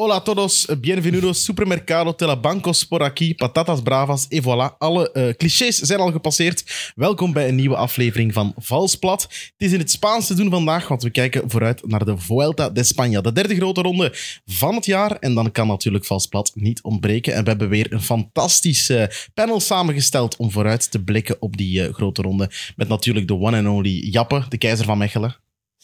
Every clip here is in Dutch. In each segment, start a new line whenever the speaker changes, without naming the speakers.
Hola a todos, bienvenidos, supermercado, telebancos, por aquí, patatas bravas, et voilà. Alle eh, clichés zijn al gepasseerd. Welkom bij een nieuwe aflevering van Valsplat. Het is in het Spaans te doen vandaag, want we kijken vooruit naar de Vuelta de España. De derde grote ronde van het jaar. En dan kan natuurlijk Valsplat niet ontbreken. En we hebben weer een fantastisch eh, panel samengesteld om vooruit te blikken op die eh, grote ronde. Met natuurlijk de one and only Jappe, de keizer van Mechelen.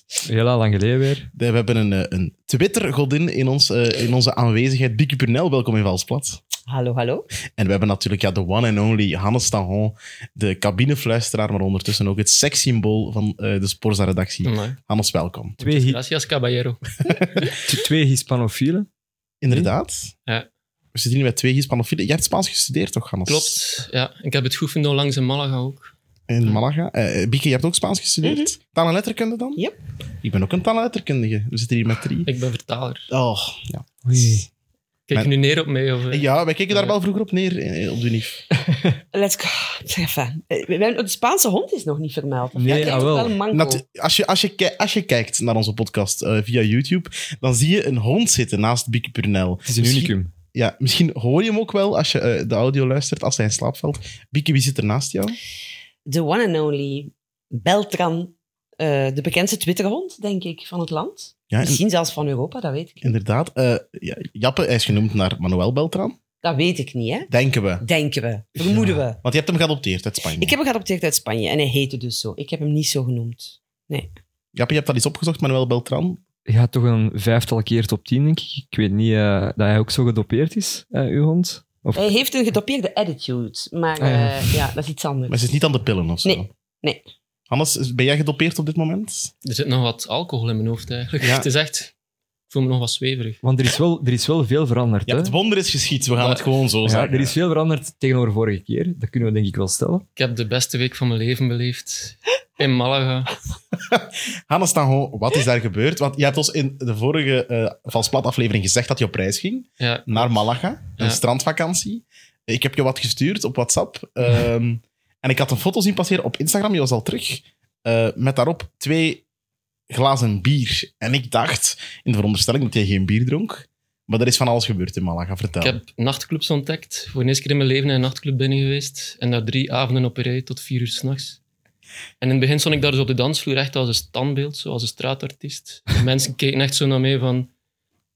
Heel lang geleden weer.
We hebben een, eh, een Twitter-godin in, ons, eh, in onze aanwezigheid. Bieke Purnell, welkom in Valsplat.
Hallo, hallo.
En we hebben natuurlijk ja, de one and only Hannes Tahon, de cabinefluisteraar, maar ondertussen ook het sekssymbool van eh, de Sporza-redactie.
Amai.
Hannes, welkom.
Twee, hi-
Gracias, caballero.
t- twee Hispanofielen.
Inderdaad.
Ja.
We zitten hier met twee Hispanofielen. Jij hebt Spaans gestudeerd, toch, Hannes?
Klopt. Mm. Ja, ik heb het goed vinden langs in Malaga ook.
In Malaga. Eh, eh, Bieke, je hebt ook Spaans gestudeerd. Taal- en letterkunde dan?
Yep.
Ik ben ook een taal- en letterkundige. We zitten hier met drie.
Ik ben vertaler.
Oh, ja.
Kijk je
Maar-
nu neer op mij? Of, eh?
ja, wij keken daar
Ja.
wel vroeger op neer, eh, op de unief.
Let's go. Zeg even. Eh, we hebben- De Spaanse hond is nog niet vermeld.
Nee,
Dat is toch
jawel.
wel een manco.
Natu- als, je, als, je, ki- als je kijkt naar onze podcast eh, via YouTube, dan zie je een hond zitten naast Bieke Purnell.
Het is een
Misschien-
unicum.
Ja, misschien hoor je hem ook wel als je eh, de audio luistert, als hij in slaap valt. Bieke, wie zit er naast jou?
De one and only Beltran. eh, de bekendste Twitterhond, denk ik, van het land.
Ja, in-
Misschien zelfs van Europa, dat weet ik niet.
inderdaad. Eh, ja, Jappe, hij is genoemd naar Manuel Beltran.
Dat weet ik niet, hè.
Denken we.
Denken we. Vermoeden we.
Want je hebt hem geadopteerd uit Spanje.
Ik heb hem geadopteerd uit Spanje en hij heette dus zo. Ik heb hem niet zo genoemd.
Jappe, je hebt dat eens opgezocht, Manuel Beltran.
Je gaat toch een vijftal keer top 10, denk ik. Ik weet niet eh, dat hij ook zo gedopeerd is, eh, uw hond. Of,
Hij heeft een gedopeerde attitude, maar
Ah, ja.
eh, ja, dat is iets anders.
Maar ze is niet aan de pillen of zo.
Nee, nee.
Hannes, ben jij gedopeerd op dit moment?
Er zit nog wat alcohol in mijn hoofd eigenlijk.
Ja.
Het is echt... Ik voel me nog wat zweverig.
want er is, wel, er is wel veel veranderd.
Ja,
hè?
het wonder is geschied. We gaan
Ja.
het gewoon zo
Ja,
zeggen.
er is veel veranderd tegenover vorige keer. Dat kunnen we denk ik wel stellen.
Ik heb de beste week van mijn leven beleefd. In Malaga.
Hannes Tango, wat is daar gebeurd? Want je hebt ons in de vorige eh Valsplat aflevering gezegd dat je op reis ging.
Ja,
naar Malaga, een
Ja.
strandvakantie. Ik heb je wat gestuurd op WhatsApp. ehm, en ik had een foto zien passeren op Instagram, je was al terug, eh, met daarop twee glazen bier. En ik dacht, in de veronderstelling dat jij geen bier dronk, maar er is van alles gebeurd in Malaga, vertel.
ik heb nachtclubs ontdekt. Voor de eerste keer in mijn leven in een nachtclub binnen geweest. En daar drie avonden op een rij tot vier uur s'nachts. En in het begin stond ik daar dus op de dansvloer echt als een standbeeld, zo als een straatartiest. En Mensen keken echt zo naar mij van,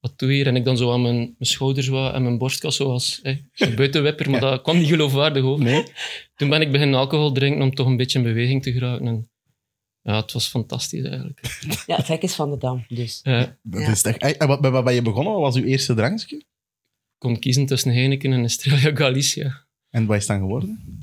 wat doe je hier? En ik dan zo aan mijn, mijn schouders wat en mijn borstkas zo als hey, een buitenwipper, maar dat kwam niet geloofwaardig over. Toen ben ik beginnen alcohol drinken om toch een beetje in beweging te geraken. En, ja, het was fantastisch eigenlijk.
Ja, het hek is van de dam, dus.
Eh,
Dat
Ja.
is echt... en wat- Bij wat ben je begonnen? Wat was uw eerste drankje?
ik kon kiezen tussen Heineken en Estrella Galicia.
En wat is het dan geworden?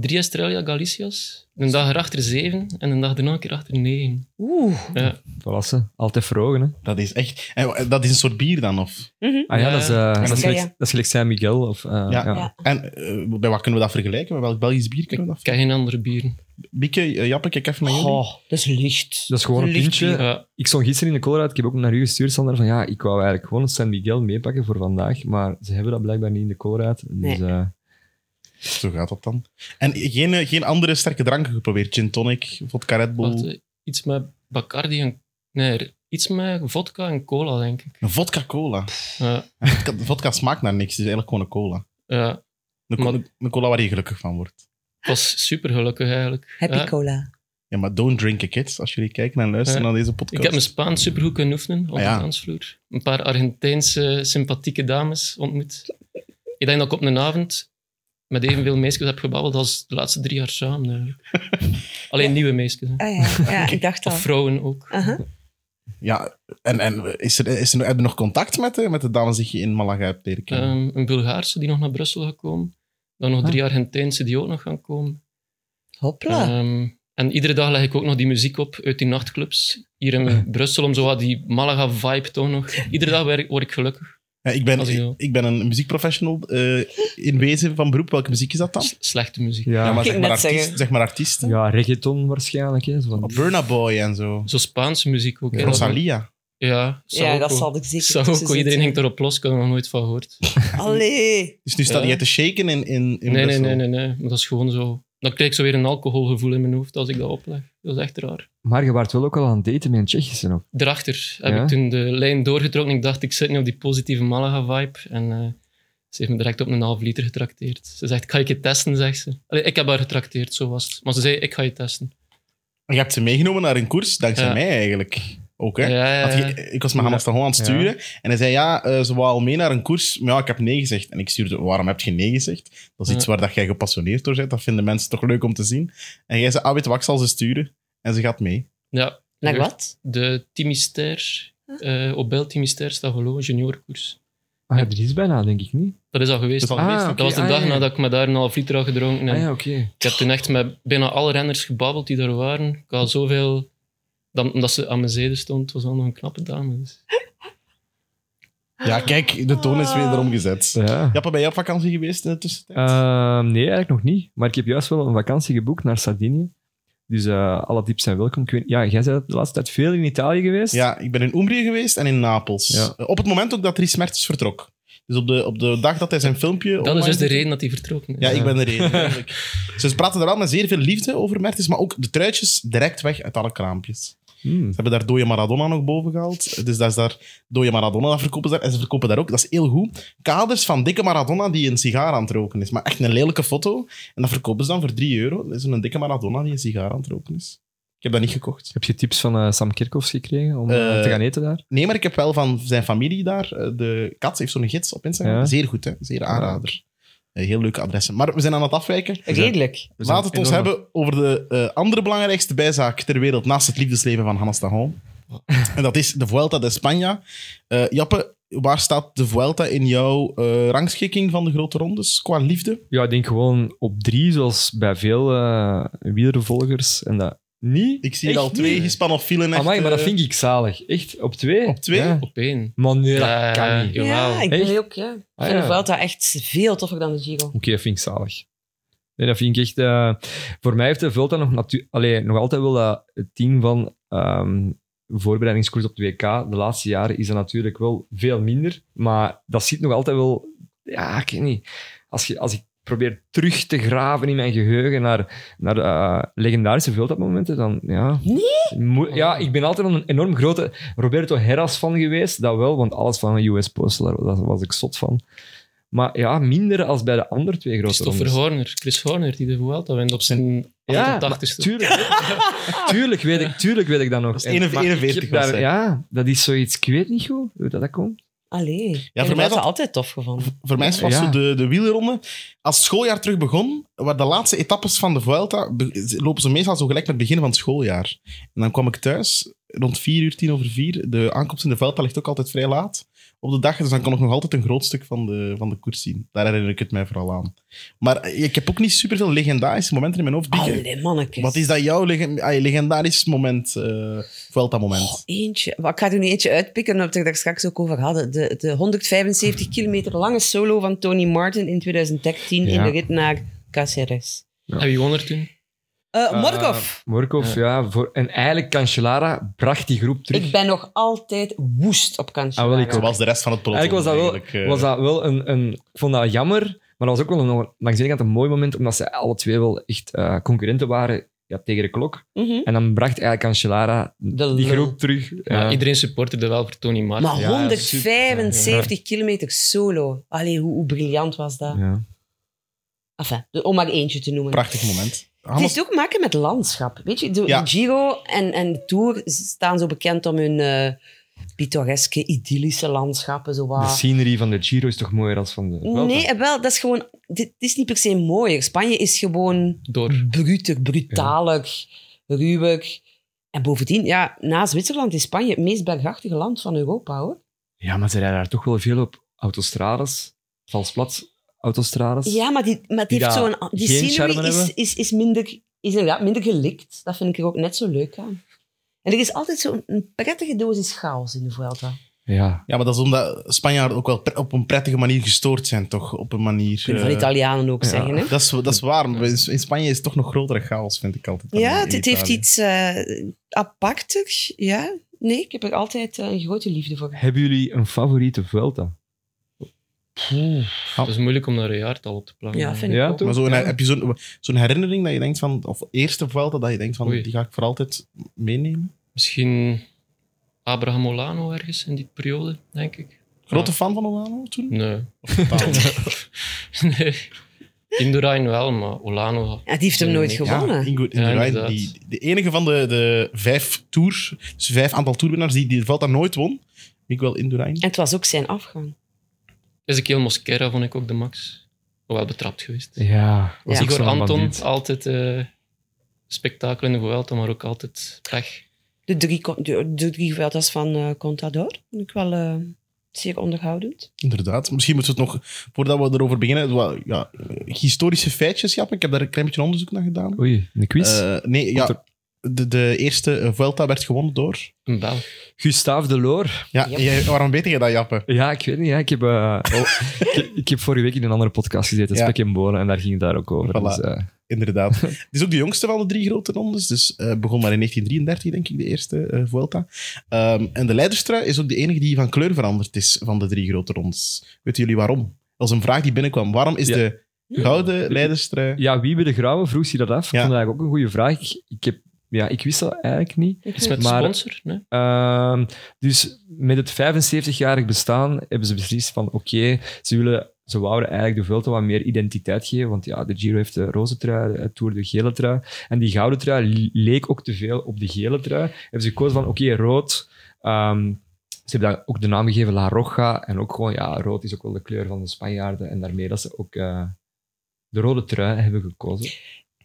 Drie Estrella Galicias, een dag erachter zeven en een dag daarna een keer achter negen.
Oeh.
Ja.
Verlassen. Altijd verhogen. Hè?
Dat is echt... En wa- dat is een soort bier dan, of?
Mhm.
Ah ja,
Ja,
dat is, eh, dat is
Ja,
gelijk-
ja.
dat is gelijk San Miguel. Of, eh, ja.
Ja.
En eh, bij wat kunnen we dat vergelijken? Bij welk Belgisch bier kunnen we dat
Ik ken geen andere bieren.
vergelijken? Bieke, eh, Jappe, kijk even naar jullie.
Oh, dat is licht.
Dat is gewoon een
Licht
pintje.
Ja.
Ik stond gisteren in de Colorado, ik heb ook naar u gestuurd, Sander, van ja, ik wou eigenlijk gewoon een San Miguel meepakken voor vandaag, maar ze hebben dat blijkbaar niet in de Colorado. Dus,
Nee.
eh,
Zo gaat dat dan. En geen, eh, geen andere sterke dranken geprobeerd? Gin tonic, vodka Red Bull?
Wacht, eh, iets met Bacardi en... Nee, iets met vodka en cola, denk ik.
Een vodka cola.
Ja,
vodka, vodka smaakt naar niks, het is eigenlijk gewoon een cola.
ja.
Een, co-
Maar-
een cola waar je gelukkig van wordt.
ik was super gelukkig eigenlijk.
Happy
Ja,
cola.
Ja, maar don't drink it, kids. Als jullie kijken en luisteren
Ja.
naar deze podcast.
ik heb mijn Spaans super goed kunnen oefenen op
Ah, ja.
de dansvloer. Een paar Argentijnse sympathieke dames ontmoet. Ik denk dat ik op een avond met evenveel meisjes heb gebabbeld als de laatste drie jaar samen. eigenlijk. Alleen nieuwe meisjes. hè.
Ah ja, ja ik dacht al.
Of vrouwen ook.
Aha.
Ja, en, en is er, is er, heb je nog contact met de, met de dames die je in Malaga hebt leren kennen?
Ehm, een Bulgaarse die nog naar Brussel gaat komen. Dan nog
Ah.
drie Argentijnse die ook nog gaan komen.
Eh,
Hopla.
Ehm, en iedere dag leg ik ook nog die muziek op uit die nachtclubs. Hier in Brussel, om zo wat die Malaga-vibe toch nog. Iedere dag werk- word ik gelukkig.
Ja, ik, ben,
als ik wil.
ik, ik ben een muziekprofessional eh, in wezen van beroep. Welke muziek is dat dan?
S- Slechte muziek.
ja,
Ja, maar
Ik
zeg
ging
maar,
net
artiest,
zeggen.
zeg maar artiesten.
ja, reggaeton waarschijnlijk. Hè, zo van-
Burna Boy en zo.
Zo Spaanse muziek ook. hè. Dat-
Rosalia.
Ja,
Ja, dat zal ik zeker tussen
Saoko,
zitten.
iedereen ging erop los, ik had er nog nooit van gehoord.
Allee.
Dus nu staat
Ja.
hij te shaken in, in, in
Nee, nee,
Brussel.
nee, nee, nee. Maar dat is gewoon zo Dan krijg ik zo weer een alcoholgevoel in mijn hoofd als ik dat opleg. Dat is echt raar.
Maar je waart wel ook al aan het daten met een Tsjechische. Of?
Daarachter heb
Ja?
ik toen de lijn doorgetrokken. Ik dacht, ik zit nu op die positieve Malaga-vibe. En eh, ze heeft me direct op een half liter getrakteerd. Ze zegt, ga ik je testen, zegt ze. Allee, ik heb haar getrakteerd, zo was het. Maar ze zei, ik ga je testen.
Je hebt ze meegenomen naar een koers, dankzij
Ja.
mij eigenlijk. Ook, hè?
Ja, ja,
Want
ja.
je- ik was met Hannes
Ja.
van Holland aan het
Ja.
sturen. En hij zei, ja, eh, ze wou al mee naar een koers. Maar ja, ik heb nee gezegd. En ik stuurde, waarom heb je nee gezegd? Dat is iets
Ja.
waar dat jij gepassioneerd door bent. Dat vinden mensen toch leuk om te zien. En jij zei, ah, weet je wat, ik zal ze sturen. En ze gaat mee.
Ja.
Naar
Eh,
wat?
De Timister, eh Opel Timister Stavolo juniorkoers.
Ah, ja, er is bijna, denk ik niet.
Dat is al geweest.
Dus al
dat
geweest,
oké,
was de
ah,
dag
ja, ja.
nadat ik me daar een half liter had gedronken. En
Ah ja, oké.
Ik heb toen echt met bijna alle renners gebabbeld die er waren. Ik had zoveel... Dan, omdat ze aan mijn zijde stond, was wel nog een knappe dame. Dus.
Ja, kijk, de toon is
Ah.
wederom gezet.
Ja.
Jappe, ben je op vakantie geweest in de tussentijd?
Ehm, nee, eigenlijk nog niet. Maar ik heb juist wel een vakantie geboekt naar Sardinië. Dus eh, alle tips zijn welkom. Ik weet- ja, jij bent de laatste tijd veel in Italië geweest.
Ja, ik ben in Umbrië geweest en in Napels.
Ja.
Eh, Op het moment ook dat Dries Mertens vertrok. Dus op de, op de dag dat hij zijn filmpje...
Oh
Dat is
online
dus de
zette-
reden dat hij vertrokken is.
Ja, ik ben de reden. eigenlijk. Ze praten er wel met zeer veel liefde over Mertens, maar ook de truitjes direct weg uit alle kraampjes.
Hmm.
Ze hebben daar dode Maradona nog boven gehaald. Dus dat is daar dode Maradona, dat verkopen ze daar. En ze verkopen daar ook, dat is heel goed, kaders van dikke Maradona die een sigaar aan het roken is. Maar echt een lelijke foto. En dat verkopen ze dan voor 3 euro. Dat is een dikke Maradona die een sigaar aan het roken is. Ik heb dat niet gekocht.
Heb je tips van eh, Sam Kerkhoffs gekregen om eh,
Eh,
te gaan eten daar?
Nee, maar ik heb wel van zijn familie daar. eh, De kat heeft zo'n gids op Instagram.
Ja.
Zeer goed, hè? Zeer aanrader. Eh, Heel leuke adressen. Maar we zijn aan het afwijken.
Redelijk.
We zijn
Laten we het ons
enorm-
hebben over de eh, andere belangrijkste bijzaak ter wereld naast het liefdesleven van Hannes Tahon. En dat is de Vuelta de España. Eh, Jappe, waar staat de Vuelta in jouw eh, rangschikking van de grote rondes qua liefde?
Ja, ik denk gewoon op drie, zoals bij veel eh wielervolgers. En dat niet.
Ik zie
Echt
er al twee
niet?
gespannen fielen. Echt,
Amai, maar dat
eh,
vind ik zalig. Echt, op twee?
Op twee?
Ja.
Op één.
Man, nee,
Ja, eh,
dat kan niet.
ja. Jawel.
Ja, ik ben
Echt?
ook, ja. Ik
Ah,
vind
ja.
de Vuelta echt veel toffer dan de Giro.
Oké, dat vind ik zalig. Nee, dat vind ik echt... eh, voor mij heeft de Vuelta nog, natu- allee, nog altijd wel dat het team van ehm, voorbereidingskoers op de WK. De laatste jaren is dat natuurlijk wel veel minder. Maar dat zit nog altijd wel... Ja, ik weet niet. Als, je, als ik probeer terug te graven in mijn geheugen naar, naar eh, legendarische Vuelta-momenten, dan... Ja. Moe- ja, ik ben altijd een enorm grote Roberto Heras van geweest. Dat wel, want alles van een US Postal, daar was- was ik zot van. Maar ja, minder als bij de andere twee grote
Christopher
rondes.
Horner. Chris Horner, die de Vuelta wint op zijn
Ja,
88ste.
Tuurlijk, tuurlijk, weet ik, tuurlijk weet ik dat nog.
is
En-
41
maar ik heb
was
daar-
hij.
Ja, dat is zoiets, ik weet niet goed hoe dat, dat komt.
Allee. Ik
mij
heb de Vuelta
dat-
altijd tof gevonden.
Voor mij was
Ja.
zo de, de wielerronde. Als het schooljaar terug begon, waar de laatste etappes van de Vuelta, be- ze- lopen ze meestal zo gelijk met het begin van het schooljaar. En dan kwam ik thuis rond 4 uur, 10 over 4. De aankomst in de Vuelta ligt ook altijd vrij laat op de dag. Dus dan kon ik nog altijd een groot stuk van de, van de koers zien. Daar herinner ik het mij vooral aan. Maar eh, ik heb ook niet superveel legendarische momenten in mijn hoofd. Dieke.
Allee, mannetjes.
Wat is dat jouw legen- ah, je legendarisch moment, eh
Oh.
Vuelta-moment?
Eentje. Maar ik ga er nu eentje uitpikken, omdat we het daar straks ook over hadden. De, de 175 kilometer lange solo van Tony Martin in 2013 in
Ja.
de rit naar Caceres.
En wie won er toen?
Eh
Eh,
Morkov.
Morkov, ja. voor, en eigenlijk, Cancellara bracht die groep terug.
ik ben nog altijd woest op
Ah, wel, ik
Cancellara.
ook.
Zoals de rest van het peloton.
Eigenlijk was dat wel-
eh.
was dat wel een, een... Ik vond dat jammer, maar dat was ook wel een, langs de ene kant een mooi moment, omdat ze alle twee wel echt eh, concurrenten waren ja, tegen de klok.
Mhm.
En dan bracht eigenlijk Cancellara
De
die
lul.
groep terug.
Ja,
Ja.
iedereen supporterde wel voor Tony Martin.
Maar
Ja,
175 kilometer solo. Allee, hoe, hoe briljant was dat?
Ja.
Enfin, de- om maar eentje te noemen.
Prachtig moment.
Het
Hannes,
heeft ook maken met landschap. Weet je, de, de
Ja.
Giro en, en de Tour staan zo bekend om hun eh, pittoreske, idyllische landschappen. Zo wat.
De scenery van de Giro is toch mooier dan van de Vuelta?
Nee, eh, wel, dat is gewoon... Dit is niet per se mooier. Spanje is gewoon
Door.
bruter, brutaler, ruwer. En bovendien, ja, na Zwitserland is Spanje het meest bergachtige land van Europa, hoor.
Ja, maar ze rijden daar toch wel veel op autostrades, valsplat autostrades.
Ja, maar die, maar die
Die
heeft
daar
zo'n... Die
geen charme
scenery is,
hebben?
is, is, minder, is inderdaad minder gelikt. Dat vind ik er ook net zo leuk aan. En er is altijd zo'n een prettige dosis chaos in de Vuelta.
Ja.
Ja, maar dat is omdat Spanjaarden ook wel pre- op een prettige manier gestoord zijn, toch? Op een manier.
Kunnen van
eh,
Italianen ook
ja.
zeggen, hè?
dat, is, dat is waar. maar In in Spanje is het toch nog grotere chaos, vind ik altijd. dan in-
Ja,
in
het, het heeft
Italië.
iets eh aparters. Ja, nee, ik heb er altijd eh, een grote liefde voor.
Hebben jullie een favoriete Vuelta?
Het is moeilijk om daar een jaartal op te plakken.
Ja, vind ik
Ja,
ook.
toch?
Maar zo,
Ja.
heb je zo'n zo'n herinnering dat je denkt van, of eerste Vuelta, dat je denkt van,
Oei.
die ga ik voor altijd meenemen?
Misschien Abraham Olano ergens in die periode, denk ik.
Grote fan van Olano toen?
Nee.
Totaal.
nee. Indurain wel, maar Olano...
Ja, die heeft hem nooit
Ja,
gewonnen.
Ja, Ingo-
Ja,
Indurain,
inderdaad.
die, de enige van de, de vijf tours, dus vijf aantal toerwinnaars die, die de Vuelta nooit won. Ik wel Indurain.
En het was ook zijn afgang.
Ezekiel Mosquera vond ik ook de max. Wel betrapt geweest.
Ja, was
Ja.
ook
Igor
zo'n
Anton,
bandiet.
altijd eh spektakel in de Vuelta, maar ook altijd pech.
De drie, co- de, de drie Vueltas van eh, Contador. Vond ik wel eh, zeer onderhoudend.
Inderdaad. Misschien moeten we het nog, voordat we erover beginnen, wel, ja, eh, historische feitjes, Jap. Ik heb daar een klein beetje onderzoek naar gedaan.
Oei, een quiz.
Eh, nee,
Komt
ja, de, de eerste eh, Vuelta werd gewonnen door...
Een bel.
Gustave Deloor.
Ja,
Yep.
jij- waarom weet je dat, Jappe?
Ja, ik weet niet. hè. Ik, heb, eh, ik, heb- ik heb vorige week in een andere podcast gezeten,
Ja.
Spek en Bonen, en daar ging het daar ook over.
Voilà.
Dus, eh,
Inderdaad. Het is ook de jongste van de drie grote rondes. Dus eh, begon maar in 1933, denk ik, de eerste eh Vuelta. Ehm, en de leiderstrui is ook de enige die van kleur veranderd is van de drie grote rondes. Weten jullie waarom? Dat is een vraag die binnenkwam. Waarom is
Ja.
de gouden leiderstrui...
ja, wie bij de Grauwe vroeg zich dat af?
Ja.
Ik vond dat eigenlijk ook een goede vraag. Ik, ik heb, ja, ik wist dat eigenlijk niet.
Iets met
Maar-
de sponsor? Nee?
Ehm, dus met het 75-jarig bestaan hebben ze beslist van oké, ze willen ze wouden eigenlijk de Vuelta wat meer identiteit geven, want ja, de Giro heeft de roze trui, de Tour de gele trui, en die gouden trui le- leek ook te veel op de gele trui. Hebben ze gekozen van oké, rood. ehm, ze hebben daar ook de naam gegeven La Roja, en ook gewoon, ja, rood is ook wel de kleur van de Spanjaarden, en daarmee dat ze ook eh, de rode trui hebben gekozen.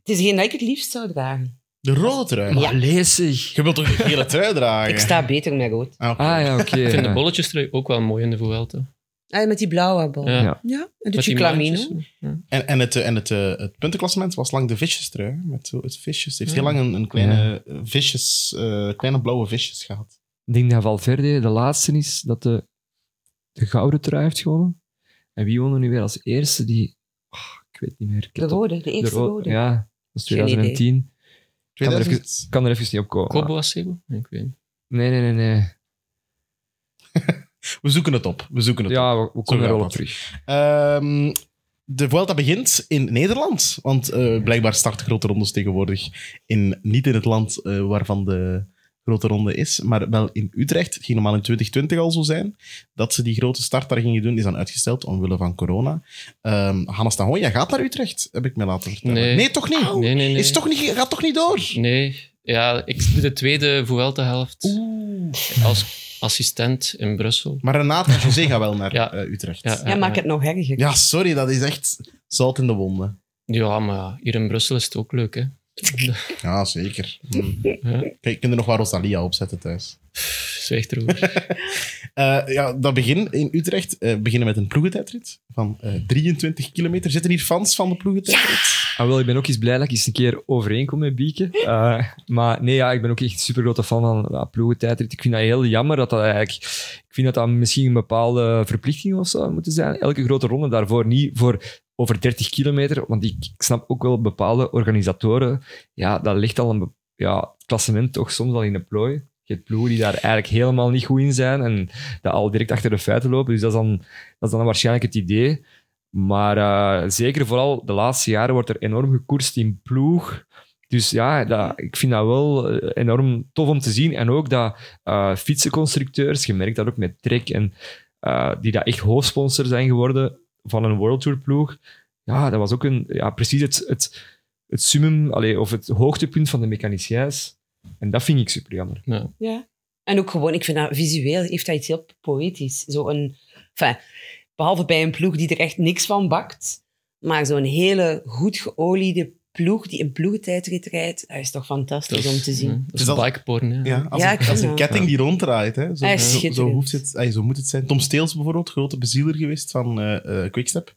Het is geen dat ik het liefst zou dragen.
De rode trui.
Maar lezig!
Je wilt toch de gele trui dragen?
Ik sta beter met rood.
Ah, oké.
Ah ja, oké.
Ik vind
Ja.
de bolletjestrui ook wel mooi in de Vuelta.
Ah, met die blauwe bal.
Ja.
Ja.
Ja.
en de
Met die
Chiclamino.
maandjes. Ja.
En, en, het, eh, en het, eh, het puntenklassement was lang de visjestrui. hè, Met zo het visjes. Het heeft heel lang een, een kleine, eh, visjes, eh, kleine blauwe visjes gehad.
Ik denk dat Valverde de laatste is dat de, de gouden trui heeft gewonnen. En wie won er nu weer als eerste? Die, Ah, ik weet niet meer. Ik
De
heb dat-
rode, de eerste
ro-
rode.
Ja, dat is
Geen idee.
2010. Ik kan er
2000?
even, ik kan er even niet op komen.
Kobo Acebo? Nee, Ik weet niet.
Nee, nee, nee. nee.
We zoeken het op. We zoeken het op.
Ja, we, we komen
gaat
er wel op
dat.
terug.
Ehm, de Vuelta begint in Nederland. Want eh, blijkbaar start grote rondes tegenwoordig in, niet in het land eh, waarvan de grote ronde is, maar wel in Utrecht. Het ging normaal in 2020 al zo zijn. Dat ze die grote start daar gingen doen, is dan uitgesteld omwille van corona. Ehm Hannes Tahonia gaat naar Utrecht, heb ik me laten vertellen. Nee,
Nee.
toch niet?
Nee, nee, nee.
Is toch niet? Gaat toch niet door?
Nee. Ja, ik doe de tweede Vuelta-helft
Oeh.
als assistent in Brussel.
Maar Renate en José gaan wel naar
Ja.
eh, Utrecht.
Ja.
Ja.
Ja, maak het nog erger.
sorry, dat is echt zout in de wonden.
Ja, maar ja, hier in Brussel is het ook leuk, hè.
Ja, zeker. Hm.
Ja.
Kijk, je kunt er nog wel Rosalia op zetten thuis.
Zwijg erover.
Eh, ja, dat begin in Utrecht. eh, we beginnen met een ploegentijdrit van eh, 23 kilometer. Zitten hier fans van de ploegentijdrit?
Ah, wel, ik ben ook eens blij dat ik eens een keer overeenkom met Bieke. Eh, maar nee, ja, ik ben ook echt super grote fan van ja, ploegentijdrit. Ik vind dat heel jammer dat dat eigenlijk... Ik vind dat dat misschien een bepaalde verplichting of zo zou moeten zijn. Elke grote ronde daarvoor niet voor over 30 kilometer. Want ik, ik snap ook wel bepaalde organisatoren. Ja, dat ligt al een... be- Ja, het klassement toch soms al in de plooi. Je hebt ploegen die daar eigenlijk helemaal niet goed in zijn en dat al direct achter de feiten lopen. Dus dat is dan, dat is dan waarschijnlijk het idee. Maar eh, zeker vooral de laatste jaren wordt er enorm gekoerst in ploeg. Dus ja, dat, ik vind dat wel eh, enorm tof om te zien. En ook dat eh, fietsenconstructeurs, je merkt dat ook met Trek, en, eh, die dat echt hoofdsponsor zijn geworden van een World Tour ploeg. Ja, dat was ook een, ja, precies het, het, het summum, allee, of het hoogtepunt van de mechaniciens. En dat vind ik super jammer.
Ja. En ook gewoon, ik vind dat visueel heeft dat iets heel poëtisch. Zo een, enfin, behalve bij een ploeg die er echt niks van bakt, maar zo'n hele goed geoliede ploeg die een ploegentijdrit rijdt, dat is toch fantastisch om te zien.
ja, dat
Is
is
dat-
bikeporn, hè.
Ja, als,
Ja, ik
een, als
vind
een
dat.
ketting die ronddraait. Hè. Zo,
Hij is
zo- zo,
schitterend.
hoeft het, ay, zo moet het zijn. Tom Steels bijvoorbeeld, grote bezieler geweest van eh, eh, Quickstep.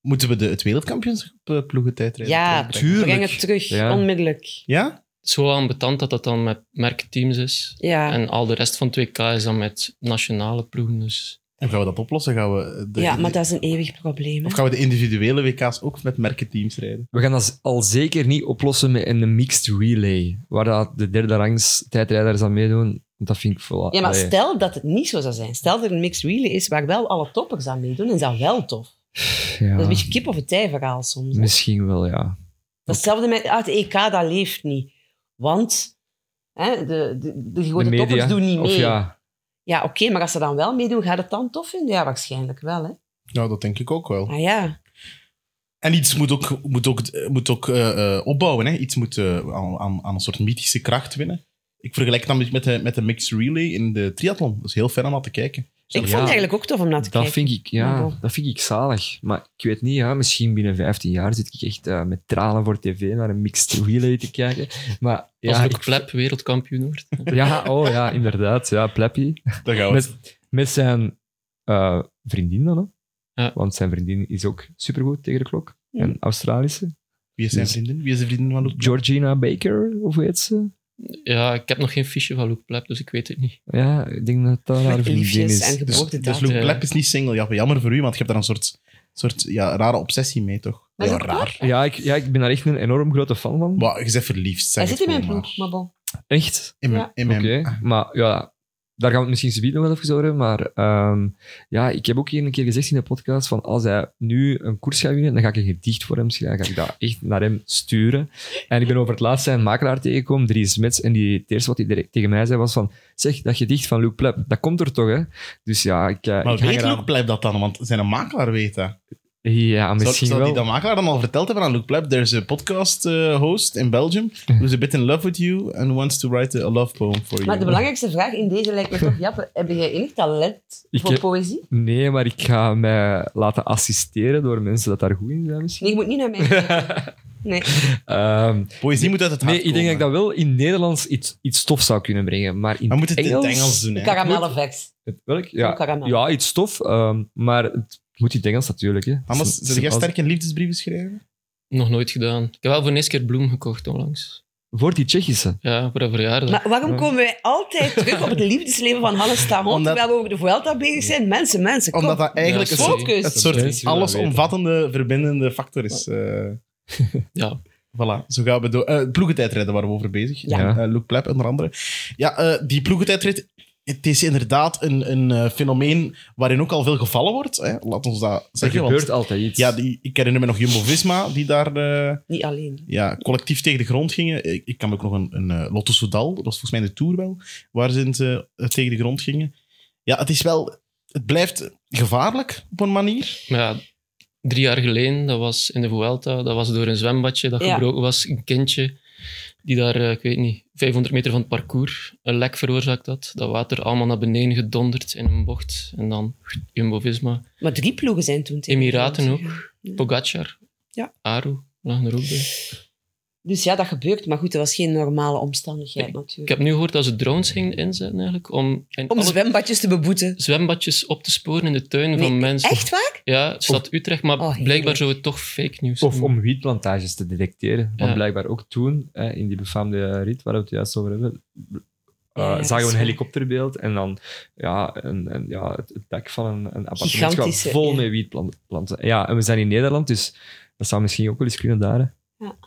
Moeten we de, het wereldkampioenschap eh, ploegentijdrit
Ja,
terugbrengen?
breng het terug,
Ja.
onmiddellijk.
Ja?
Zo aan betaald dat dat dan met merkteams is.
Ja.
En al de rest van 2K is dan met nationale ploegen, dus...
En gaan we dat oplossen? Gaan we de,
ja, maar
de-
dat is een eeuwig probleem. hè.
Of gaan we de individuele WK's ook met merkenteams rijden?
We gaan dat al zeker niet oplossen met een mixed relay, waar dat de derde rangs tijdrijders aan meedoen. Want dat vind ik vol.
Ja, maar
allee.
stel dat het niet zo zou zijn. Stel dat er een mixed relay is waar wel alle toppers aan meedoen, en dat wel tof.
Ja,
Dat is een beetje kip of het ei verhaal soms. hè.
Misschien wel, ja.
Dat is Hetzelfde met ah, het EK, dat leeft niet. Want hè, de, de, de grote
de media.
toppers doen niet
Of
mee. Ja,
ja,
oké, maar als ze dan wel meedoen, gaat het dan tof vinden? Ja, waarschijnlijk wel. Hè?
Nou, dat denk ik ook wel.
Ah ja,
En iets moet ook, moet ook, moet ook eh, eh, opbouwen. Hè? Iets moet eh, aan, aan- aan een soort mythische kracht winnen. Ik vergelijk dat met, met, de, met de mixed relay in de triathlon. Dat is heel fijn om aan te kijken.
ik vond
ja.
het eigenlijk ook tof om naar te
dat
kijken.
vind ik, ja,
Maar-
dat vind ik zalig. Maar ik weet niet, ja, misschien binnen 15 jaar zit ik echt eh, met tranen voor tv naar een mixed relay te kijken. Maar
Als
ja,
Luc
ik-
Plep wereldkampioen wordt.
ja, oh ja, inderdaad. Ja, Pleppy.
Daar gaan we.
Met, met zijn eh, vriendin dan, hè?
Ja.
Want zijn vriendin is ook supergoed tegen de klok.
Ja.
Een Australische.
Wie is zijn vriendin? Wie is de vriendin van Luke?
Georgina Baker, of hoe heet ze?
Ja, ik heb nog geen fiche van Luc Plep, dus ik weet het niet.
Ja, ik denk dat dat haar
Met
vriendin
liefjes
is.
en
Dus,
geboortedatum.
dus Luke
eh.
Black is niet single. Ja, jammer voor u, want je hebt daar een soort, soort ja, rare obsessie mee, toch?
Maar
ja,
Luke Black?
raar.
Ja ik, ja, ik ben daar echt een enorm grote fan van.
Maar je bent verliefd, zeg
Hij zit
het
in mijn
gewoon
ploeg, maar bon.
Echt?
In mijn...
Ja.
In
Oké,
mijn Ah,
maar ja, daar gaan we het misschien zo nog wel even over hebben. Maar ehm, ja, ik heb ook hier een keer gezegd in de podcast van als hij nu een koers gaat winnen, dan ga ik een gedicht voor hem schrijven. Ga ik dat echt naar hem sturen. En ik ben over het laatst zijn makelaar tegengekomen, Dries Mets, en die, het eerste wat hij direct tegen mij zei was van zeg, dat gedicht van Luc Plep, dat komt er toch, hè? Dus ja, ik, eh,
Maar
ik hang
weet
eraan.
Luke Black dat dan? Want zijn een makelaar weet dat.
Ja, misschien
zou, zou
wel.
die dat makelaar dan al verteld hebben aan Luke Pleb? There's a podcast eh, host in Belgium who's a bit in love with you and wants to write a love poem for you.
Maar de belangrijkste vraag in deze lijkt me toch, Jappe, heb jij enig talent
Ik
voor
heb-
poëzie?
Nee, maar ik ga mij laten assisteren door mensen dat daar goed in zijn misschien.
Nee, je moet niet naar mij kijken. Nee.
Ehm,
Poëzie moet uit het hart
Nee, ik denk dat ik
komen.
dat wel in Nederlands iets, iets tof zou kunnen brengen. Maar in
We moeten het
Engels,
in het Engels doen. Hè.
Karamellenvers.
Het- welk?
Ja.
Ja, ja, iets tof. ehm, maar het moet in het Engels natuurlijk. Hè.
Anders,
Als-
zit jij
als-
sterk in liefdesbrieven schrijven?
Nog nooit gedaan. Ik heb wel voor de eerste keer bloem gekocht onlangs.
Voor die Tsjechische.
Ja, voor een verjaardag.
Maar waarom komen wij altijd terug op het liefdesleven van Hannes Tahon,
Omdat-
terwijl we over de Vuelta bezig zijn? Mensen, mensen, kom.
Omdat dat eigenlijk
Ja,
een soort,
sorry.
Focus.
het
Dat mensen
soort
willen
allesomvattende, verbindende factor is. eh.
Ja.
Voilà, zo gaan we door. Eh ploegentijdrijden waren we over bezig.
Ja.
Eh, Luke Pleb, onder andere. Ja, eh, die ploegentijdrit, het is inderdaad een, een eh, fenomeen waarin ook al veel gevallen wordt. Hè. Laat ons dat
Er
zeggen. want-
gebeurt altijd iets.
Ja, die, ik herinner me nog Jumbo-Visma, die daar eh,
Niet alleen.
ja, collectief tegen de grond gingen. Ik, ik kan me ook nog een, een eh, Lotto Soudal, dat was volgens mij in de Tour wel, waar ze het, eh, tegen de grond gingen. Ja, het is wel... Het blijft gevaarlijk, op een manier.
Maar ja, drie jaar geleden, dat was in de Vuelta, dat was door een zwembadje dat
Ja.
gebroken was. Een kindje die daar, eh, ik weet niet, 500 meter van het parcours een lek veroorzaakt had. Dat water allemaal naar beneden gedonderd in een bocht. En dan Jumbo-Visma.
Maar drie ploegen zijn toen tegen
Emiraten
elkaar.
ook. Pogacar.
Ja.
Aru lagen er ook bij.
Dus ja, dat gebeurt. Maar goed, dat was geen normale omstandigheid
Ik
natuurlijk.
heb nu gehoord dat ze drones gingen inzetten eigenlijk om in
Om
alle
zwembadjes te beboeten.
zwembadjes op te sporen in de tuinen
Nee,
van mensen.
Echt waar?
Ja, stad Utrecht, maar
Oh, heerlijk.
blijkbaar zou het toch fake nieuws
Of
noemen.
om wietplantages te detecteren. Want
Ja.
blijkbaar ook toen, hè, in die befaamde rit waar we het juist over hebben, eh,
Ja,
zagen
dat is
we een
waar.
helikopterbeeld en dan ja, een, een, ja, het, het dak van een, een appartement gaat
Gigantische,
vol
ja.
met wietplanten. Ja, en we zijn in Nederland, dus dat zou misschien ook wel eens kunnen daar. hè.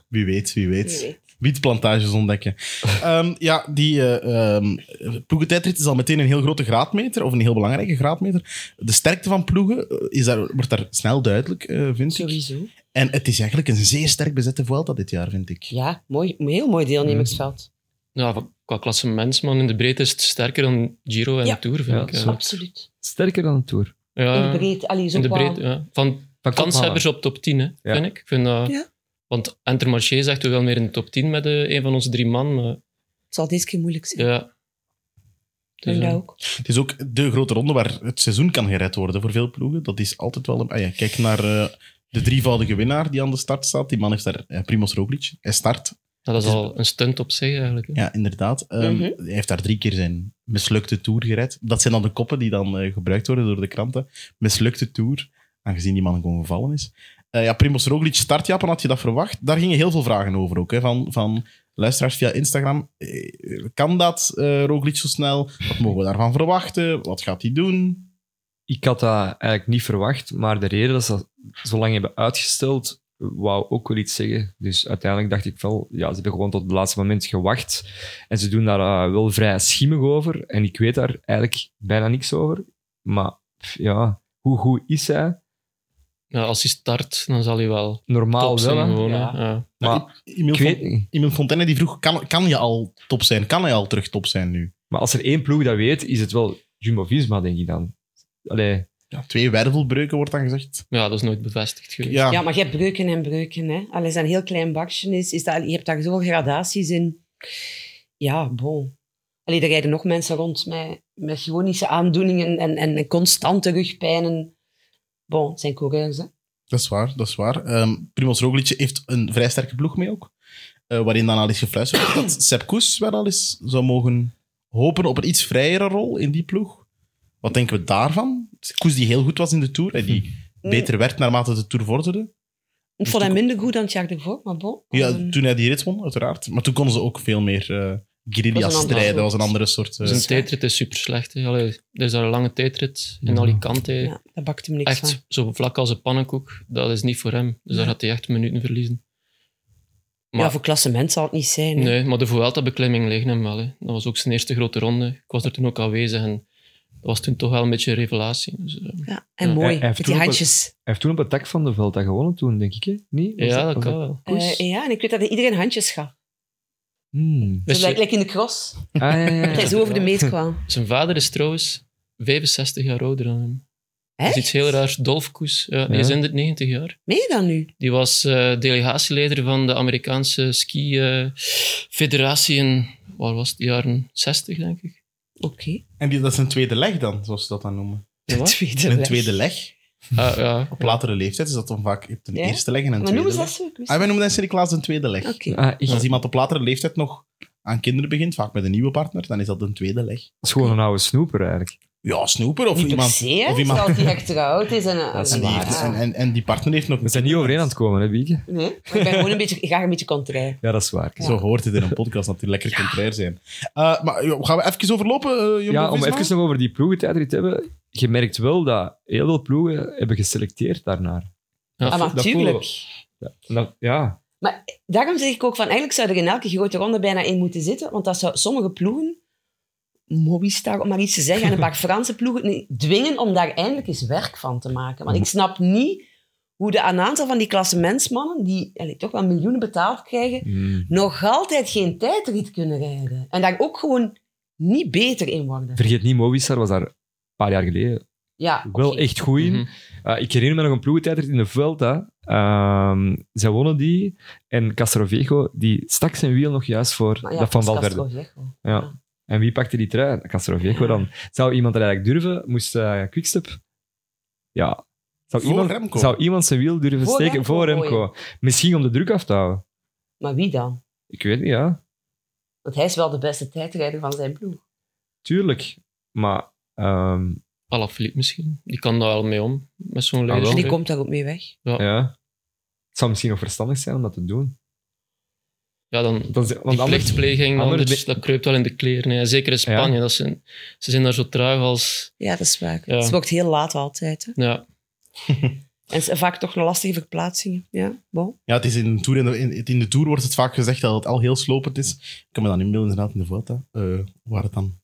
Wie weet, wie weet.
Nee, nee.
Wietplantages ontdekken. Ehm, ja, die eh ehm, ploegentijdrit is al meteen een heel grote graadmeter, of een heel belangrijke graadmeter. De sterkte van ploegen eh, is daar, wordt daar snel duidelijk, eh vind ik.
Sowieso.
En het is eigenlijk een zeer sterk bezette Vuelta dit jaar, vind ik.
Ja, mooi, een heel mooi deelnemersveld.
Ja, van- qua klasse mens, man. In de breedte is het sterker dan Giro en
Ja.
de Tour, vind
Ja,
ik.
zo.
Ja.
Absoluut.
Sterker dan een Tour.
Ja,
in de breedte. Allee, zo
in de
qua-
breedte, ja. Van
Van
kanshebbers op top 10, hè, vind ik. Ik vind dat...
Ja.
Want Intermarché zegt we wel meer in de top 10 met eh, een van onze drie man. Maar,
Het zal deze keer moeilijk zijn.
ja. Dus,
Vind
eh,
dat ook.
Het is ook de grote ronde waar het seizoen kan gered worden voor veel ploegen. Dat is altijd wel... Een... Ah ja, kijk naar eh, de drievoudige winnaar die aan de start staat. Die man heeft daar... eh, Primoz Roglic. Hij start.
dat is
het is-
al een stunt op zich, eigenlijk. hè.
Ja, inderdaad. Ehm,
Mhm.
Hij heeft daar drie keer zijn mislukte Tour gered. Dat zijn dan de koppen die dan eh, gebruikt worden door de kranten. Mislukte Tour, aangezien die man gewoon gevallen is. Eh, ja, Primoz Roglic start, Japan, had je dat verwacht? Daar gingen heel veel vragen over ook, hè, van, van luisteraars via Instagram. Eh, Kan dat, eh, Roglic, zo snel? Wat mogen we daarvan verwachten? Wat gaat hij doen?
Ik had dat eigenlijk niet verwacht, maar de reden dat ze dat zo lang hebben uitgesteld, wou ook wel iets zeggen. Dus uiteindelijk dacht ik wel, ja, ze hebben gewoon tot het laatste moment gewacht. En ze doen daar eh, wel vrij schimmig over. En ik weet daar eigenlijk bijna niks over. Maar pff, ja, hoe goed is hij?
Ja, als hij start, dan zal hij wel
Normaal
top
wel,
zijn.
hè.
gewoon, hè.
ja.
Ja.
Maar
Nou, Emil
ik
Fon-
weet niet.
Emil Fontaine die vroeg, kan, kan je al top zijn? Kan hij al terug top zijn nu?
Maar als er één ploeg dat weet, is het wel Jumbo-Visma, denk ik dan. Allee,
Ja, twee wervelbreuken wordt dan gezegd.
Ja, dat is nooit bevestigd geweest.
Ja,
Ja, maar je hebt breuken en breuken. Hè. Al is dat een heel klein bakje, is, is dat, je hebt daar zoveel gradaties in. Ja, bon. Allee, er rijden nog mensen rond met, met chronische aandoeningen en, en, en constante rugpijnen. Bon, het zijn coureurs, hè.
dat is waar. Dat is waar. Ehm Primoz Roglic heeft een vrij sterke ploeg mee ook. eh, waarin dan al is gefluisterd wordt dat Sepp Koes wel al eens zou mogen hopen op een iets vrijere rol in die ploeg. Wat denken we daarvan? Koes die heel goed was in de Tour en die
Mm.
beter werd naarmate de Tour vorderde.
Ik
Dus
vond hem minder goed dan het jaar ervoor, maar bon.
Ja,
Ehm,
toen hij die rit won, uiteraard. Maar toen konden ze ook veel meer eh guerrilla
Dat was een andere
strijden. Dat was een
soort.
andere soort... eh,
Zijn
Ja.
Dus tijdrit is super slecht. Hè. Allee, er is daar een lange tijdrit in
Ja.
Alicante.
ja, dat bakt hem niks van.
echt zo vlak als een pannenkoek. Dat is niet voor hem. Dus daar gaat hij echt minuten verliezen. Maar,
Ja, voor klassement zal het niet zijn. hè.
nee, maar de Vuelta-beklimming ligt hem wel. Hè. Dat was ook zijn eerste grote ronde. Ik was er toen ook aanwezig en dat was toen toch wel een beetje een revelatie. Dus, eh,
Ja, en
Ja,
hij-
mooi,
hij heeft
met
toen
die
ook wel-
handjes.
hij heeft toen op het dak van de veld dat gewonnen toen, denk ik. Hè? Niet? Was
ja, dat
was
kan wel.
Eh, ja, en ik weet dat iedereen handjes gaf.
Hmm.
Zo
Dus je-
lijkt lijkt in de cross.
Ah, ja, ja,
Dat hij
ja.
zo over de meet kwam.
zijn vader is trouwens 65 jaar ouder dan hem. Dat
Echt?
is iets heel raars. Dolf Koes, ja, die
Ja.
is in de 90 jaar.
Meen je dat nu?
Die was eh, delegatieleider van de Amerikaanse ski-federatie in, waar was het, de jaren 60, denk ik.
Oké.
En die, dat is een tweede leg dan, zoals ze dat dan noemen.
Ja, wat?
Tweede
een
leg.
tweede leg.
Ah, ja.
Op latere leeftijd is dat dan vaak... Je hebt een
Ja?
eerste leg en een
Maar
tweede leg.
noemen ze dat zo? Ik wist
Ah, wij noemen dat in Sint-Niklaas een tweede leg.
het. Oké.
Ah, echt?
Dus Als iemand op latere leeftijd nog aan kinderen begint, vaak met een nieuwe partner, dan is dat een tweede leg.
Dat is gewoon een oude snoeper eigenlijk.
Ja, snoeper of
Niet per
iemand...
se, hè,
of iemand
zoals die echt getrouwd is. En,
Dat is
en, die
waar.
heeft- en, en, en die partner heeft nog...
We zijn niet overeen aan het komen, hè, Bieke?
Nee, maar ik ben gewoon een beetje, ik ga een beetje contrair.
Ja, dat is waar.
Zo hoort het in een podcast dat die lekker contrair zijn. Eh, maar joh, gaan we even overlopen, eh Jumbo
Ja, om
Visma?
even nog over die ploegentijdrit te hebben. Je merkt wel dat heel veel ploegen hebben geselecteerd daarnaar.
Ja,
Ah, maar
dat voelen
tuurlijk.
Ja. En dat- ja.
Daarom zeg ik ook van, eigenlijk zou er in elke grote ronde bijna één moeten zitten, want dat zou sommige ploegen, Movistar om maar iets te zeggen, en een paar Franse ploegen, nee, dwingen om daar eindelijk eens werk van te maken. Want ik snap niet hoe de een aantal van die klassementsmannen, die allee, toch wel miljoenen betaald krijgen,
Hmm.
nog altijd geen tijdrit kunnen rijden. En daar ook gewoon niet beter in worden.
Vergeet niet, Movistar was daar een paar jaar geleden
Ja,
wel
oké.
echt goed in.
Mhm.
Uh, ik herinner me nog een ploegentijdrit in de Vuelta. Ehm zij wonnen die. En Castroviejo, die stak zijn wiel nog juist voor
Maar Ah ja,
dat van
dat is
Valverde.
Castroviejo.
Ja. En wie pakte die trui? Castroviejo dan. Zou iemand dat eigenlijk durven? Moest eh Quickstep? Ja. Zou
Voor
iemand,
Remco.
zou iemand zijn wiel durven
Voor
steken
Remco,
voor
mooi.
Remco? Misschien om de druk af te houden.
Maar wie dan?
Ik weet niet, ja.
Want hij is wel de beste tijdrijder van zijn ploeg.
Tuurlijk. Maar ehm,
Oh.
Alaphilippe misschien. Die kan daar wel mee om, met zo'n
Ah, wel.
leiderschap.
Die komt daar ook mee weg.
ja. Het zou misschien nog verstandig zijn om dat te doen.
Ja, dan...
Dan, want
Die
anders,
plichtpleging,
anders
anders,
ben-
dat kruipt wel in de kleren. hè. Zeker in Spanje. Dat zijn, ze zijn daar zo traag als...
Ja, dat is waar.
Ja.
Het wordt heel laat altijd. Hè.
Ja,
En s- vaak toch een lastige verplaatsingen. Ja, bon.
Ja, het is in de, tour, in, de, in- in de Tour wordt het vaak gezegd dat het al heel slopend is. Ik kan me dan inbeelden inderdaad in de Vuelta, eh, waar het dan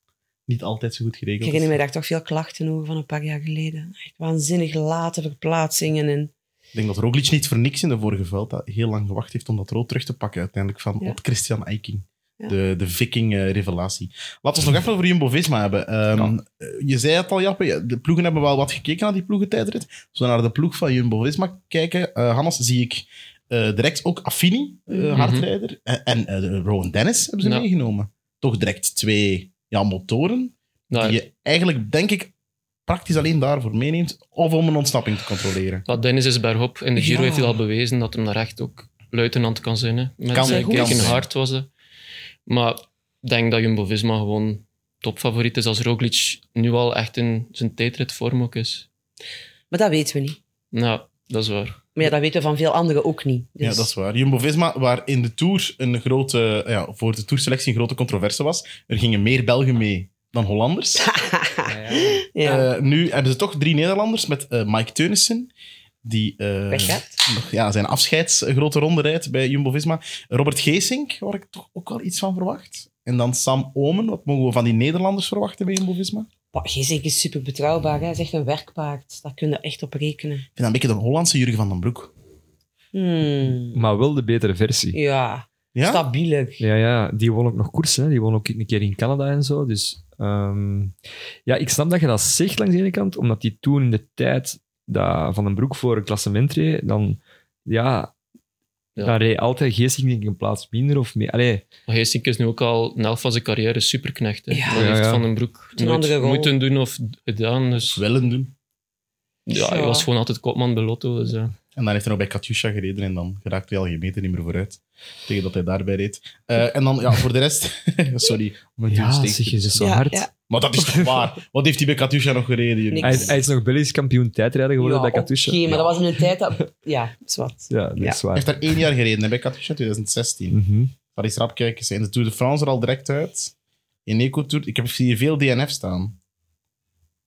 niet altijd zo goed
Ik
geregeld
herinner
is.
me daar toch veel klachten over van een paar jaar geleden. Echt waanzinnig late verplaatsingen. En...
Ik denk dat Roglic niet voor niks in de vorige Vuelta heel lang gewacht heeft om dat rood terug te pakken uiteindelijk van
Ja.
op Christian Eiking.
Ja.
De, de Viking-revelatie. Laten we het nog even over Jumbo-Visma hebben. Ehm, eh, Je zei het al, Jappe. ja, De ploegen hebben wel wat gekeken naar die ploegentijdrit. Als we naar de ploeg van Jumbo-Visma kijken, eh Hannes, zie ik eh, direct ook Affini, eh,
Mhm.
hardrijder. En, en eh, de Rowan Dennis hebben ze
Ja.
meegenomen. Toch direct twee ja, motoren
nou,
die je eigenlijk, denk ik, praktisch alleen daarvoor meeneemt. Of om een ontsnapping te controleren.
Maar Dennis is bergop. In de Giro
Ja.
heeft hij al bewezen dat hij daar echt ook luitenant kan zijn. Hè. Met
Kan
zijn
goed
kijk in
zijn.
hart was dat. Maar ik denk dat Jumbo-Visma gewoon topfavoriet is als Roglic nu al echt in zijn tijdritvorm ook is.
Maar dat weten we niet.
Nou, dat is waar.
Maar ja, dat weten we van veel anderen ook niet. Dus...
Ja, dat is waar. Jumbo-Visma, waar in de Tour een grote, ja, voor de Tourselectie een grote controverse was. Er gingen meer Belgen mee dan Hollanders.
ja.
Eh, nu hebben ze toch drie Nederlanders met eh, Mike eh, Teunissen, die eh,
Weggaat.
nog- ja, zijn afscheidsgrote ronde rijdt bij Jumbo-Visma. Robert Geesink, waar ik toch ook wel iets van verwacht. En dan Sam Omen, wat mogen we van die Nederlanders verwachten bij Jumbo-Visma? Ik
Bah, Geesink is super betrouwbaar. Hij is echt een werkpaard. Daar kun je echt op rekenen.
vind dat een beetje de Hollandse Jurgen van den Broek.
Hmm.
Maar wel de betere versie.
Ja,
Ja?
stabieler.
Ja, ja, die won ook nog koersen. hè. Die won ook een keer in Canada en zo. Dus ehm, ja, ik snap dat je dat zegt langs de ene kant, omdat die toen in de tijd dat Van den Broek voor een klassement reed, dan ja,
Ja.
dan reed altijd Geesting denk ik een plaats minder of meer. Allee,
Maar Geesink is nu ook al na helft van zijn carrière superknecht. Hè.
Ja.
Dat
Ja,
heeft
ja.
Van den Broek
een andere
nooit
rol.
moeten doen of gedaan. Dus
Willen doen.
ja, hij
Ja.
was gewoon altijd kopman bij Lotto. Dus, ja.
En dan heeft hij nog bij Katusha gereden en dan geraakte hij al geen meter niet meer vooruit. Tegen dat hij daarbij reed. Eh, en dan, ja, voor de rest... Sorry. om het
ja,
te steken.
zeg je ze zo
Ja,
hard.
ja.
Maar dat is toch waar? Wat heeft hij bij Katusha nog gereden? Jurgen?
Niks.
Hij, hij is nog Belgisch kampioen tijdrijder geworden bij
oké,
Katusha.
maar dat was in een tijd dat... Ja, zwart.
Ja, dat is
Hij
waar.
heeft daar één jaar gereden hè, bij Katusha, 2016.
Mhm.
Paris Rapkijkers. En de Tour de France er al direct uit. In Eco-Tour. Ik heb hier veel DNF staan.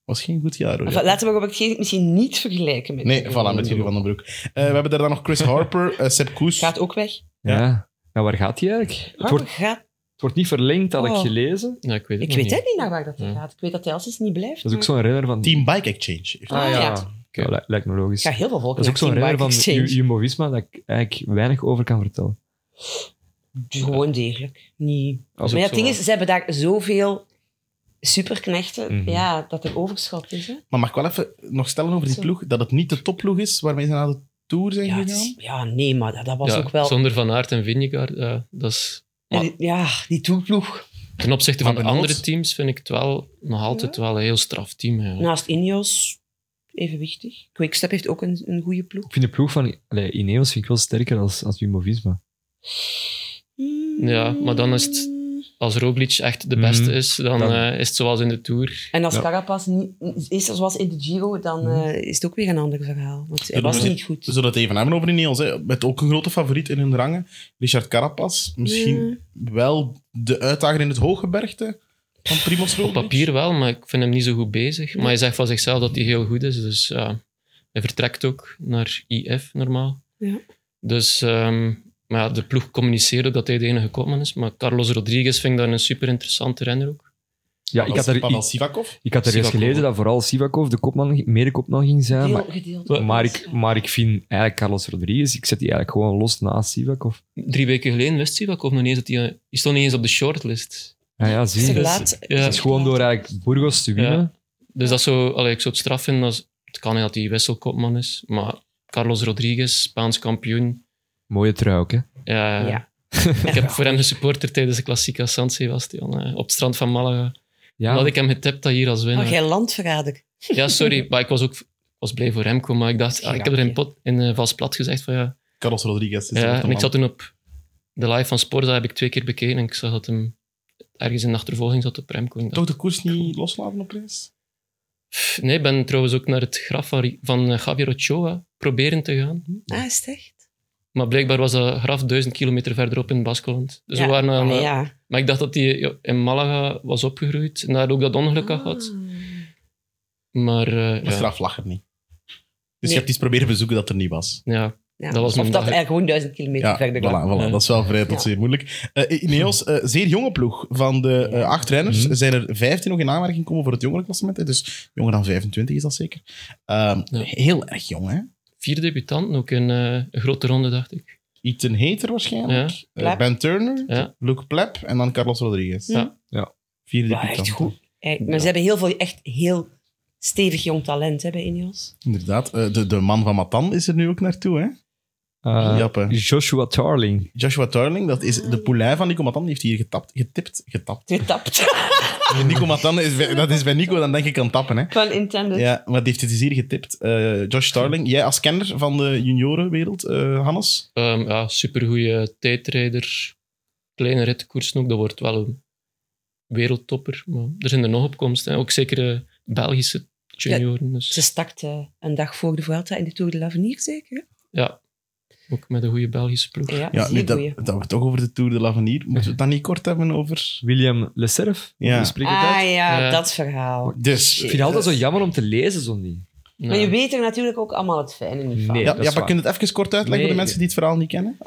Was geen goed jaar, hoor.
Enfin, Laten we Robert Geesink misschien niet vergelijken met...
Nee, voilà, met Jurgen van den Broek. Eh, we hebben daar dan nog Chris Harper, eh Sepp Koes.
Gaat ook weg.
ja. Ja, waar gaat hij eigenlijk? Het
Harper
wordt,
gaat...
het wordt niet verlengd, had ik
Oh.
gelezen.
Ja, ik weet
Ik
het nog
weet
niet.
het niet naar waar dat hij
Ja.
gaat. Ik weet dat hij als niet blijft.
Dat is ook
maar-
zo'n renner van...
Team Bike Exchange. heeft-
Ah, Hm. ja.
Ja, lij- lijkt me logisch.
Ik ga heel veel volken
Dat is ook zo'n
naar
renner
Team
van
Bike Exchange.
Jumbo-Visma dat ik eigenlijk weinig over kan vertellen.
dus Gewoon degelijk. Niet.
Als
maar ja,
ook
het
zo
ding is, ze hebben daar zoveel superknechten,
Mhm.
ja, dat er overschot is. Hè?
Maar mag ik wel even nog stellen over die
Zo.
ploeg? Dat het niet de topploeg is waarmee ze naar de Tour zijn
Ja, het
gegaan?
is- ja, nee, maar dat, dat was
Ja,
ook wel...
Zonder Van Aert en Vinegaard, eh, dat is... maar-
En die- ja, die toerploeg.
Ten opzichte van
Maar
de
benoemd.
andere teams vind ik het wel nog altijd wel een heel straf team. Ja.
Naast Ineos, evenwichtig. Quickstep heeft ook een, een goede ploeg.
Ik vind de ploeg van allee, Ineos vind ik wel sterker als, als Jumbo-Visma.
Ja, maar dan is het- Als Roglic echt de
Mhm.
beste is, dan
Dan-
eh, is het zoals in de Tour.
En als
Ja.
Carapaz niet is zoals in de Giro, dan
Mhm.
eh, is het ook weer een ander verhaal. Want hij
Ja,
was
maar-
dus-
niet goed.
Ze zullen het even hebben over Ineos. Hè. Met ook een grote favoriet in hun rangen. Richard Carapaz. Misschien wel de uitdager in het hooggebergte van Primoz
Op
Roglic.
papier wel, maar ik vind hem niet zo goed bezig. Maar hij zegt van zichzelf dat hij heel goed is, dus ja, hij vertrekt ook naar IF normaal.
Ja.
Dus ehm, maar ja, de ploeg communiceerde dat hij de enige kopman is. Maar Carlos Rodriguez vind ik daar een super interessante renner ook.
Ja, ik had er,
Pavel
ik,
Sivakov.
ik had er eens
Sivakov.
gelezen dat vooral Sivakov de kopman, medekopman ging
Ja,
zijn.
Deel,
Maar,
gedeeld.
maar, ik, maar ik vind eigenlijk Carlos Rodriguez, ik zet die eigenlijk gewoon los naast Sivakov.
Drie weken geleden wist hij ook nog niet eens dat hij... Hij stond niet eens op de shortlist.
Ja, Ah ja
Is
zie
er
je.
laat-
Ja.
Dat is gewoon door eigenlijk Burgos te winnen.
Dus dat zou, allee, ik zou het straf vinden als het kan niet dat hij wisselkopman is, maar Carlos Rodriguez, Spaans kampioen.
Mooie trui ook, hè.
Ja,
Ja.
Ik heb voor hem gesupporterd tijdens de klassieke San Sebastian eh, op het strand van Malaga.
Ja,
Had ik hem getipt dat hier als winnaar.
Oh, jij landverrader.
Ja, sorry, maar ik was ook was blij voor Remco, maar ik dacht, ah, ik heb er in, pot, in eh, Vals Plat gezegd van ja.
Carlos Rodriguez. Is de
ja
grote
en ik
man.
zat toen op de live van Sport, dat heb ik twee keer bekeken en ik zag dat hem ergens in de achtervolging zat op Remco. Ik dacht,
Toch de koers niet loslaten op reis?
pff, nee, ik ben trouwens ook naar het graf van, van eh, Javier Ochoa proberen te gaan.
Ah, is het echt?
Maar blijkbaar was dat graf duizend kilometer verderop in Baskeland. Dus
Ja.
we waren aan,
Ah,
eh,
ja.
Maar ik dacht dat hij in Malaga was opgegroeid en daar ook dat ongeluk had gehad.
Ah.
Maar eh,
Maar
ja,
straf lag er niet. Dus
Nee.
je hebt iets proberen bezoeken dat er niet was.
ja,
Ja,
Dat was
of
mijn
dat
dag.
eigenlijk gewoon duizend kilometer
Ja, voilà,
verder lag.
voilà,
Ja.
dat is wel vrij tot
Ja.
zeer moeilijk. Eh, Ineos, eh, zeer jonge ploeg. Van de eh, acht renners
Mhm.
zijn er vijf die nog in aanmerking komen voor het jongere klassement. hè. Dus jonger dan 25 is dat zeker. Ehm,
Ja.
Heel erg jong, hè?
vier debutanten ook in eh, een grote ronde, dacht ik.
Ethan Hater waarschijnlijk. Eh,
Plep.
ben Turner.
Ja.
Luke Plep. En dan Carlos Rodriguez.
Ja.
Ja.
Vier
Maar
debutanten.
echt goed. Eh, Maar
Ja.
ze hebben heel veel, echt heel stevig jong talent hè, bij Ineos.
Inderdaad. Eh, de, de man van Matan is er nu ook naartoe, hè?
Eh,
Jappe.
Joshua Tarling.
Joshua Turling, dat is de poulain van Nico Matan. Die heeft hier getapt, getipt, getapt.
Getapt.
Nico Matan, is bij, dat is bij Nico, dan denk ik aan tappen, hè?
Van intended.
Ja, maar die heeft het dus hier getipt. Eh, Josh Tarling, jij als kenner van de juniorenwereld, eh, Hannes.
Ehm ja, supergoeie tijdrijder. Kleine ritkoersen ook, dat wordt wel een wereldtopper. Maar er zijn er nog opkomsten. hè. Ook zeker eh, Belgische junioren.
Ze
Dus,
stakt eh, een dag voor de Vuelta in de Tour de l'Avenir, zeker?
ja, ook met een goede Belgische ploeg.
hè? Ja,
Ja,
ja
nu
zeer
dat,
goeie.
dat we het toch over de Tour de l'Avenir. Moeten we het dan niet kort hebben over...
William Leserf.
Ja.
Spreek het uit?
Ah ja,
Ja.
dat verhaal.
Dus,
Ik vind het altijd zo jammer om te lezen, zo'n ding.
Maar je
Ja.
weet er natuurlijk ook allemaal het fijne niet van.
Nee.
Ja,
dat is
ja maar
waar.
kun je het even kort uitleggen
Nee,
voor de
ja.
mensen die het verhaal niet kennen?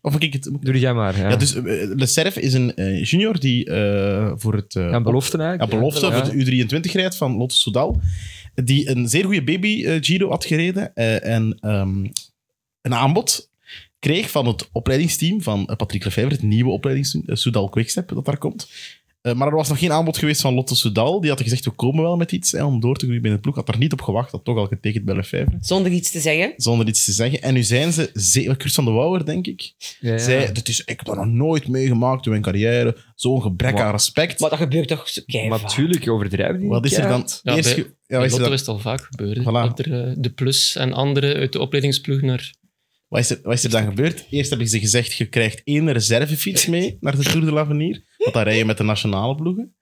Of ik het...
Doe jij maar. Ja.
Ja, dus eh, Le Cerf is een eh, junior die eh, voor het... eh,
Ja, belofte
Ja,
eigenlijk.
belofte
Ja.
voor de U23 rijdt van Lotte Soudal. Die een zeer goede baby eh, Giro had gereden. eh, en ehm, een aanbod kreeg van het opleidingsteam van eh, Patrick Lefebvre, het nieuwe opleidingsteam, eh, Soudal Quickstep, dat daar komt. Eh, maar er was nog geen aanbod geweest van Lotte Soudal. Die had gezegd, we komen wel met iets hè, om door te groeien binnen de ploeg. Had er niet op gewacht, had toch al getekend bij Lefebvre.
Zonder iets te zeggen.
Zonder iets te zeggen. En nu zijn ze, zeer, Chris van de Wouwer, denk ik,
Ja, ja.
zei, dat is, ik heb dat nog nooit meegemaakt in mijn carrière. Zo'n gebrek
Wat-
aan respect.
Maar dat gebeurt toch zo keihard.
Maar natuurlijk, overdrijven die
Wat is er
keihard.
dan?
Ja,
eerst
bij-
ge- ja, wat
In
is er dan-
Lotto is het al vaak gebeurd. hè.
Voilà.
Dat er eh, de plus en anderen uit de opleidingsploeg naar...
Wat is, er, wat is er dan gebeurd? Eerst heb ik ze gezegd, je krijgt één reservefiets mee naar de Tour de l'Avenir. Want dan rij je met de nationale ploegen.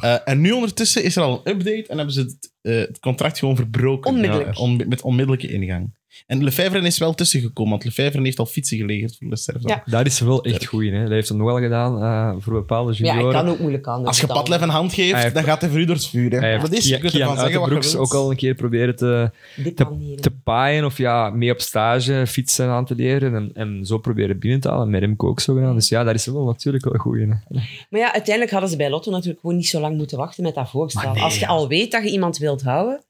Eh, en nu ondertussen is er al een update en hebben ze het, eh, het contract gewoon verbroken.
Onmiddellijk.
Ja, on- met onmiddellijke ingang. En Lefebvre is wel tussengekomen, want Lefebvre heeft al fietsen geleverd voor de Serve.
Ja.
Daar is ze wel echt goed in. Hè. Dat heeft ze nog wel gedaan eh, voor bepaalde
Ja,
junioren.
ik kan ook moeilijk anders.
Als je
dan.
Padlef een hand
Hij
geeft,
heeft-
dan gaat hij voor u door het vuur.
Hij
Hè.
heeft
Dat is, je
Kia-
kunt ervan
Kian
zeggen wat je
Uitenbroeks
wilt.
ook al een keer proberen te,
Dit
te-
kan niet.
te paaien of ja, mee op stage fietsen aan te leren en, en zo proberen binnen te halen. Met Remco ook zo gedaan. Dus ja, daar is ze wel natuurlijk wel goed in. hè.
Maar ja, uiteindelijk hadden ze bij Lotto natuurlijk gewoon niet zo lang moeten wachten met dat voorstel.
Maar nee,
Als je
ja.
al weet dat je iemand wilt houden,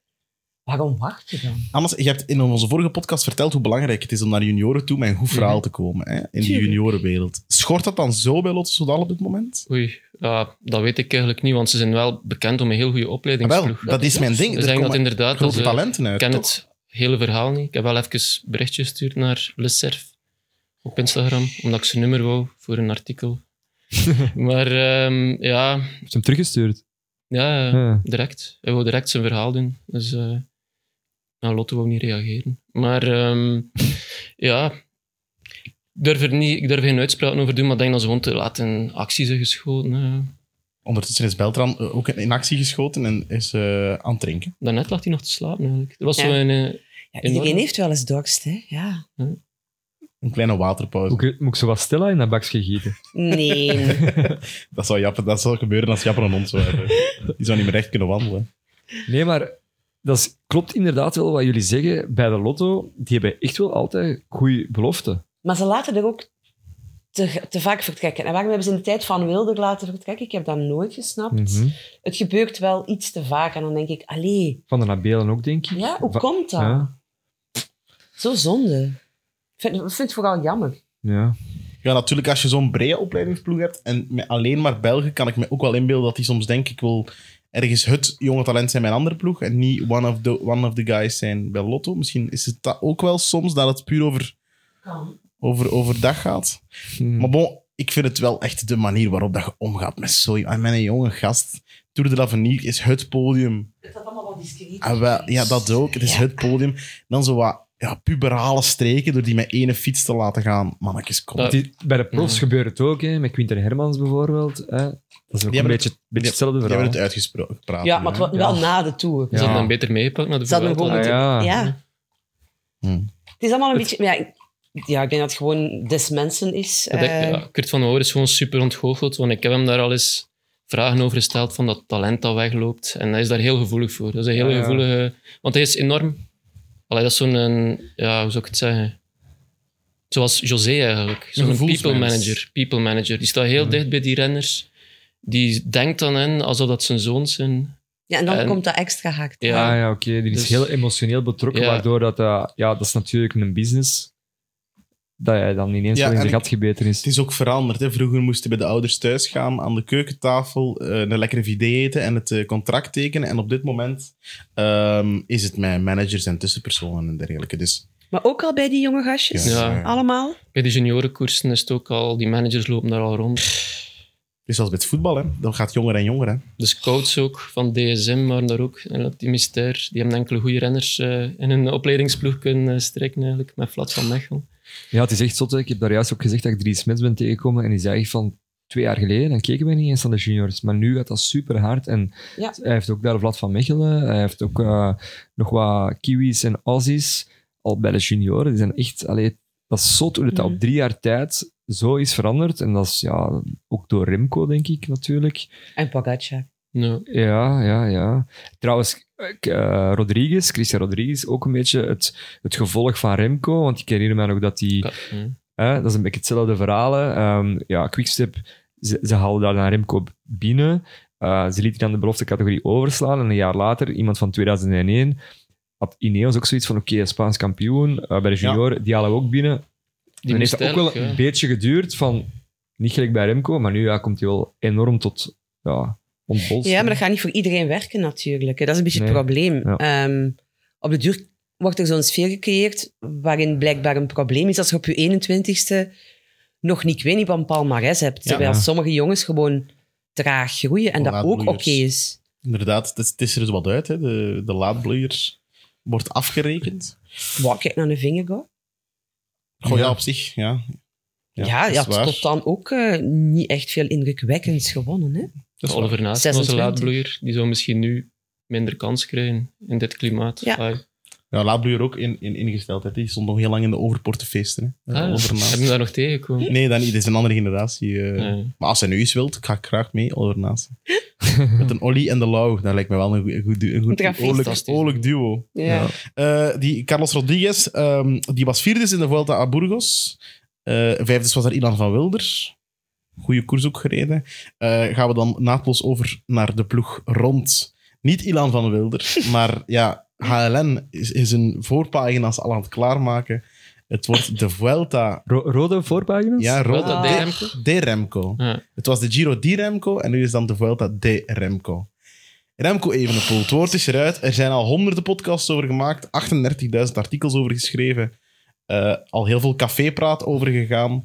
waarom wacht je dan?
Anders, je hebt in onze vorige podcast verteld hoe belangrijk het is om naar junioren toe met een goed verhaal te komen. Hè, in de
Tuurlijk.
juniorenwereld. Schort dat dan zo bij Lotte Soudal op dit moment?
Oei, ja, dat weet ik eigenlijk niet, want ze zijn wel bekend om een heel goede
Ah, Wel,
opleidingsploeg.
dat is mijn ding.
Dus
Er
ik denk dat
komen
inderdaad... dat eh,
grote
ze-
talenten uit.
Ik ken
toch?
het hele verhaal niet. Ik heb wel even een berichtje gestuurd naar Le Cerf op Instagram, omdat ik zijn nummer wou voor een artikel. maar ehm, ja,
Heeft ze hem teruggestuurd?
ja,
Ja.
direct. Hij wou direct zijn verhaal doen. Dus eh nou, Lotte wou niet reageren. Maar ehm, ja, ik durf, er niet, ik durf geen uitspraken over doen, maar ik denk dat ze gewoon te laat in actie zijn geschoten. eh.
Ondertussen is Beltran eh, ook in actie geschoten en is eh, aan het drinken.
Daarnet lag hij nog te slapen eigenlijk. Er was
Ja.
zo een... eh,
Ja,
Enorm.
iedereen heeft wel eens dorst, hè? Ja.
Een kleine waterpauze.
Moet ik, moet ik zo wat stil in dat bakje gieten?
Nee.
Dat, zou Jappe, dat zou gebeuren als Jappe een hond zou hebben. Die zou niet meer recht kunnen wandelen.
Nee, maar dat is- klopt inderdaad wel wat jullie zeggen. Bij de Lotto, die hebben echt wel altijd goede beloften.
maar ze laten er ook te, te vaak vertrekken. En waarom hebben ze in de tijd van Wilder laten vertrekken? Ik heb dat nooit gesnapt.
Mhm.
Het gebeurt wel iets te vaak. En dan denk ik, allee,
Van de Nabelen ook, denk ik.
ja, hoe
Va-
komt dat?
Ja,
Zo zonde. Ik vind, ik vind het vooral jammer.
ja.
Ja, natuurlijk, als je zo'n brede opleidingsploeg hebt en met alleen maar Belgen, kan ik me ook wel inbeelden dat die soms denken: ik wil ergens het jonge talent zijn bij een andere ploeg en niet one of the, one of the guys zijn bij Lotto. Misschien is het dat ook wel soms dat het puur over,
Nou,
over, over dat gaat.
Hm.
Maar bon, ik vind het wel echt de manier waarop dat je omgaat met zo'n... En mijn jonge gast, Tour de l'Avenir is het podium.
Het had allemaal wel discreet.
En Ah, wel, ja, dat ook. Het is
Ja.
het podium. Dan zo wat ja, puberale streken door die met ene fiets te laten gaan. Mannetjes, kom.
Dat-
Want die- bij de profs
Ja.
gebeurt het ook, hè. met Quinter Hermans bijvoorbeeld. Hè. Dat is
hebben
ook een
het-
beetje, beetje hetzelfde
Die
verhaal.
hebben het uitgesproken. gepraat
Ja,
nu,
maar het
hè.
wa- wel
Ja.
na de tour.
Ze
Ja.
hadden hem beter meegepakt naar de
Ze hadden hem
Vuelta.
gewoon
Ah,
Ja,
ja.
Ja.
Hmm.
Het is allemaal een beetje... Ja, ik, ja, ik denk dat het gewoon des mensen is.
Ik denk,
eh,
ja, Kurt van der Hoor is gewoon super ontgoocheld, want ik heb hem daar al eens vragen over gesteld van dat talent dat wegloopt. En hij is daar heel gevoelig voor. Dat is een hele
Ja, ja.
gevoelige... Want hij is enorm... Allee, dat is zo'n... een, Ja, hoe zou ik het zeggen? Zoals José eigenlijk. Zo'n
gevoelsmens.
people manager. People manager. Die staat heel dicht bij die renners. Die denkt aan hen alsof dat zijn zoons zijn.
ja, en dan
en-
komt dat extra haak.
Ja.
Ah ja, oké. Die is
Dus-
heel emotioneel betrokken,
Ja.
waardoor dat, eh, ja, dat is natuurlijk een business, dat hij dan ineens
Ja,
wel in
en
de
ik-
gat gebeten is.
Het is ook veranderd. Hè. Vroeger moesten bij de ouders thuis gaan, aan de keukentafel eh, een lekkere idee eten en het eh, contract tekenen. En op dit moment ehm, is het met managers en tussenpersonen en dergelijke. Dus, eh,
Maar ook al bij die jonge gastjes?
Ja.
Allemaal?
Bij de juniorenkoersen is het ook al... Die managers lopen daar al rond.
Dus als bij het voetbal, hè. dat gaat jonger en jonger. Hè.
De scouts Dus ook van DSM waren daar ook een optimistair. Die hebben enkele goede renners eh, in hun opleidingsploeg kunnen eh, strikken, eigenlijk, met Vlad van Mechel.
Ja, het is echt zot. hè. Ik heb daar juist ook gezegd dat ik drie Smits ben tegengekomen en die zei echt van twee jaar geleden, dan keken we niet eens aan de juniors. Maar nu gaat dat super hard en
Ja.
hij heeft ook daar Vlad van Mechelen, hij heeft ook eh, nog wat Kiwis en Aussies, al bij de junioren. Die zijn echt, allee, dat is zot hoe dat
Mhm.
op drie jaar tijd zo is veranderd. En dat is ja, ook door Remco, denk ik natuurlijk.
En Pogacar.
Ja.
Ja, ja, ja. Trouwens, ik, eh, Rodriguez, Christian Rodriguez, ook een beetje het, het gevolg van Remco. Want ik herinner me nog dat die...
Ja. Ja.
Hè, dat is een beetje hetzelfde verhalen. Ehm, ja, Quickstep, ze, ze haalden daar naar Remco binnen. Eh, ze lieten dan de beloftecategorie overslaan. En een jaar later, iemand van 2001, had Ineos ook zoiets van, oké, Spaans kampioen. Eh, bij de
Ja.
junior, die halen we ook binnen.
Die
dan
moest
heeft dat ook wel
eigenlijk, eh,
een
ja.
beetje geduurd van, niet gelijk bij Remco, maar nu ja, komt hij wel enorm tot ja, ontbolstering.
Ja, maar dat gaat niet voor iedereen werken natuurlijk. hè. Dat is een beetje het
Nee.
probleem.
Ja.
Ehm, op de duur wordt er zo'n sfeer gecreëerd waarin blijkbaar een probleem is als je op je 21ste nog niet, ik weet niet, van palmarès hebt.
Ja.
terwijl
Ja.
sommige jongens gewoon traag groeien en dat ook oké
Laadbloeiers.
is.
Inderdaad, het is, het is er dus wat uit. Hè. De, de laadbloeier wordt afgerekend.
Wow, kijk naar de vinger, hoor.
Goh, ja,
Ja.
op zich, ja.
Ja, ja,
dat is
je had
waar.
tot dan ook eh, niet echt veel indrukwekkends gewonnen. Hè?
Dat is waar.
Oliver Naast was een
26.
laadbloeier. Die zou misschien nu minder kans krijgen in dit klimaat.
Ja.
Ah,
Ja, laadbloeier ook in, in, ingesteld. Hè. Die stond nog heel lang in de overpoort te feesten. Hè.
ah,
Oliver Naast.
Heb je daar nog tegengekomen?
Nee, dat niet. Dit is een andere generatie. eh.
Ja.
Maar als hij nu iets wilt, ga ik graag mee, Oliver Naast. Met een Olly en de Lau. Dat lijkt me wel een goed, een goed, du- een goed
Een grafiek.
oorlijk,
Fantastisch.
oorlijk duo.
Ja.
Eh, die Carlos Rodriguez, ehm, die was vierde in de Vuelta a Burgos. Eh vijfde was daar Ilan van Wilder. Goede koers ook gereden. Eh, gaan we dan naadloos over naar de ploeg rond. Niet Ilan van Wilder, maar ja, HLN is, is hun voorpagina's al aan het klaarmaken. Het wordt de Vuelta.
Ro- rode voorpagina's?
Ja,
Vuelta
Rota
de
de,
Remco?
de Remco.
Ja.
Het was de Giro di Remco en nu is dan de Vuelta de Remco. Remco Evenepoel, het woord is eruit. Er zijn al honderden podcasts over gemaakt, 38.000 artikels over geschreven, eh, al heel veel cafépraat over gegaan.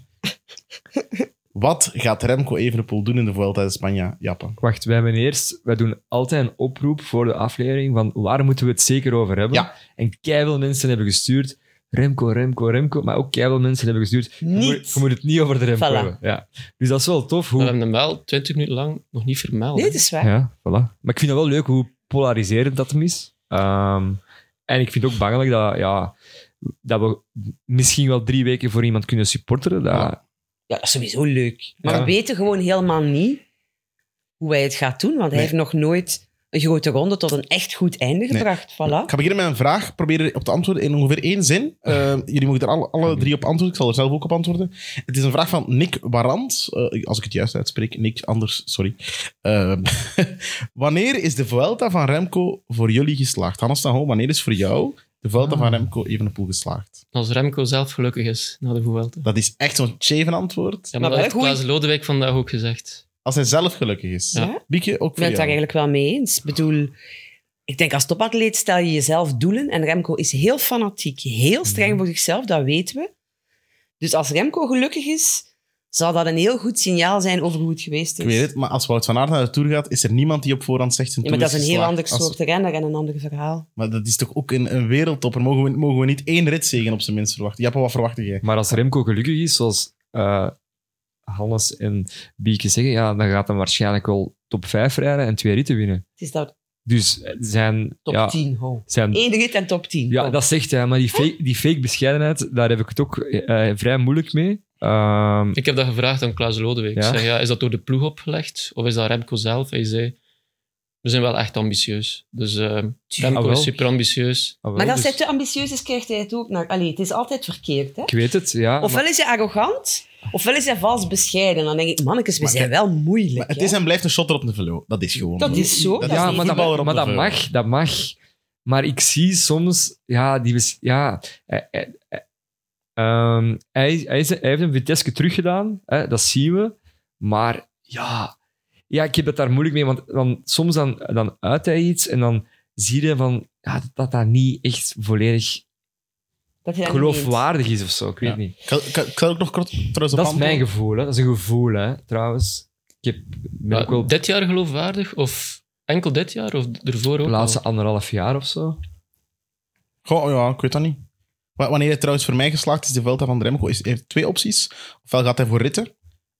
Wat gaat Remco Evenepoel doen in de Vuelta de Spanja, Japan?
Wacht, wij hebben eerst... Wij doen altijd een oproep voor de aflevering van waar moeten we het zeker over hebben.
Ja.
En keiveel mensen hebben gestuurd... Remco, Remco, Remco. Maar ook keiveel mensen hebben gestuurd... je moet-
Niet.
Je moet het niet over de Remco
Voilà.
hebben. Ja. Dus dat is wel tof
We
hoe...
hebben hem wel 20 minuten lang nog niet vermeld.
Nee,
hè.
dat is waar.
Ja, voilà. Maar ik vind dat wel leuk hoe polariserend dat hem is. Ehm, en ik vind het ook bangelijk dat, ja, dat we misschien wel drie weken voor iemand kunnen supporteren. Dat,
Ja.
Ja, dat is sowieso leuk. Maar
Ja.
we weten gewoon helemaal niet hoe hij het gaat doen, want hij
Nee.
heeft nog nooit een grote ronde tot een echt goed einde gebracht.
Ik
Voilà.
ga beginnen met een vraag. Probeer op te antwoorden in ongeveer één zin. Eh, jullie mogen er alle, alle drie op antwoorden. Ik zal er zelf ook op antwoorden. Het is een vraag van Nick Warand. Eh, als ik het juist uitspreek. Nick, anders, sorry. Ehm, wanneer is de Vuelta van Remco voor jullie geslaagd? Hannes van Hoon, wanneer is voor jou de Vuelta van Remco Evenepoel geslaagd?
Als Remco zelf gelukkig is na de Vuelta.
Dat is echt zo'n cheven antwoord.
Ja,
Maar
maar dat
wel
heeft
goeie-
Klaas Lodewijk vandaag ook gezegd.
Als hij zelf gelukkig is.
Ja.
Bieke, ook
Ik ben
voor
het daar
jou.
eigenlijk wel mee eens. Ik bedoel, ik denk als topatleet stel je jezelf doelen. En Remco is heel fanatiek, heel
Mhm.
streng voor zichzelf, dat weten we. Dus als Remco gelukkig is, zal dat een heel goed signaal zijn over hoe het geweest is.
Ik weet het, maar als Wout van Aert naar de Tour gaat, is er niemand die op voorhand zegt... zijn
Ja, maar
Tour
dat is een heel
geslaagd.
ander
Als-
soort renner en een ander verhaal.
Maar dat is toch ook een, een wereldtopper? Mogen we, mogen we niet één ritzegen op zijn minst verwachten? Jappe, wat verwacht jij?
Maar als Remco gelukkig is, zoals eh, Hannes en Bieke zeggen, ja, dan gaat hij waarschijnlijk wel top 5 rijden en twee ritten winnen.
Het is dat
Dus zijn...
top
ja,
10, ho.
zijn
Eén rit en top 10.
Ja,
ho.
dat zegt hij, maar die fake, die fake bescheidenheid, daar heb ik het ook eh, vrij moeilijk mee. Ehm,
Ik heb dat gevraagd aan Klaas Lodewijk. Ik
Ja.
zeg, ja, is dat door de ploeg opgelegd of is dat Remco zelf? Hij zei, we zijn wel echt ambitieus. Dus eh, Remco
Ah, wel.
is super ambitieus.
ah, wel,
Maar als
dus-
hij te ambitieus is, krijgt hij het ook naar. Allee, het is altijd verkeerd, hè?
Ik weet het, ja.
Ofwel is hij arrogant, ofwel is hij vals bescheiden. Dan denk ik, mannekes, we
Maar
zijn
het-
wel moeilijk.
Maar het
hè.
is en blijft een shotter op de velo. Dat is gewoon
Dat
zo.
is zo.
Dat
is
is
ja,
die
niet
maar, dat,
voetballer op
maar
de
dat
velo.
mag, dat mag. Maar ik zie soms, ja, die was, ja, hij, hij, hij- ehm, hij, hij, is- hij heeft een Vitesse teruggedaan, hè, dat zien we. Maar ja, ja, ik heb het daar moeilijk mee, want dan, soms dan, dan uit hij iets en dan zie je van, ja, dat, dat dat niet echt volledig
dat hij dat niet
geloofwaardig is of zo, ik weet
Ja.
niet.
Ik ga- Ik ga- ik zal ook nog kort trouwens op
Dat is
antwoorden.
mijn gevoel, hè. dat is een gevoel, hè, trouwens. Ik heb, ben
Maar
ook wel de
Dit jaar geloofwaardig of enkel dit jaar of ervoor ook? al?
laatste anderhalf jaar of zo.
Goh, ja, ik weet dat niet. Wa- Wanneer het trouwens voor mij geslaagd is, de Vuelta van de Remco, is, heeft twee opties. Ofwel gaat hij voor ritten,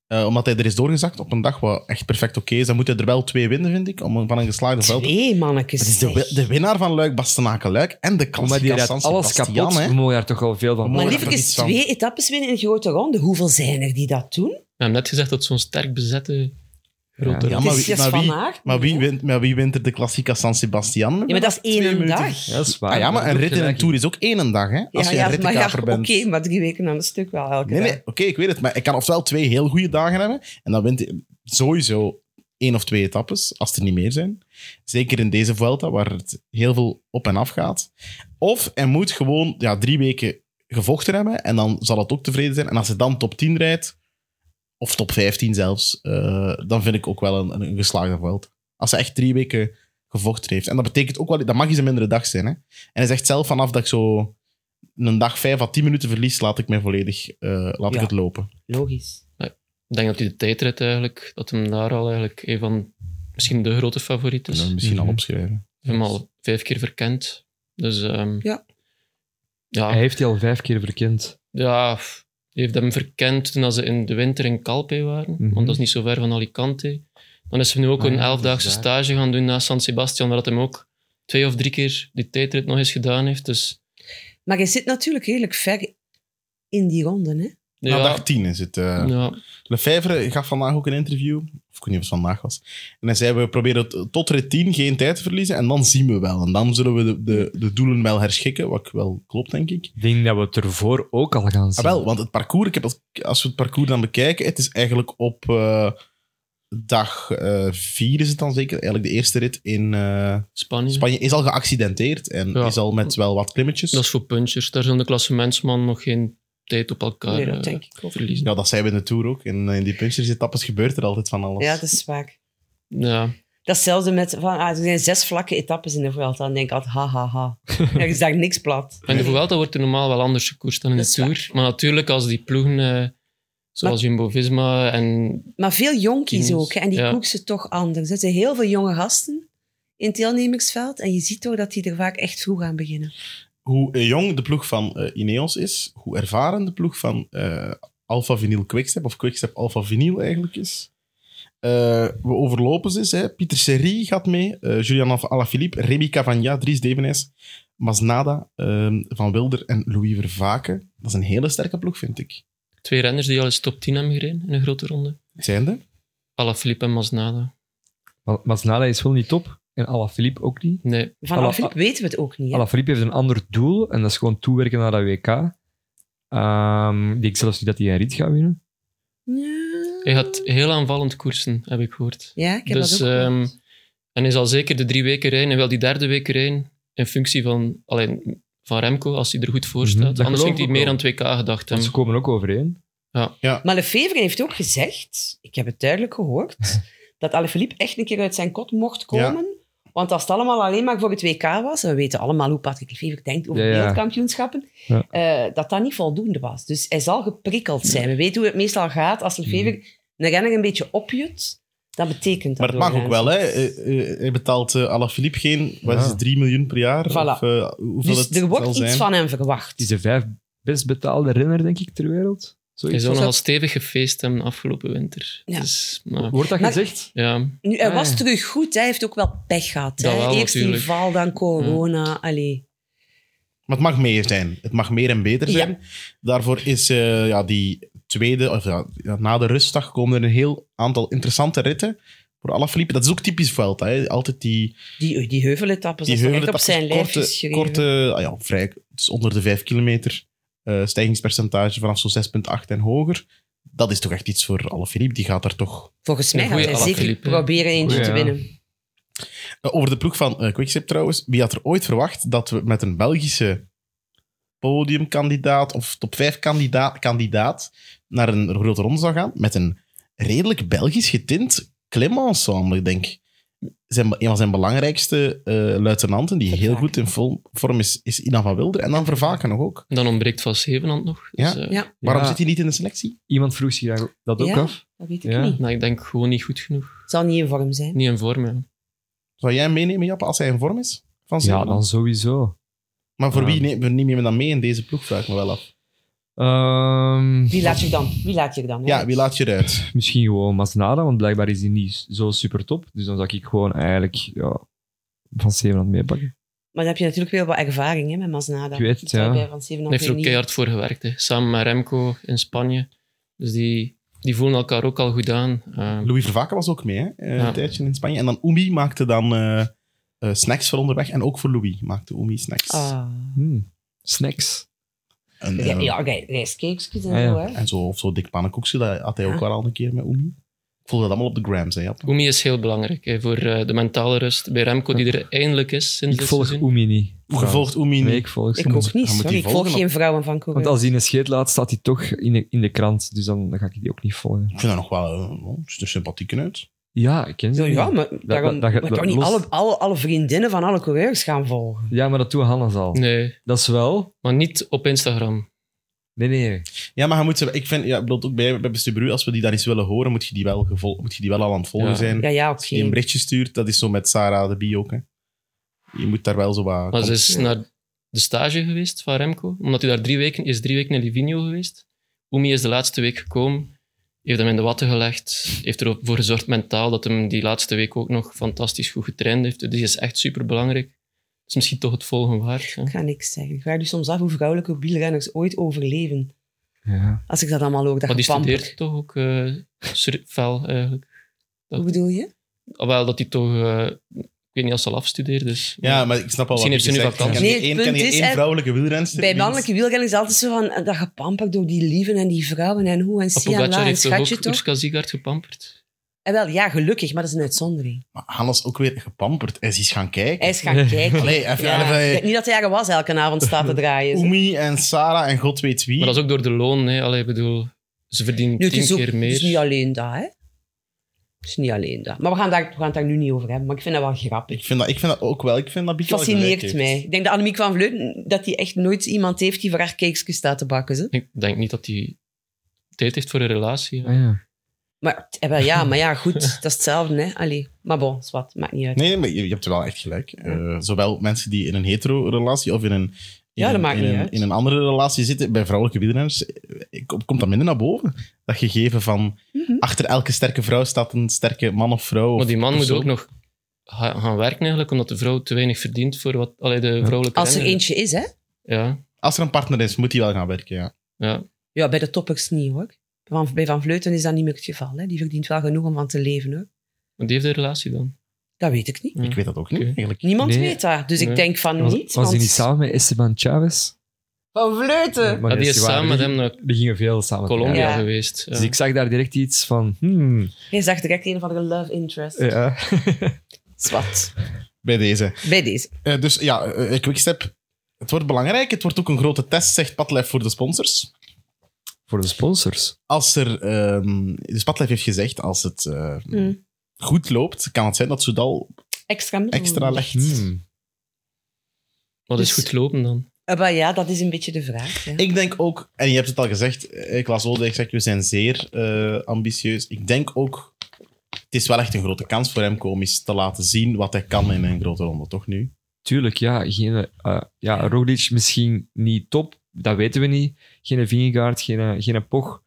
eh, omdat hij er is doorgezakt op een dag wat echt perfect oké is. Dan moet hij er wel twee winnen, vind ik, om van een geslaagde
wint.
Vuelta.
Twee mannetjes.
Het is de,
zeg.
wi- de winnaar van Luik, Bastenaken-Luik en de
Maar die
klassieker San
rijdt alles
Sebastian,
kapot.
hè.
We mogen daar toch al veel van
Maar
maar
Mooi,
liever
dat er
is
iets van-
twee etappes winnen in een grote ronde. Hoeveel zijn er die dat doen?
We hebben net gezegd dat zo'n sterk bezette Rotterdam.
Ja,
het
maar
is
wie,
juist
maar, wie,
vandaag.
maar, wie
hè?
wint, maar wie wint er de Klassica San Sebastian?
Ja, maar dat is
Twee
één
minuten.
dag.
Ja, dat is waar.
Ah ja, maar
Daar
een
heb je
rit in een
gelijk
tour is ook één dag, hè? Als
Ja,
je
ja,
een
maar ja,
rittenkaper
oké,
bent.
maar drie weken aan een stuk wel elke
Nee, nee,
dag.
oké, ik weet het. Maar ik kan ofwel twee heel goede dagen hebben en dan wint hij sowieso één of twee etappes, als er niet meer zijn. Zeker in deze Vuelta, waar het heel veel op en af gaat. Of hij moet gewoon ja, drie weken gevochten hebben en dan zal het ook tevreden zijn. En als hij dan top 10 rijdt, of top 15 zelfs, eh, dan vind ik ook wel een, een geslaagde Vuelta. Als hij echt drie weken gevochten heeft. En dat betekent ook wel, dat mag eens een mindere dag zijn. Hè? En hij zegt zelf vanaf dat ik zo een dag 5 à 10 minuten verlies, laat ik mij volledig eh, laat
Ja.
ik het lopen.
Logisch.
Ik denk dat hij de tijdrit eigenlijk, dat hem daar al eigenlijk een van misschien de grote favoriet
Dus,
is.
misschien al
Mhm.
opschrijven.
hem al vijf keer verkend. Dus ehm,
Ja.
Ja,
Hij heeft die al vijf keer verkend.
ja, hij heeft hem verkend toen ze in de winter in Calpe waren,
Mhm.
want dat is niet zo ver van Alicante. Dan is hij nu ook
Ah ja,
een
dat is
elfdaagse
waar.
stage gaan doen na San Sebastian, waar dat hem ook twee of drie keer die tijdrit nog eens gedaan heeft. Dus
Maar je zit natuurlijk redelijk ver in die ronden, hè?
Na
ja,
dag 10 is het. eh
ja,
Lefevre gaf vandaag ook een interview. Of ik weet niet of het vandaag was. En hij zei: We proberen t- tot rit 10 geen tijd te verliezen. En dan zien we wel. En dan zullen we de, de, de doelen wel herschikken. Wat wel klopt, denk ik.
Ik denk dat we het ervoor ook al gaan
Ah,
zien.
wel, want het parcours, ik heb dat, als we het parcours dan bekijken, het is eigenlijk op eh, dag 4 is het dan zeker. Eigenlijk de eerste rit in eh,
Spanje.
Spanje is al geaccidenteerd. En
Mhm. Ja.
is al met wel wat klimmetjes.
Dat is voor punchers. Daar zullen de klassementsman nog geen tijd op elkaar
Nee, dat
eh,
denk ik ook.
verliezen.
ja, dat zijn we in de Tour ook. En in die punchers-etappes gebeurt er altijd van alles.
Ja, dat is vaak.
Ja.
Dat is hetzelfde met, van, ah, er zijn zes vlakke etappes in de Vuelta. Dan denk ik altijd, ha, ha, ha. Er is daar niks plat.
En de Vuelta wordt er normaal wel anders gekoerst dan in
Dat
de
is
Tour. Maar natuurlijk, als die ploegen, eh, zoals Jumbo-Visma en...
Maar veel jonkies
Kines,
ook, hè, en die
ja.
koek ze toch anders. Er zitten heel veel jonge gasten in het deelnemersveld en je ziet toch dat die er vaak echt vroeg aan beginnen.
hoe eh, jong de ploeg van eh, Ineos is, hoe ervaren de ploeg van eh Alpha Vinyl Quickstep, of Quickstep Alpha Vinyl eigenlijk is. Eh, we overlopen ze eens. Hè. Pieter Serie gaat mee, eh, Julian Alf- Alaphilippe, Remy Cavagna, Dries Devenijs, Masnada, ehm, Van Wilder en Louis Vervaken. Dat is een hele sterke ploeg, vind ik.
Twee renners die al eens top 10 hebben gereden in een grote ronde.
Zijn er?
Alaphilippe en Masnada.
Maar Masnada is wel niet top. En Alaphilippe ook niet.
Nee,
Van
Alla-
Alaphilippe weten we het ook niet. hè.
Alaphilippe heeft een ander doel. En dat is gewoon toewerken naar dat WK. Ehm, die ik zelfs niet dat hij een rit gaat winnen.
hij gaat heel aanvallend koersen, heb ik gehoord.
Ja, ik heb
Dus,
dat ook gehoord.
ehm, en hij zal zeker de drie weken rijden en wel die derde week rijden in functie van, alleen, van Remco, als hij er goed voor
Mhm,
staat.
dat geloof
Anders ging hij
ik
meer
wel.
aan 2K gedacht
Want
hebben.
ze komen ook overeen.
Maar Lefevre heeft ook gezegd, ik heb het duidelijk gehoord, dat Alaphilippe echt een keer uit zijn kot mocht komen. Want als het allemaal alleen maar voor het WK was, en we weten allemaal hoe Patrick Lefevre denkt over
Ja, ja.
wereldkampioenschappen,
Ja.
eh, dat dat niet voldoende was. Dus hij zal geprikkeld zijn. We weten hoe het meestal gaat als Lefevre
Mm.
een renner een beetje opjut. Dat betekent dat
Maar het mag ook
doorgaans.
wel, hè? Eh, eh, hij betaalt eh Alaphilippe geen, wat is
Ja.
het, 3 miljoen per jaar?
Voilà.
Of, eh, hoeveel
Dus
het
er wordt
zal
iets
zijn.
van hem
Het is
verwacht.
de vijf best betaalde renner, denk ik, ter wereld.
Hij
Zoiets.
zou nogal stevig gefeest hebben afgelopen winter.
Ja.
Dus, maar,
Wordt dat
Maar-
gezegd?
ja.
Nu, hij
Ah,
was
ja.
terug goed, hè. hij heeft ook wel pech gehad.
Dat
hè.
wel,
Eerst die
natuurlijk.
val,
Mm.
dan corona. Allee.
Maar het mag meer zijn. Het mag meer en beter
Ja.
zijn. Daarvoor is eh, ja, die tweede, of ja, na de rustdag komen er een heel aantal interessante ritten voor Alaphilippe. Dat is ook typisch Vuelta. Hè. Altijd die,
Die, die heuveletappes,
die
dat is toch echt op
heuveletappes,
zijn lijf
korte,
geschreven.
korte ah ja, vrij, het is onder de 5 kilometer eh, stijgingspercentage vanaf zo'n 6,8 en hoger. Dat is toch echt iets voor Alaphilippe. Die gaat daar toch
Volgens mij
Een
gaat hij
goeie
zeker
Alaphilippe, hè?
proberen eentje
Goeie,
te
ja.
winnen.
Eh, Over de ploeg van eh, Quickstep trouwens. Wie had er ooit verwacht dat we met een Belgische podiumkandidaat of top 5 kandidaat, kandidaat naar een grote ronde zou gaan? Met een redelijk Belgisch getint klimensemble, ik denk zijn, een van zijn belangrijkste eh, luitenanten, die heel
Vervaken.
goed in vol- vorm is, is Ina van Wilder. En dan Vervaken nog ook.
Dan ontbreekt Van Zevenhand nog. Dus, eh,
Ja,
Waarom
Ja,
zit hij niet in de selectie?
Iemand vroeg zich daar- dat ook
Ja.
af.
dat weet ik
Ja.
niet.
nou, ik denk gewoon niet goed genoeg.
Het zal niet in vorm zijn.
Niet in vorm, ja.
Zou jij hem meenemen, Jappe, als hij in vorm is? Van
Ja,
Zeeland?
dan sowieso.
Maar voor
Ja.
wie neem, neem je hem dan mee in deze ploeg, vraag ik me wel af.
Ehm,
Wie laat je dan? Wie laat je dan? hè?
Ja, wie laat je eruit?
misschien gewoon Masnada, want blijkbaar is die niet zo super top. Dus dan zou ik gewoon eigenlijk ja, van Zevenhand meepakken.
Maar dan heb je natuurlijk wel wat ervaring hè, met Masnada.
Ik weet het,
Dat hij
ja.
bij Van Zevenhand
Hij heeft er ook
niet-
keihard voor gewerkt. Hè. Samen met Remco in Spanje. Dus die die voelen elkaar ook al goed aan. Eh,
Louis Vervaken was ook mee, hè? eh,
Ja.
een tijdje in Spanje. En dan Umi maakte dan eh, eh, snacks voor onderweg. En ook voor Louis maakte Umi snacks.
Ah.
Hmm. Snacks.
En,
Ah. Ja,
eh,
ja gij- rijstcakes en
Ah, Ja,
zo,
ja.
hè.
en zo, of zo dik pannenkoekje, dat had hij ook
Ja.
wel al een keer met Umi. Ik voelde dat allemaal op de grams, hè. Jaap.
Oemi is heel belangrijk hè, voor eh, de mentale rust bij Remco, die er eindelijk is sinds
Ik
dit
volg
seizoen.
Oemi niet.
Hoe gevolgd Umi
Nee,
nu?
ik volg ze
Ik
niet.
ook niet,
die
sorry. Ik volg
volgen op-
geen vrouwen van
Want
coureur.
als hij een scheet laat, staat hij toch in de, in de krant. Dus dan, dan ga ik die ook niet volgen.
Ik vind dat nog wel eh, oh, het ziet er sympathiek uit.
Ja, ik ken ze
Zo,
niet.
ja, maar daarom
dat- dat-
maar ik kan
dat-
niet
los-
alle, alle, alle vriendinnen van alle coureurs gaan volgen.
Ja, maar dat doet Hannes al.
Nee,
Dat is wel...
maar niet op Instagram.
Nee, nee.
Ja, maar je moet ze, ik vind, ja, ik bedoel, ook bij, bij Bestubru, als we die daar eens willen horen, moet je die wel, gevol, moet je die wel al aan het volgen
Ja.
zijn.
Ja, ja, oké.
Als je die een berichtje stuurt, dat is zo met Sarah de Bie ook, hè. Je moet daar wel zo wat...
Maar ze
kom-
is
Ja.
naar de stage geweest van Remco, omdat hij daar drie weken is drie weken in Livigno geweest. Oemi is de laatste week gekomen, heeft hem in de watten gelegd, heeft ervoor gezorgd mentaal dat hem die laatste week ook nog fantastisch goed getraind heeft. Dus die is echt superbelangrijk. Is misschien toch het volgen waard. hè.
Ik ga niks zeggen. Ik vraag je soms af hoe vrouwelijke wielrenners ooit overleven.
Ja.
Als ik dat allemaal hoor, dat
Maar die
gepamper.
studeert toch ook eh, sur- fel eigenlijk.
Hoe bedoel je?
Ah, Wel dat hij toch, eh, ik weet niet als ze al afstudeert. Dus,
Ja, maar ik snap al wat
Misschien
je
heeft ze nu
zegt. Ik
vakantie.
ken
Nee,
hier
het
één-
punt
ken hier
is,
één
hè,
vrouwelijke wielrenster.
Bij
die-
mannelijke wielrenners is altijd zo van eh, dat gepamper door die lieven en die vrouwen en hoe en zie en la
Pogacar
en
heeft toch
schatje
ook
toch?
Urska Ziegard gepamperd.
En wel, ja, gelukkig, maar dat is een uitzondering.
Maar Hannes ook weer gepamperd. Hij is eens gaan kijken.
Hij is gaan kijken.
Allee, even,
Ja. Ik denk
even
niet dat hij er was elke avond staat te draaien. zo.
Oemi en Sarah en god weet wie.
Maar dat is ook door de loon. Hè. Allee, ik bedoel, ze verdienen
Nu, het,
tien
is ook,
keer meer.
het is niet alleen dat, hè? Het is niet alleen dat. Maar we gaan, daar, we gaan het daar nu niet over hebben, maar ik vind dat wel grappig.
ik, vind dat, ik vind dat ook wel. Ik vind dat Bieke wel gelijk
fascineert
heeft.
mij. Ik denk dat Annemiek van Vleuten dat die echt nooit iemand heeft die voor haar cakesjes staat te bakken. Ze.
Ik denk niet dat hij tijd heeft voor een relatie.
Ah, ja.
Maar, eh, wel, ja, maar ja, goed, dat is hetzelfde. Hè? Allee. Maar bon, zwart, maakt niet uit.
Nee, nee, maar je, je hebt wel echt gelijk. Eh, zowel mensen die in een hetero-relatie of in een, in,
Ja, dat
een,
maakt
in,
niet
een,
uit.
in een andere relatie zitten, bij vrouwelijke wielrenners, eh, komt komt dat minder naar boven. Dat gegeven van
Mhm.
achter elke sterke vrouw staat een sterke man of vrouw.
Maar die man
of
moet
zo.
ook nog ga- gaan werken eigenlijk, omdat de vrouw te weinig verdient voor wat allee, de vrouwelijke
Als er
renner.
eentje is, hè?
Ja,
Als er een partner is, moet die wel gaan werken, ja.
ja.
Ja, bij de toppers niet hoor. Van, bij Van Vleuten is dat niet meer het geval. Hè? Die verdient wel genoeg om van te leven hoor.
Maar die heeft een relatie dan.
Dat weet ik niet.
Ik weet dat ook niet,
Oké.
eigenlijk.
Niemand
Nee.
weet dat. Dus ik
Nee.
denk van
Was,
niet.
was die
want-
niet samen met Esteban Chavez?
Van Vleuten!
Maar
Ja, die is
waren-
samen met hem naar
Die gingen veel samen.
Colombia
Ja.
Ja.
geweest. Ja.
Dus ik zag daar direct iets van... Hmm,
Hij zag direct een van de love interest.
ja.
Zwart.
Bij deze.
Bij deze.
Eh, dus ja, eh, eh, Quickstep. Het wordt belangrijk. Het wordt ook een grote test, zegt Padlef voor de sponsors.
Voor de sponsors.
Als er, ehm, dus Padlef heeft gezegd, als het eh,
Mm.
goed loopt, kan het zijn dat Soudal
Extra middel.
extra legt.
Hmm.
Wat is
Dus-
goed lopen dan?
Eh, maar ja, dat is een beetje de vraag. hè.
Ik denk ook, en je hebt het al gezegd, eh, ik las Oldijk zegt, we zijn zeer eh, ambitieus. Ik denk ook, het is wel echt een grote kans voor hem om eens te laten zien wat hij kan in een grote ronde, toch nu?
Tuurlijk, ja. Geen, eh ja. Roglic misschien niet top. Dat weten we niet. Geen Vingegaard, geen, geen Poch.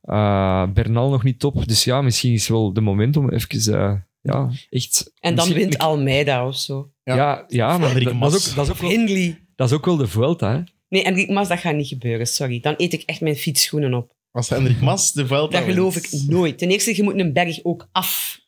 Eh, Bernal nog niet top. Dus ja, misschien is wel de moment om even... eh, ja, echt...
En dan
misschien-
wint Almeida of zo.
Ja, ja, maar
Frederik
dat,
Mas.
dat is ook, dat, is ook wel,
Hindley.
dat is ook wel de Vuelta, hè.
Nee, Enric Mas, dat gaat niet gebeuren, sorry. Dan eet ik echt mijn fietsschoenen op.
Als Hendrik Mas de Vuelta
Dat geloof
wint.
ik nooit. Ten eerste, je moet een berg ook af.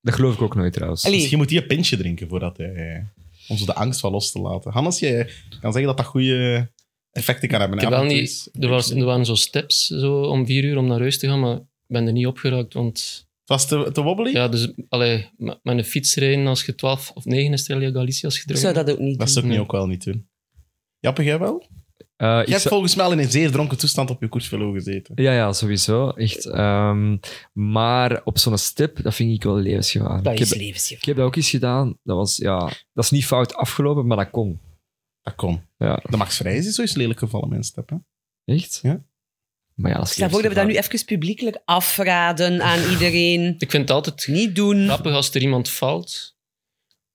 Dat geloof ik ook nooit, trouwens.
Allee.
Misschien moet hij een pintje drinken voordat hij. eh, Om zo de angst wel los te laten. Hannes, jij kan zeggen dat dat goede effecten kan hebben.
Ik heb wel
Af en toe
niet,
is-
er, was, er
Het
waren zo steps zo, om vier uur om naar huis te gaan, maar ik ben er niet opgeraakt. Want
was te, te wobbly?
ja, dus, allee, met, met een fiets rijden als je 12 of 9 is, Strelia Galicia's
Ik
gedronken.
zou dat ook niet
Dat
doen.
zou ik nu
Nee.
ook wel niet doen. Jappe, jij wel? Je
Eh, ik
hebt
zou-
volgens mij al in een zeer dronken toestand op je koersvelo gezeten.
Ja, ja, sowieso. Echt. ehm, maar op zo'n step, dat vind ik wel levensgevaarlijk.
Dat
Ik
is
heb, ik
levensgevaarlijk.
heb dat ook eens gedaan. Dat, was, ja, dat is niet fout afgelopen, maar dat kon.
Dat kon.
Ja.
De Max Vrijs is sowieso lelijk gevallen met een step. Hè?
Echt?
Ja.
Maar ja, dat is
Stel voor dat we dat nu
levensgevaarlijk.
even publiekelijk afraden aan iedereen.
Ik vind het altijd
Niet doen.
grappig als er iemand valt.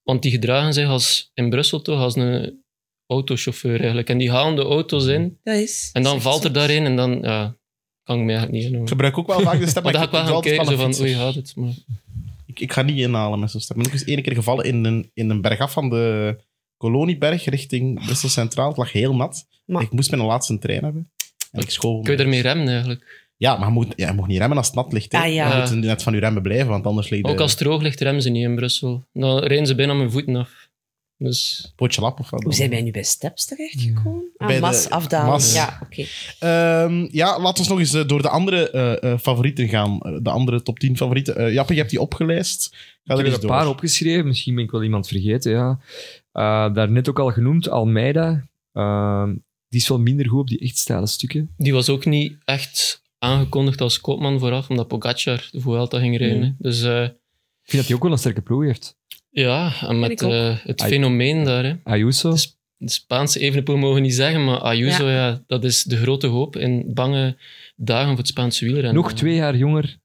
Want die gedragen zich als, in Brussel toch als een autochauffeur eigenlijk. En die halen de auto's in
Dat is.
en dan
Zeg
valt
zo.
er daarin en dan ja, kan ik me eigenlijk niet
Ik
inhouden.
gebruik ook wel vaak de step,
Maar
maar,
dan ga
ik,
ik wel
ik
gaan
doe
kijken
altijd
zo
wel een
van, oei,
fietser.
gaat het? Maar
ik, ik ga niet inhalen met zo'n step. Ik ben ook eens één keer gevallen in een, in een berg af van de Kolonieberg richting Brussel Centraal. Het lag heel nat.
Maar-
Ik moest mijn laatste trein hebben. En ik schoof
kun je
me.
daarmee remmen eigenlijk?
Ja, maar je moet, ja, je moet niet remmen als het nat ligt. Hè.
Ah, ja.
Je moet net van je remmen blijven, want anders ligt
Ook
de-
als het droog ligt, remmen ze niet in Brussel. Dan rijden ze bijna mijn voeten af. Dus
het potje lap of wat.
Hoe zijn wij nu bij Steps terechtgekomen?
Bij
Ah,
de-
mas afdalen.
Mas.
Ja, oké.
Ehm, ja, laten we nog eens eh, door de andere eh, eh, favorieten gaan. Eh, De andere top 10 favorieten. Eh Jappe, je hebt die opgelijst. Ga
Ik
er
heb er
eens
een
door.
paar opgeschreven, misschien ben ik wel iemand vergeten. Ja. Eh daarnet ook al genoemd, Almeida. Ehm, die is wel minder goed op die echt stijle stukken.
die was ook niet echt aangekondigd als koopman vooraf, omdat Pogacar de Vuelta ging rijden. hè. Dus eh,
Ik vind dat hij ook wel een sterke ploeg heeft.
ja, en met
ik ook.
eh, het
Ai.
fenomeen daar. Hè.
Ayuso.
Dus- De Spaanse evenepoel mogen we niet zeggen, maar Ayuso, ja. dat is de grote hoop in bange dagen voor het Spaanse wielrennen.
nog twee jaar jonger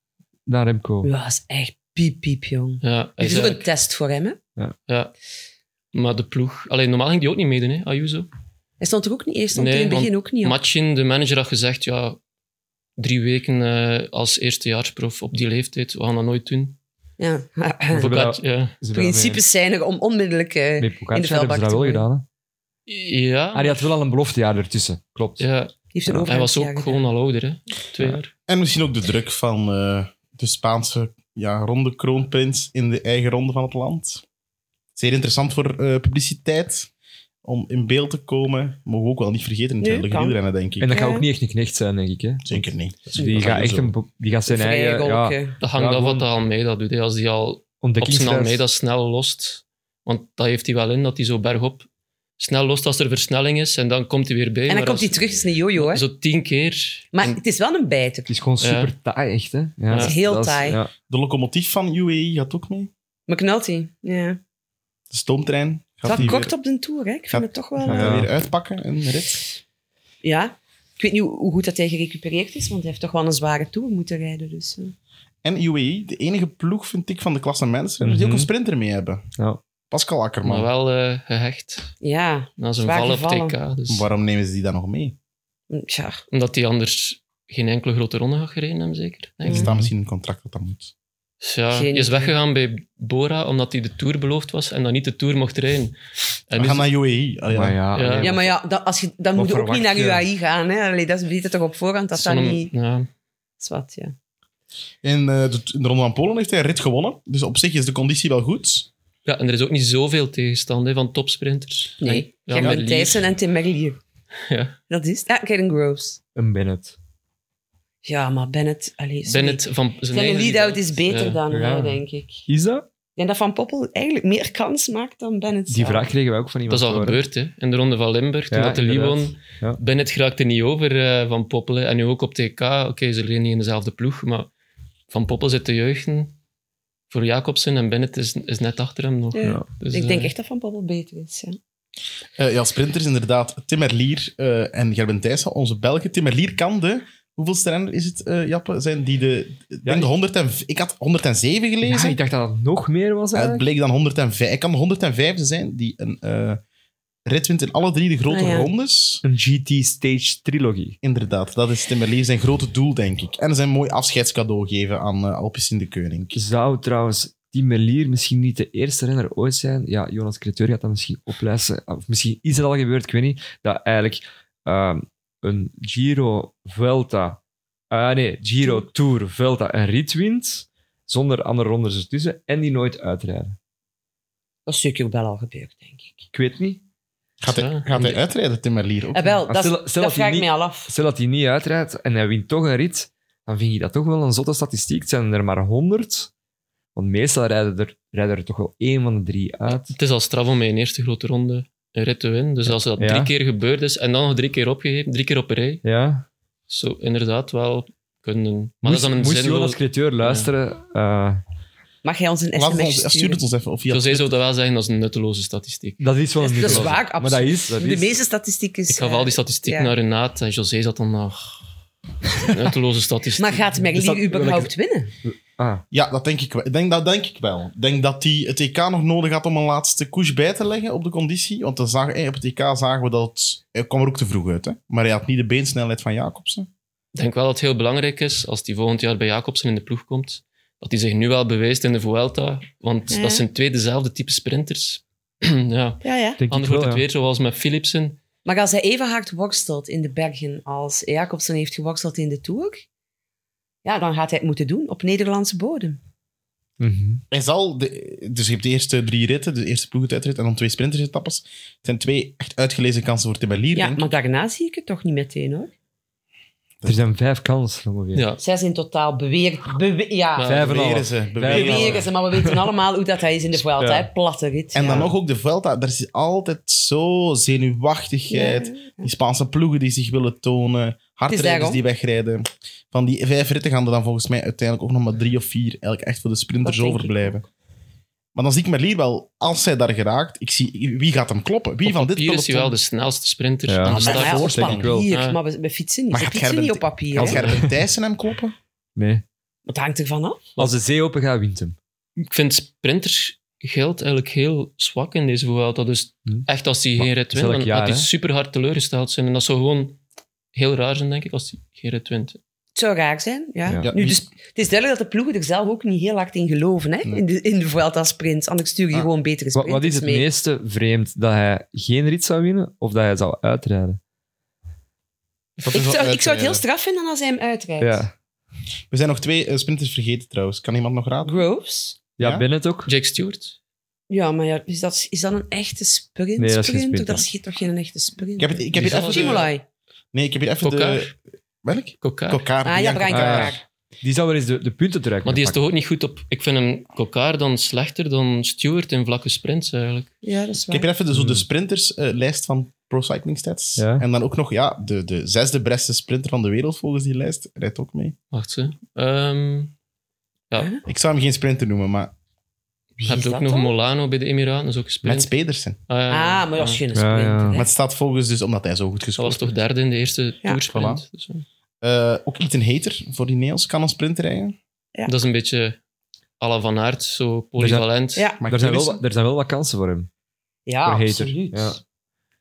dan Remco.
Ja, dat is echt piep, piep, jong.
Ja, hij
Dit is ook
eigenlijk-
een test voor hem, hè?
Ja. Maar de ploeg... Alleen normaal ging die ook niet meedoen, hè, Ayuso.
Hij stond er ook niet eerst, stond
Nee,
er in het
want
begin ook niet op.
Machin, de manager, had gezegd, ja, drie weken eh, als eerstejaarsprof op die leeftijd, we gaan dat nooit doen.
Ja.
Voor-
Pogac- ja.
Ze hebben
Principes zijn er om onmiddellijk... eh,
Met, met Pogacar
in de vuilbak
hebben ze dat wel
te gooien.
gedaan. hè.
Ja,
Ah, die had wel al een beloftejaar ertussen. Klopt.
ja.
heeft een
hij was ook
overgangsjaar
gewoon al ouder, hè. Twee
Ja.
jaar.
En misschien ook de druk van eh, de Spaanse ja, ronde kroonprins in de eigen ronde van het land. Zeer interessant voor eh, publiciteit. Om in beeld te komen. Mogen we ook wel niet vergeten in het
Nee,
huidige
kan.
wielrennen, denk ik.
En dat gaat
Ja.
ook niet echt een knecht zijn, denk ik. Hè?
Zeker niet.
Die gaat, echt een, bo- die gaat zijn
gedaan. Vrije
eigen
golk,
ja,
hè.
Dat hangt
Ja, gewoon-
af wat de Almeida doet. hè. Als die al op zijn
ontdekkingsreis.
Almeida snel lost. Want dat heeft hij wel in, dat hij zo bergop snel lost als er versnelling is. En dan komt hij weer bij.
En dan
maar
komt hij
als-
terug, het is een jojo, hè?
Zo tien keer.
Maar
En
het is wel een bijter.
Het is gewoon
Ja.
super taai, echt. Hè? Ja,
Het
is heel
dat
taai.
ja.
De locomotief van UAE gaat ook mee.
McNulty, ja.
De stoomtrein.
Het
Gaat
was
die
kort
weer,
op de tour, hè? Ik
Gaat-
vind het toch wel...
gaat
eh,
hij
Ja.
weer uitpakken, een rit.
Ja. Ik weet niet hoe hoe goed dat hij gerecupereerd is, want hij heeft toch wel een zware tour moeten rijden. Dus, eh.
En UAE, de enige ploeg, vind ik, van de klasse mensen, die ook
Mhm.
een sprinter mee hebben.
Ja.
Pascal
maar
Akkerman.
wel eh, gehecht
ja.
na zijn
Zwaar
val op
gevallen.
TK. Dus,
Waarom nemen ze die dan nog mee?
Tja.
omdat hij anders geen enkele grote ronde gaat gereden hebben, zeker. Denk
Er
ik.
Ja.
staat misschien een contract dat dat moet.
Dus ja,
Mm. Geen
hij is
idee.
weggegaan bij Bora omdat hij de Tour beloofd was en dan niet de Tour mocht rijden. En
We
nu
gaan
is-
naar UAE. Ah, ja.
Maar ja,
Ja.
nee,
Ja, maar ja, dat, als je, dan
Wat
moet je ook niet naar
verwacht je?
UAI gaan. Hè? Allee, dat weet je toch op voorhand dat dat
zo'n-
niet...
ja.
Zwat, ja.
In, eh, de, in de Ronde van Polen heeft hij een rit gewonnen. Dus op zich is de conditie wel goed.
ja, en er is ook niet zoveel tegenstand hè, van topsprinters. En-
Nee,
ja,
Gerben
Merlier.
Thijssen en Tim Merlier.
Ja.
Dat is het. Ja, Kevin Groves.
een Bennett.
Ja, maar Bennett... Allee, sorry.
Bennett van zijn
Zijn
eigen
lead-out is beter
Ja.
dan
Ja.
hij, denk ik.
Is dat?
En dat Van Poppel eigenlijk meer kans maakt dan Bennett
Die
zelf.
vraag kregen wij ook van iemand.
Dat is al
voor, hè.
gebeurd, hè? In de ronde van Limburg, toen
Ja,
dat de Lee
inderdaad.
won.
Ja.
Bennett geraakte niet over eh, Van Poppel. hè. En nu ook op TK. Oké, ze liggen niet in dezelfde ploeg, maar Van Poppel zit te juichen voor Jacobsen en Bennett is, is net achter hem nog.
Ja.
Ja.
Dus,
Ik
eh,
denk echt dat Van Poppel beter is, ja.
Eh, ja, sprinters inderdaad. Tim Erlier eh, en Gerben Thijssen, onze Belgen. Tim Erlier kan de... Hoeveelste renner is het, eh Jappe? Zijn die de... ik denk de 100 en, ik had 107
Ja,
gelezen.
ik eh, dacht dat dat nog meer was
Ja, het
eigenlijk.
bleek dan 105. Hij kan de 105 zijn die een eh, rit wint in alle drie de grote
Ah, ja.
rondes.
Een GT Stage Trilogy.
Inderdaad, dat is Timmerlier zijn grote doel, denk ik. En zijn mooi afscheidscadeau geven aan eh Alpes in de Keuning.
Zou trouwens Tim Merlier misschien niet de eerste renner ooit zijn? Ja, Jonas Creteur gaat dat misschien oplijsten. Of misschien is het al gebeurd, ik weet niet. Dat eigenlijk ehm, een Giro, Vuelta... ah nee, Giro, Tour, Vuelta en rit wint. Zonder andere rondes ertussen. En die nooit uitrijden.
Dat is zeker wel al gebeurd, denk ik.
Ik weet niet.
Gaat hij,
Ja.
gaat hij uitrijden, Timmerlier? Ook
Eh, wel,
Maar
dat, is-
stel- stel dat
dat
hij
vraag ik
niet-
mij al af.
Stel dat hij niet uitrijdt en hij wint toch een rit, dan vind je dat toch wel een zotte statistiek. Het zijn er maar 100. Want meestal rijden er, rijden er toch wel één van de drie uit.
Het is al straf om in een eerste grote ronde een rit te winnen. Dus als dat
Ja.
drie keer gebeurd is en dan nog drie keer opgegeven, drie keer op een rij,
Ja,
zo inderdaad wel kunnen. Maar
moest,
dat is dan een
moest
zin.
Jonas Creteur luisteren? eh,
Mag jij ons een
Laat het
sms
ons,
sturen?
stuur het ons even. Of via
Zo zij zou dat wel zeggen, dat is een nutteloze statistiek.
dat is wel
Dat
een
is- dat is
nutteloze.
waar,
Maar dat is. Dat
De
is.
meeste statistiek is...
Ik gaf al die
eh,
statistieken
ja.
naar Renaat en José zat dan nog. Nutteloze statistiek.
Maar gaat
Is dat-
Merlier überhaupt winnen?
Ah,
Ja, dat denk ik wel. Ik Denk, dat denk ik wel. Ik Denk dat hij het EK nog nodig had om een laatste koers bij te leggen op de conditie. Want dan zagen, eh, op het EK zagen we dat het... Hij kwam er ook te vroeg uit, hè. Maar hij had niet de beensnelheid van Jacobsen.
Ik denk wel dat het heel belangrijk is, als hij volgend jaar bij Jacobsen in de ploeg komt, dat hij zich nu wel bewijst in de Vuelta. Want
Ja.
dat zijn twee dezelfde type sprinters. ja.
Ja, ja.
denk ik
Anders wordt
wel,
het
ja.
weer zoals met Philipsen.
Maar als hij even hard worstelt in de bergen als Jacobsen heeft geworsteld in de Tour, Ja, dan gaat hij het moeten doen op Nederlandse bodem.
Mhm.
Hij zal de, dus je hebt de eerste drie ritten, de eerste ploegentijdrit en dan twee sprintersetappes. Het zijn twee echt uitgelezen kansen voor Tibalier,
Ja,
denk ik.
maar daarna zie ik het toch niet meteen hoor.
Er zijn vijf kansen ongeveer.
Ja.
Zes in totaal beweert. bewe- ja,
Maar-
Vijf en een
beweren
half.
ze.
Vijf
Beweren
en een
ze.
beweren ze, maar we weten allemaal hoe dat hij is in de Vuelta.
Ja.
hè. Platte rit.
En dan
ja.
nog ook de Vuelta. Er is altijd zo zenuwachtigheid.
Ja.
Die Spaanse ploegen die zich willen tonen. Hardrijders
daarom.
die wegrijden. Van die vijf ritten gaan er dan volgens mij uiteindelijk ook nog maar drie of vier eigenlijk echt voor de sprinters
Dat denk ik
overblijven. Maar dan zie ik Merlier wel, als hij daar geraakt, ik zie, wie gaat hem kloppen? Wie
Op
van dit
papier is hij wel
peloton?
de snelste sprinter
Ja.
aan
Maar
de
Ah,
ja,
maar
start.
hij-
op
voorstel ik
wel.
papier,
Ja.
maar we, we fietsen niet.
Maar
we
gaat
fietsen
Gerben-
niet op papier.
Gaat
hè.
Gerben Thijssen hem kloppen?
Nee.
Het hangt ervan af.
Als de zee open gaat, wint hem.
Ik vind sprinters geld eigenlijk heel zwak in deze Vuelta. Dus
Hm.
echt als die
Maar
geen rit
dat is
wint,
elk
dan
jaar,
gaat hij
hè?
super hard teleurgesteld zijn. En dat zou gewoon heel raar zijn, denk ik, als hij geen rit wint.
Het zou raar zijn, ja.
Ja.
Ja,
Nu,
wie-
dus, het is duidelijk dat de ploegen er zelf ook niet heel hard in geloven, hè?
Nee.
In, de, in de Vuelta sprint. Anders stuur je
Ah.
gewoon betere
Wat,
sprinters
wat is het
mee.
meeste vreemd? Dat hij geen rit zou winnen of dat hij zou uitrijden?
Dat is
Ik
wel
zou, ik zou het
uitrijden.
heel straf vinden als hij hem uitrijdt.
Ja.
We zijn nog twee eh, sprinters vergeten trouwens. Kan iemand nog raden?
Groves?
Ja,
Ja?
Bennett ook.
Jake Stewart.
Ja, maar ja, is, dat, is dat een echte
Nee,
sprint?
dat is geen
sprint?
sprint,
Dat is toch geen echte sprint?
Ik heb, het, ik heb
Die
hier
zal-
even... de-
Chimolai.
Nee, ik heb hier even de...
Kokaar.
Welk?
Kokaar.
Kokaar.
Ah ja,
Jan
Brian
Kokaar.
Ah,
Kokaar.
Die zou wel eens de, de punten trekken.
Maar die is toch ook niet goed op... Ik vind hem Kokaar dan slechter dan Stewart in vlakke sprints, eigenlijk.
Ja, dat is
Ik
waar.
heb hier even de, zo de
Hmm.
sprinterslijst van Pro Cycling Stats.
Ja.
En dan ook nog ja, de, de zesde beste sprinter van de wereld volgens die lijst. Rijdt ook mee.
Wacht, ze. Ehm
Ik zou hem geen sprinter noemen, maar
Wie
heb
is
je ook
dat
nog
dan?
Molano bij de Emiraten, dat is ook een sprint.
Mats Pedersen.
Ah, ja.
Ah, maar dat is geen
Ja,
sprint.
ja.
hè.
Maar het staat volgens dus omdat hij zo goed
Dat was
gescoord
toch
heeft.
derde in de eerste toersprint. Dus, eh,
Eh, ook Ethan Hater voor Ineos kan een sprint rijden.
Ja.
Dat is een beetje à la Van Aert, zo polyvalent.
Ja,
Maar
Er zijn, wel,
Pedersen,
wat- er zijn wel wat kansen voor hem.
ja
voor Hater.
Ah, absoluut.
Ja.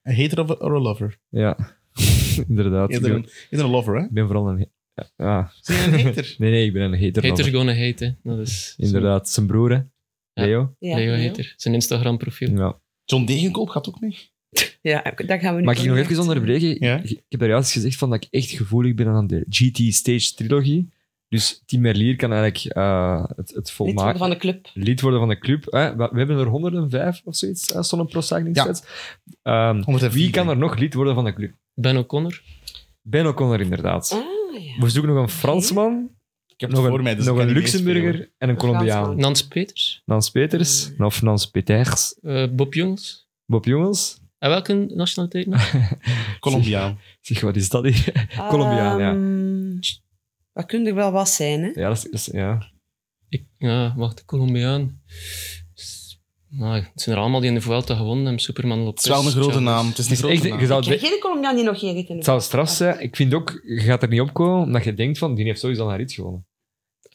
Een hater of a, or a lover?
Ja. Inderdaad. Ik
Eerder
ben,
een, eerder een lover, hè?
ik ben vooral een... Ja. Ah.
Zijn jullie een hater?
Nee, nee, ik ben een hater.
Haters gonna hate, hè. Dat is
Inderdaad. Zijn broer, hè. Leo.
Ja,
Zo, Leo
ja.
Hater. Zijn Instagram-profiel.
Ja.
John Degenkolb gaat ook mee.
Ja, daar gaan we nu
Mag ik
van
nog
uit.
even onderbreken?
Ja.
Ik- Ik heb daar juist gezegd van dat ik echt gevoelig ben aan de GT Stage Trilogie. Dus Tim Merlier kan eigenlijk eh, het, het
Lid worden
volmaken.
van de club.
lid worden van de club. Hè? We we hebben er 105 of zoiets, hè, zo'n pro cycling
Ja.
sets. Ehm,
104,
wie kan
denk
er nog lid worden van de club?
Ben O'Connor.
Ben O'Connor inderdaad.
Ah, ja.
We zoeken nog een Fransman,
Ik heb het
nog
voor
een,
mij, dus
nog
ik
een
kan niet meespelen.
Luxemburger en een Colombiaan.
Fransman.
Nans Peters.
Nans Peters,
Hmm.
of Nans Peters.
eh, Bob Jongens.
Bob Jongens.
En welke nationaliteit nog?
Colombiaan.
Zeg, wat is dat hier? Colombiaan, ja.
Ehm, Dat kunnen er wel wat zijn, hè?
Ja, dat is, dat is- ja.
Ik, ja, wacht, Colombiaan. S- Nou, het zijn er allemaal die in de Vuelta gewonnen hebben. Superman
Het
Lopez.
is wel een grote
Chavez.
naam. Het is
Het
een
is
grote
echt,
naam.
je zou
Ik
het,
ken
we-
geen Colombiaan die nog geen ritten
het
heeft.
zou straf zijn. Ik vind ook, je gaat er niet op komen, omdat je denkt van, die heeft sowieso al een rit gewonnen.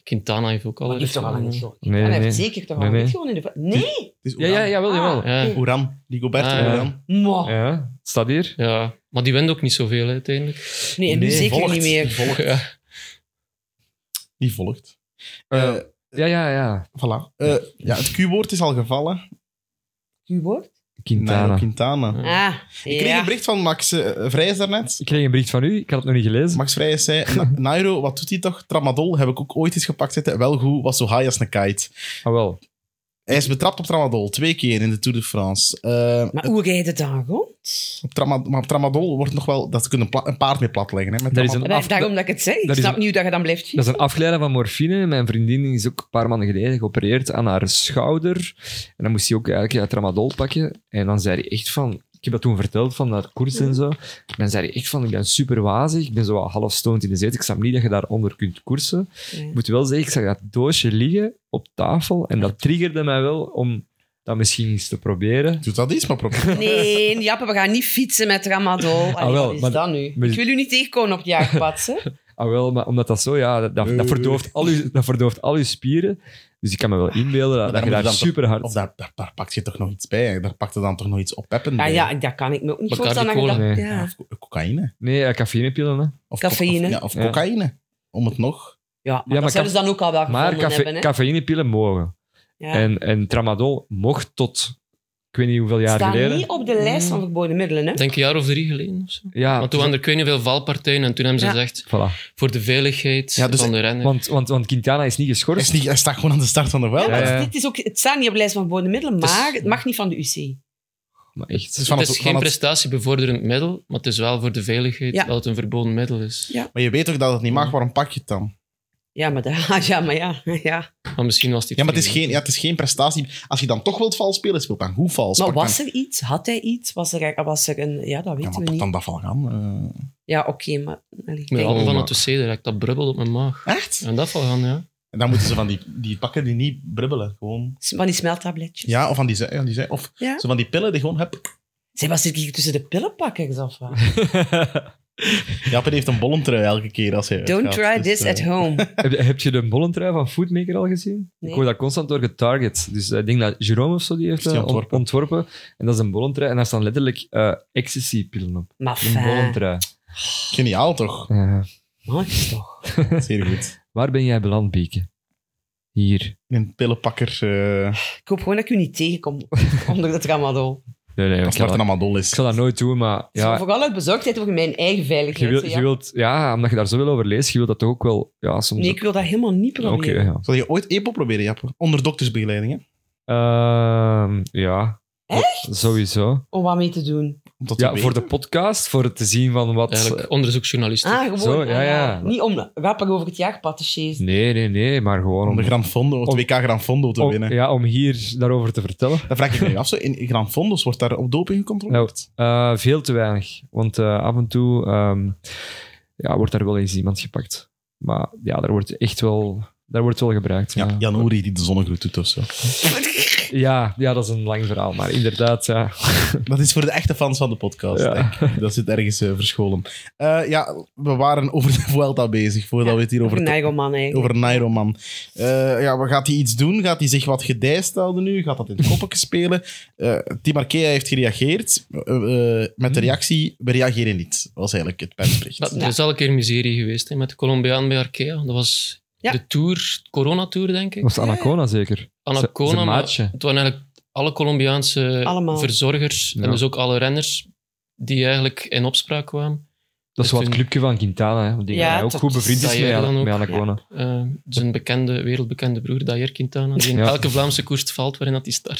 Quintana heeft ook al
Maar die heeft
eens
toch al een
gewonnen.
rit gewonnen?
Nee,
Hij heeft
nee.
zeker toch al
Nee,
een rit
nee.
gewonnen in de... Nee!
Het is
Ja, ja,
Oeran.
jawel, jawel.
Ah.
Ja.
Oeran. Rigoberto
Ah, ja.
Oeran.
Mwah.
Ja, het staat hier.
Ja, maar die wint ook niet zoveel hè, uiteindelijk.
Nee, en nu
Nee,
zeker
volgt.
niet meer.
Ja.
Die volgt.
Eh,
Eh,
Ja, ja, ja.
Voilà. Eh, ja, het Q-woord is al gevallen.
Q-woord?
Nairo
Quintana.
Quintana.
Ja.
Ah,
Ik kreeg
ja.
een bericht van Max eh, Vrijs daarnet.
Ik kreeg een bericht van u, ik had het nog niet gelezen.
Max Vrijs zei, "Na- Nairo, wat doet hij toch? Tramadol heb ik ook ooit eens gepakt zitten. Wel goed, was zo high als een kite.
Ah, wel.
Hij is betrapt op Tramadol, twee keer in de Tour de France. Eh,
Maar hoe rijdt het dan rond?
op Trama- maar op Tramadol wordt nog wel... Dat kunnen een paard mee platleggen. Hè, met
Daar is
Tramadol.
een
Daar-
af-
Daarom dat ik het zei. Ik
dat is
snap
een-
niet hoe dat je dan blijft
Dat
fietsen.
is een afgeleide van morfine. Mijn vriendin is ook een paar maanden geleden geopereerd aan haar schouder. En dan moest hij ook eigenlijk het tramadol pakken. En dan zei hij echt van... Ik heb dat toen verteld, van dat koers en zo. En dan zei hij echt van, ik ben super wazig. Ik ben zo wat half stoned in de zetel. Ik snap niet dat je daaronder kunt koersen. Ik moet wel zeggen, ik zag dat doosje liggen op tafel. En dat triggerde mij wel om dat misschien eens te proberen.
Doe dat eens, maar probeer.
Nee, Jappe, we gaan niet fietsen met Ramadol. Allee,
Ah, wel,
wat is
maar-
dat nu?
maar-
Ik wil u niet tegenkomen op het jaagpad. hè.
Ah, wel, maar omdat dat zo... Ja, dat, dat, dat verdooft, al uw, dat verdooft al uw spieren. Dus ik kan me wel inbeelden dat,
daar
dat je
moet je
daar
dan toch-
super hard...
Of daar, daar, daar pakt je toch nog iets bij. hè? Daar pakt je dan toch nog iets oppeppend
Ja,
bij.
Ah, ja, dat kan ik me ook niet
Maar
voorstellen. dat je
cardiocola,
dat-
nee.
ja.
Of co- cocaïne.
Nee, eh, cafeïnepillen, hè.
Of
Cafeïne.
Of, ja, of
Ja.
cocaïne. Om het nog...
Ja, maar
maar
dat zouden ze dan ook al wel
Maar
gevonden
cafe-
hebben. Hè?
cafeïnepillen mogen.
Ja.
En, en tramadol mocht tot ik weet niet hoeveel jaar
Staat
geleden. Mm.
niet op de lijst van verboden middelen, hè?
Ik denk een jaar of drie geleden of zo.
Ja,
dus
Want toen waren er kun je veel valpartijen en toen hebben ze
Ja.
gezegd,
voilà.
voor de veiligheid
Ja, dus-
van de renner.
want, want, want Quintana is niet
Hij,
geschorst.
is niet, hij staat gewoon aan de start van de
Ja,
wel.
maar
Ja, ja.
Dit is ook, het staat niet op de lijst van verboden middelen,
is-
maar het mag niet van de UC.
Maar echt.
Het is van
het
het,
is
van
geen
het-
prestatiebevorderend middel, maar het is wel voor de veiligheid
Ja.
dat het een verboden middel is.
Ja.
maar je weet ook dat het niet mag, waarom pak je het dan?
Ja, maar, dat- ja, maar ja, ja.
Maar misschien was dit
Ja, maar het is geen, ja, het is geen prestatie. Als je dan toch wilt vals spelen, speelt dan goed vals.
Maar
Pak dan-
was er iets? Had hij iets? Was er, was er een... Ja, dat
Ja, maar
weten we
pak
niet.
dan dat van gaan. eh.
Ja, oké, maar... allee,
Ik ben
kijk.
al van
maar-
het wc direct, dat brubbel op mijn maag.
echt?
En dat val gaan, ja.
En dan moeten ze van die, die pakken die niet brubbelen. Gewoon.
Van die smeltabletjes.
Ja, of van die, ze- ja, die ze- of
Ja.
zo van die pillen die gewoon heb.
Zij was zit hier tussen de pillenpakkers of wat?
Japan heeft een bollentrui elke keer als hij.
Don't
uitgaat,
try
dus,
this
eh,
at home.
heb, je- heb je de bollentrui van Foodmaker al gezien?
Nee.
Ik word daar constant door getarget. Dus eh, ik denk dat Jerome of zo die heeft
Is die
eh, on-
ontworpen?
ontworpen. En dat is een bollentrui. En daar staan letterlijk eh ecstasy-pillen op.
Maar
Een
fijn.
bollentrui.
Geniaal toch?
Ja.
Mooi toch?
Zeer goed.
Waar ben jij beland, Bieke? Hier.
Een pillenpakker. eh
Ik hoop gewoon dat ik u niet tegenkom onder het tramadol.
Nee, nee,
als
ik, zal
Martin
dat,
allemaal dol
ik
is.
zal dat nooit doen, maar
Ja.
ja,
Vooral uit bezorgdheid over mijn eigen
je
veiligheid.
wilt,
hè,
je
ja.
wilt, ja, omdat je daar zoveel over leest, je wilt dat toch ook wel, ja, soms...
Nee, ik wil dat helemaal niet
Oké,
proberen.
ja.
Zal je ooit EPO proberen, Jappen? Onder doktersbegeleiding, hè?
Ehm, ja. Echt? Sowieso.
Om wat mee te doen.
Om dat te
Ja,
weten.
voor de podcast, voor het te zien van wat...
eh,
Eigenlijk onderzoeksjournalistiek.
Ah, gewoon.
Zo, ja,
ah,
ja.
Niet om rapper over het jaar patissiers.
Nee, nee, nee, maar gewoon
Om
om...
de Gran Fondo, het
Om-
WK Gran Fondo te
om-
winnen.
ja, om hier daarover te vertellen.
Dan vraag ik me af, zo, in Gran Fondos wordt daar op doping gecontroleerd?
Eh, veel te weinig. Want eh, af en toe ehm, ja, wordt daar wel eens iemand gepakt. Maar ja, daar wordt echt wel, daar wordt wel gebruikt.
Ja,
maar-
Jan Oeri die de zonnegroet doet of zo.
Ja, ja, dat is een lang verhaal, maar inderdaad, ja.
Dat is voor de echte fans van de podcast,
Ja.
denk ik. Dat zit ergens eh, verscholen. Eh, ja, we waren over de Vuelta bezig, voordat
Ja,
we het hier over,
Over
het-
Nigel Mann eigenlijk. Ah,
over Nairo man. Eh, ja, wat gaat hij iets doen? Gaat hij zich wat gedijst houden nu? Gaat dat in koppen spelen? Eh Tim Arkea heeft gereageerd eh, eh, met de reactie, we reageren niet, was eigenlijk het persbericht.
Dat,
Ja.
Er is al een keer miserie geweest hè, met de Colombiaan bij Arkea. Dat was
Ja.
de tour, Corona-tour, denk ik.
Dat was Anacona zeker. Z-
Anacona,
zijn
maar
maatje.
het waren eigenlijk alle Colombiaanse
Allemaal.
verzorgers
Ja.
en dus ook alle renners die eigenlijk in opspraak kwamen.
Dat is wel het
toen-
clubje van Quintana, hè, want die
Ja,
hij ook
dat
goed bevriend
zei
is
jij dan
met,
ook.
met Anacona.
Eh, zijn bekende, wereldbekende broer, Dayer Quintana, die in
Ja.
elke Vlaamse koers valt waarin dat hij start.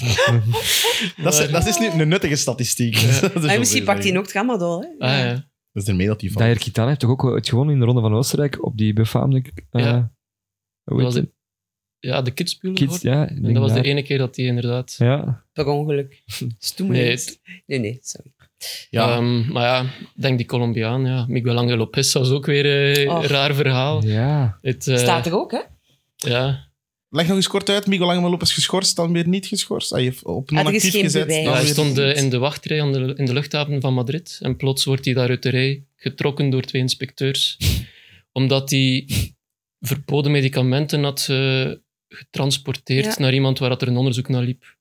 Dat is,
Maar-
dat is nu een nuttige statistiek.
Ja.
Dat is
Maar
wel
misschien
weer
pakt hij nog tramadol. Hè?
Ah, ja.
Dat is ermee dat hij
Ja. Daher Quintana heeft toch ook wel het gewonnen in de Ronde van Oostenrijk op die befaamde... eh,
Ja.
hoe heet
was
het?
ja, de kidsbuur.
Kids, ja. ik
En
denk
dat was
daar.
de ene keer dat hij inderdaad...
Ja,
Per ongeluk. Stoem
Nee,
eens. nee, nee, sorry.
Ja,
Ehm, maar ja, ik denk die Colombiaan, ja. Miguel Angel Lopez, dat was ook weer eh, een
Och.
raar verhaal.
ja.
Het, eh,
Staat er ook, hè?
Ja,
Leg nog eens kort uit. Miguel Langemelop is geschorst, dan weer niet geschorst. Hij heeft op
Ah, er is
non-actief
geen
gezet.
bewijs.
dan
ja, hij
weer
stond eh,
niet.
in de wachtrij aan de, in de luchthaven van Madrid. En plots wordt hij daar uit de rij getrokken door twee inspecteurs. omdat hij verboden medicamenten had eh, getransporteerd
Ja.
naar iemand waar dat er een onderzoek naar liep.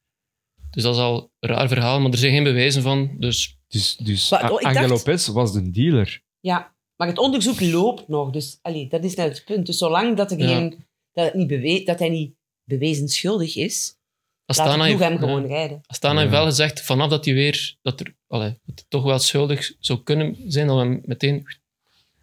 Dus dat is al een raar verhaal, maar er zijn geen bewijzen van. Dus
Dus, dus
Maar, oh, ik
Angel
dacht-
Lopez was de dealer.
Ja, maar het onderzoek loopt nog. Dus allee, dat is net het punt. Dus zolang dat, er
Ja.
geen, dat, het niet bewe- dat hij niet bewezen schuldig is, laat de
Astana
ploeg
heeft,
hem
ja,
gewoon rijden.
Astana
Ja.
heeft wel gezegd, vanaf dat hij weer... Dat, er, allee, dat hij toch wel schuldig zou kunnen zijn, dat we hem meteen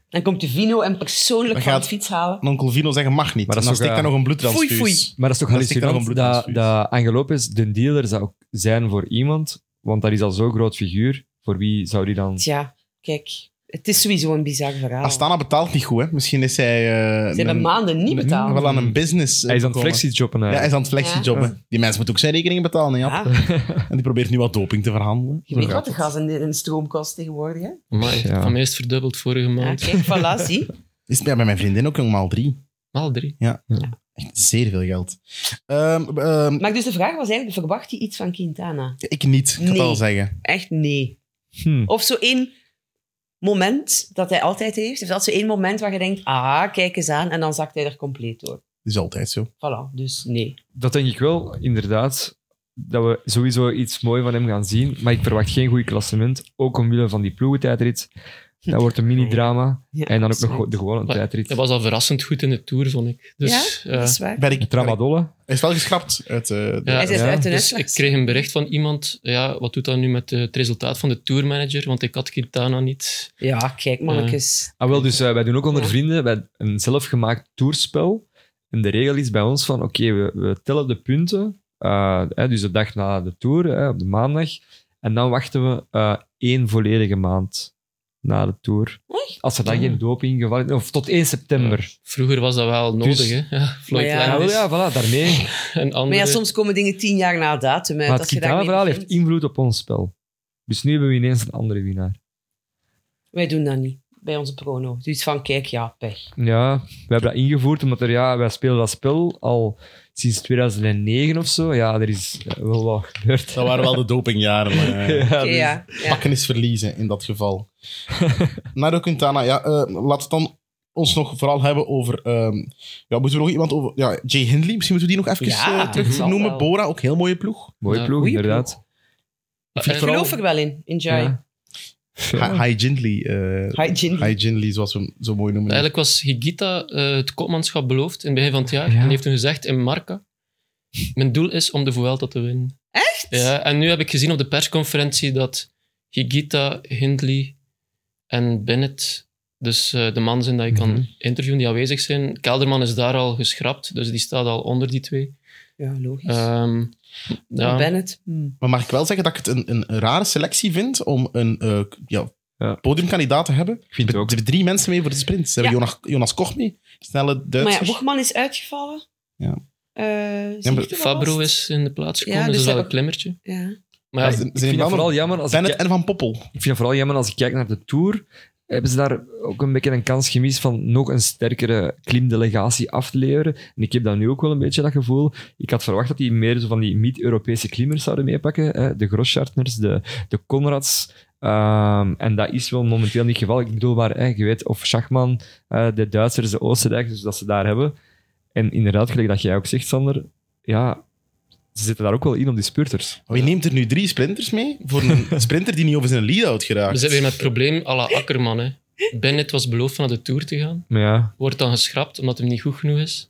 Dan komt de Vino en persoonlijk
Dan
van
gaat-
de fiets halen.
En onkel Vino zeggen mag niet.
Maar dat
en
is
dan
ook,
steekt daar
eh,
nog een bloedtransfusie.
foei, foei.
Maar dat is toch
Dat is toch
hallucinant
een
dat,
bloedtransfusie.
dat Angel Lopez de dealer zou zijn voor iemand, want dat is al zo'n groot figuur. Voor wie zou die dan...
Tja, kijk. Het is sowieso een bizar verhaal.
Astana betaalt niet goed, hè. Misschien is hij... eh,
Ze hebben
een-
maanden niet
een-
betaald.
wel aan een business eh,
Hij is aan het
begonnen.
flexijobben
Ja, hij
eigenlijk.
is aan het flexijobben. Die mens moet ook zijn rekeningen betalen, hè, Jap.
Ja,
En die probeert nu wat doping te verhandelen.
je
Zo
weet
gaat
wat de
het.
gas en de, en de stroom kost tegenwoordig. Hè?
Maar
Ja.
van mij is het verdubbeld vorige
Ja,
maand.
kijk, voilà, zie.
Is ja, bij mijn vriendin ook nog maal drie.
Maal drie.
Echt zeer veel geld. Ehm, ehm,
Maar dus de vraag was eigenlijk, verwacht je iets van Quintana?
ik niet, ik kan het
Nee.
al zeggen.
Echt nee.
Hm.
Of zo één moment dat hij altijd heeft. Of dat zo één moment waar je denkt, ah, kijk eens aan. En dan zakt hij er compleet door.
Dat is altijd zo.
Voilà, dus nee.
Dat denk ik wel, inderdaad. Dat we sowieso iets moois van hem gaan zien. Maar ik verwacht geen goed klassement. Ook omwille van die ploegentijdrit. Dat wordt een mini-drama.
Ja,
en dan ook nog
absoluut.
de gewone
Maar
tijdrit.
Hij was al verrassend goed in de Tour, vond ik. Dus, ja,
Dat is waar.
Ben ik,
De
ben ik-
Tramadolle.
hij is wel geschrapt uit eh, de-
Ja.
Hij zit
Ja,
uit de
Dus ik
uitslag.
kreeg een bericht van iemand, ja, wat doet dat nu met eh, het resultaat van de tourmanager? Want ik had Quintana niet.
Ja, kijk, mannetjes.
Ah, wel, dus eh, wij doen ook onder
Ja.
vrienden wij, een zelfgemaakt toerspel. En de regel is bij ons van, oké, we, we tellen de punten, eh, hè, dus de dag na de tour, hè, op de maandag. En dan wachten we eh, één volledige maand na de tour.
Echt?
Als er dan
Ah.
geen doping gevallen is, of tot 1 september.
Vroeger was dat wel nodig,
Dus-
hè? Ja, Floyd
Maar ja, dus-
Ja, wel, ja,
Landis
voilà, daarmee.
en
Maar
andere.
ja, soms komen dingen tien jaar na datum uit.
Maar het
als je daarmee
Kitana-verhaal heeft
begint.
invloed op ons spel. Dus nu hebben we ineens een andere winnaar.
Wij doen dat niet bij onze prono. Dus van, kijk, ja, pech.
Ja, we hebben dat ingevoerd omdat er, ja, wij spelen dat spel al sinds 2009 of zo. Ja, er is eh, wel wat gebeurd.
Dat waren wel de dopingjaren. maar, eh,
Oké,
dus-
ja. ja.
Pakken is verliezen in dat geval. Nairo Quintana, ja, eh laat het dan ons nog vooral hebben over... ehm, ja, moeten we nog iemand over... Ja, Jay Hindley, misschien moeten we die nog even
Ja,
eh, terug
zal
noemen.
wel.
Bora, ook heel mooie ploeg.
Mooie
Ja,
ploeg,
goeie
inderdaad.
Maar,
Ik
eh,
geloof er wel in, in Jai.
Ja.
Hi- Hi Hindley. eh,
Hi, Jin.
Hi Hindley, zoals we hem zo mooi noemen.
Eigenlijk was Higita eh, het kopmanschap beloofd in het begin van het jaar.
Ja.
En die heeft toen gezegd in Marca: Mijn doel is om de Vuelta te winnen.
Echt?
Ja, en nu heb ik gezien op de persconferentie dat Higita, Hindley en Bennett, dus eh, de mannen zijn dat je
Mhm.
kan interviewen die aanwezig zijn. Kelderman is daar al geschrapt, dus die staat al onder die twee.
Ja, logisch.
Ehm ja.
Bennett. hm.
Maar mag ik wel zeggen dat ik het een, een rare selectie vind om een eh, ja,
Ja.
podiumkandidaat te hebben?
Ik vind het ook.
Er zijn drie mensen mee voor de sprint. Ze hebben Jonas, Jonas Koch mee, snelle
Maar
Duitser.
ja, Boegman is uitgevallen.
Ja.
Eh, ziekte
maar
was
Fabro
het?
is in de plaats gekomen,
Ja, dus
dus,
hij
dat een
ook-
klimmertje.
Ja.
Ze- ze
Maar ja,
Ik vind,
zijn
dat
mannen-
vooral jammer als ik,
Bennett
kijk-
en Van Poppel.
ik vind dat vooral jammer als ik kijk naar de Tour. Hebben ze daar ook een beetje een kans gemist van nog een sterkere klimdelegatie af te leveren? En ik heb dat nu ook wel een beetje dat gevoel. Ik had verwacht dat die meer zo van die niet-Europese klimmers zouden meepakken. Hè? De Groschartners, de, de Conrads. Ehm, en dat is wel momenteel niet het geval. Ik bedoel maar, hè, je weet, of Schachman, eh, de Duitsers, de Oostenrijkers, dus dat ze daar hebben. En inderdaad, gelijk dat jij ook zegt, Sander, ja, ze zitten daar ook wel in op die spurters.
Maar je neemt er nu drie sprinters mee voor een sprinter die niet over zijn lead-out
we
geraakt.
zitten weer met het probleem à la Akkerman. Hè. Bennett was beloofd van naar de Tour te gaan.
Maar ja,
wordt dan geschrapt omdat hem niet goed genoeg is.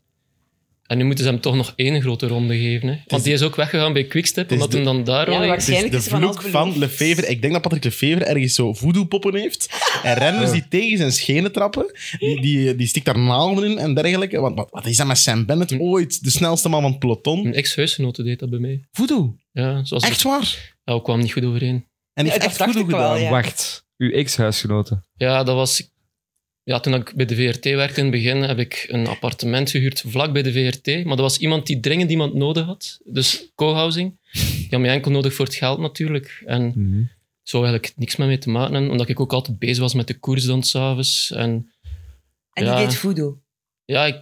En nu moeten ze hem toch nog één grote ronde geven. Hè? Want die is ook weggegaan bij Quickstep,
is
omdat
de-
hem dan daar
Ja,
al...
maar-
Het is
Waarschijnlijk
de
is van
vloek
alles
van
beloofd.
Lefevre. Ik denk dat Patrick Lefevre ergens zo voodoo-poppen heeft. En renners die tegen zijn schenen trappen, die, die, die stikt daar naalden in en dergelijke. Want wat, wat is dat met Sam Bennett? Ooit de snelste man van het peloton.
Een ex-huisgenote deed dat bij mij.
Voodoo.
Ja, zoals
Echt waar.
Ja, we kwamen niet goed overeen.
En die
Ja,
heeft
dat
echt
dacht
voodoo
ik wel,
gedaan.
ja.
Wacht, uw ex-huisgenote.
Ja, dat was... Ja, toen ik bij de VRT werkte in het begin, heb ik een appartement gehuurd vlak bij de VRT. Maar dat was iemand die dringend iemand nodig had. Dus co-housing. Die had mij enkel nodig voor het geld natuurlijk. En zou eigenlijk niks meer mee te maken hebben, omdat ik ook altijd bezig was met de koers dan s'avonds. En
En die
Ja.
deed voodoo.
Ja, ik,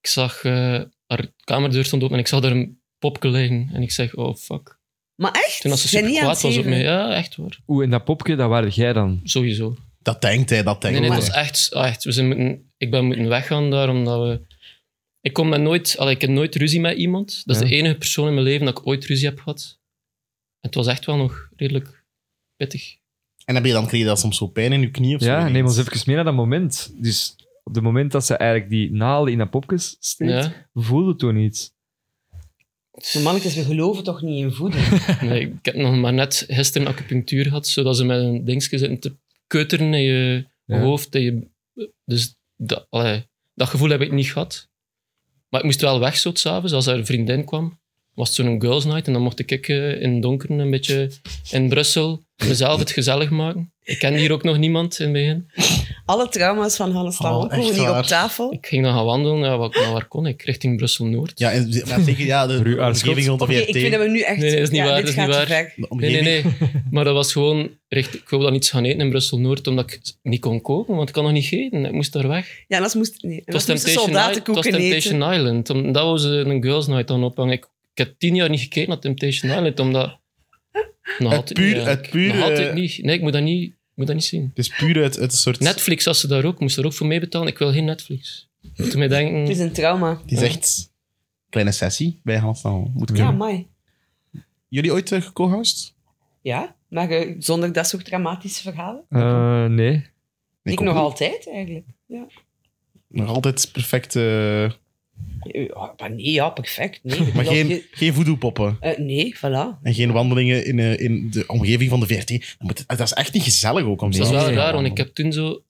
ik zag eh, haar kamerdeur stond open en ik zag daar een popke liggen. En ik zeg, oh fuck.
Maar echt?
Toen was ze
Zijn
super
niet aan
kwaad
het
was op
geven.
mij. Ja, echt hoor.
Oeh, en dat popje, dat waren jij dan.
Sowieso.
Dat denkt hij, dat denkt
Nee, nee, het
hij.
was echt... ah, echt we zijn moeten, ik ben moeten weggaan daar, omdat we... Ik, kom met nooit, allee, ik heb nooit ruzie met iemand. Dat is
Ja.
de enige persoon in mijn leven dat ik ooit ruzie heb gehad. En het was echt wel nog redelijk pittig.
En heb je dan, kreeg je dat soms zo pijn in je knie of zo?
Ja,
ineens?
neem ons even mee naar dat moment. Dus op het moment dat ze eigenlijk die naalden in dat popje steekt,
Ja.
voelde toen iets.
Maar mannetjes, we geloven toch niet in voodoo?
Nee, ik heb nog maar net gisteren acupunctuur gehad, zodat ze met een dingetje zitten te keuteren in je
Ja.
hoofd. En je, dus dat, allee, dat gevoel heb ik niet gehad. Maar ik moest wel weg zo 's avonds Als haar vriendin kwam, was het zo'n girls night. En dan mocht ik eh, in het donker een beetje in Brussel mezelf het gezellig maken. Ik kende hier ook nog niemand in het begin.
Alle trauma's van Hannes
Oh,
Lamont komen
echt
hier
waar.
op tafel.
Ik ging dan gaan wandelen. Ja, wat, nou, waar kon ik? Richting Brussel-Noord.
Ja, en, maar zeker ja, de
Ruud Aarschot.
omgeving rond de
Oké,
VRT.
ik vind dat we nu echt...
Nee, nee, dat is niet
ja,
waar,
dit
dat is
gaat
niet
te
waar.
ver.
De
Nee,
omgeving.
nee, nee. Maar dat was gewoon... Richt, ik wou dan iets gaan eten in Brussel-Noord, omdat ik niet kon koken, want ik kan nog niet eten. Ik moest daar weg.
Ja, dat moest... Nee,
Het
dat
was
moesten
Temptation, Island, het was
soldatenkoeken eten.
Temptation Island. Om- Dat was eh, een girls night aan ophangen. Ik, ik heb tien jaar niet gekeken naar Temptation Island, omdat... Nou,
Het puur-
niet,
het puur,
Nou, had
eh,
ik niet. Nee, ik moet dat niet, ik moet dat niet zien.
Het is puur uit, uit een soort...
Netflix had ze daar ook. Moest er ook voor mee betalen. Ik wil geen Netflix. Ik moet mij denken...
Het is een trauma.
Die zegt... Kleine sessie bij Hans dan. Moet ik
Ja, mooi.
Jullie ooit eh, geco-housed?
Ja, maar eh, zonder dat soort dramatische verhalen?
Eh, nee.
Ik
kom
nog
goed.
altijd, eigenlijk.
Nog altijd perfect. eh,
Ja, maar nee, ja, perfect. Nee,
maar
Ja,
geen,
je-
geen voodoo-poppen.
eh, nee, voilà.
En geen wandelingen in, eh, in de omgeving van de VRT. Dan moet het- dat is echt niet gezellig ook om
Nee.
Dat
zelf
is wel
te gaan
raar, want ik
wandelen.
heb toen zo,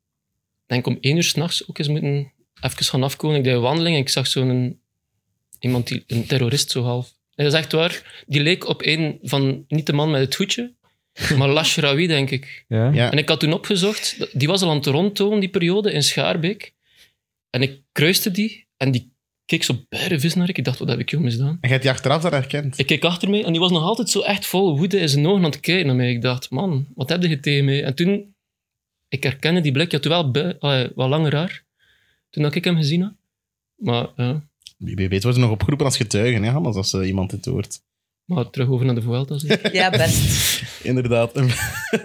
denk om één uur s'nachts ook eens moeten even gaan afkomen. Ik deed een wandeling en ik zag zo'n iemand, die, een terrorist zo half. En dat is echt waar. Die leek op een van, niet de man met het hoedje, maar Lashrawi, denk ik.
Ja?
Ja.
En ik had toen opgezocht, dat- die was al aan het rondtomen die periode in Schaarbeek. En ik kruiste die en die keek zo berrevis naar ik. Ik dacht, wat heb ik jou misdaan?
En jij hebt die achteraf daar herkend.
Ik keek achter me en die was nog altijd zo echt vol woede in zijn ogen aan het kijken naar mij. Ik dacht, man, wat heb je tegen mij? En toen, ik herkende die blik, ja, toen wel bui- allee, wat langer raar, toen dat ik hem gezien had. Maar, ja,
Wie weet wordt er nog opgeroepen als getuigen, hè, Hannes, als eh, iemand dit hoort.
maar terug over naar de Vuelta. zeg.
Ja, best.
Inderdaad. Een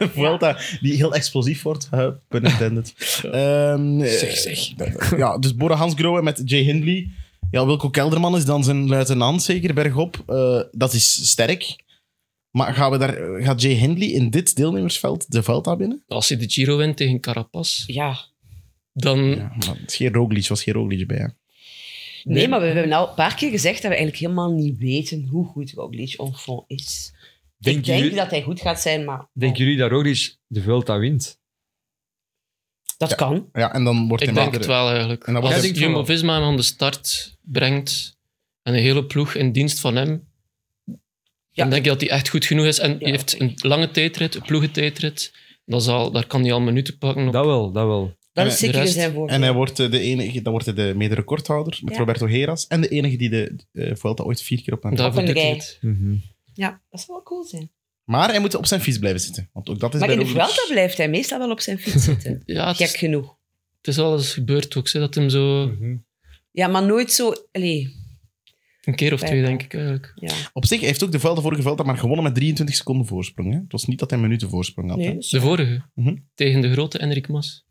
Vuelta die heel explosief wordt. Huh, Pun intended. Ehm, eh,
Zeg, zeg.
Ja, dus Bora Hansgrohe met Jay Hindley. Ja, Wilco Kelderman is dan zijn luitenant, zeker, bergop. Eh, dat is sterk. Maar gaan we daar, gaat Jay Hindley in dit deelnemersveld de Vuelta binnen?
Als hij de Giro wint tegen Carapaz,
Ja.
dan...
Ja, maar het is geen Roglic, was geen Roglic bij. hè.
Nee, maar we hebben al een paar keer gezegd dat we eigenlijk helemaal niet weten hoe goed Roglic on fond is.
Denken
ik denk
jullie-
dat hij goed gaat zijn, maar oh,
Denken jullie dat Roglic de Vuelta wint?
dat
Ja.
kan.
Ja, en dan wordt
Ik
hij
denk
later-
het wel eigenlijk.
En dan was
Als
hij-
Jumbo-Visma hem aan de start brengt en de hele ploeg in dienst van hem, dan denk je dat hij echt goed genoeg is. En hij
dat
heeft
denk
een lange tijdrit, een ploegentijdrit. Dat zal, daar kan hij al minuten pakken. Op.
Dat wel, dat wel.
Dat
En
is
de
zeker
rest-
zijn voorbeeld.
En hij wordt eh, de enige, dan wordt hij de mede-recordhouder met
Ja.
Roberto Heras. En de enige die de eh, Vuelta ooit vier keer op een
Daarvoor
Op een
doet hij
rij.
het.
Mhm.
Ja, dat zou wel cool zijn.
Maar hij moet op zijn fiets blijven zitten. Want ook dat is
Maar
bij
in de
Roglic-
Vuelta blijft hij meestal wel op zijn fiets zitten.
Ja, het
Gek
is,
genoeg.
het is alles gebeurd ook. Ze, dat hem zo
Ja, maar nooit zo... Allee,
een keer of twee,
Ja.
denk ik eigenlijk.
ja.
Op zich hij heeft ook de Vuelta, vorige Vuelta maar gewonnen met 23 seconden voorsprong. Hè? Het was niet dat hij minuten voorsprong had. hè.
Nee.
De vorige,
Mhm.
tegen de grote Enrik Mas.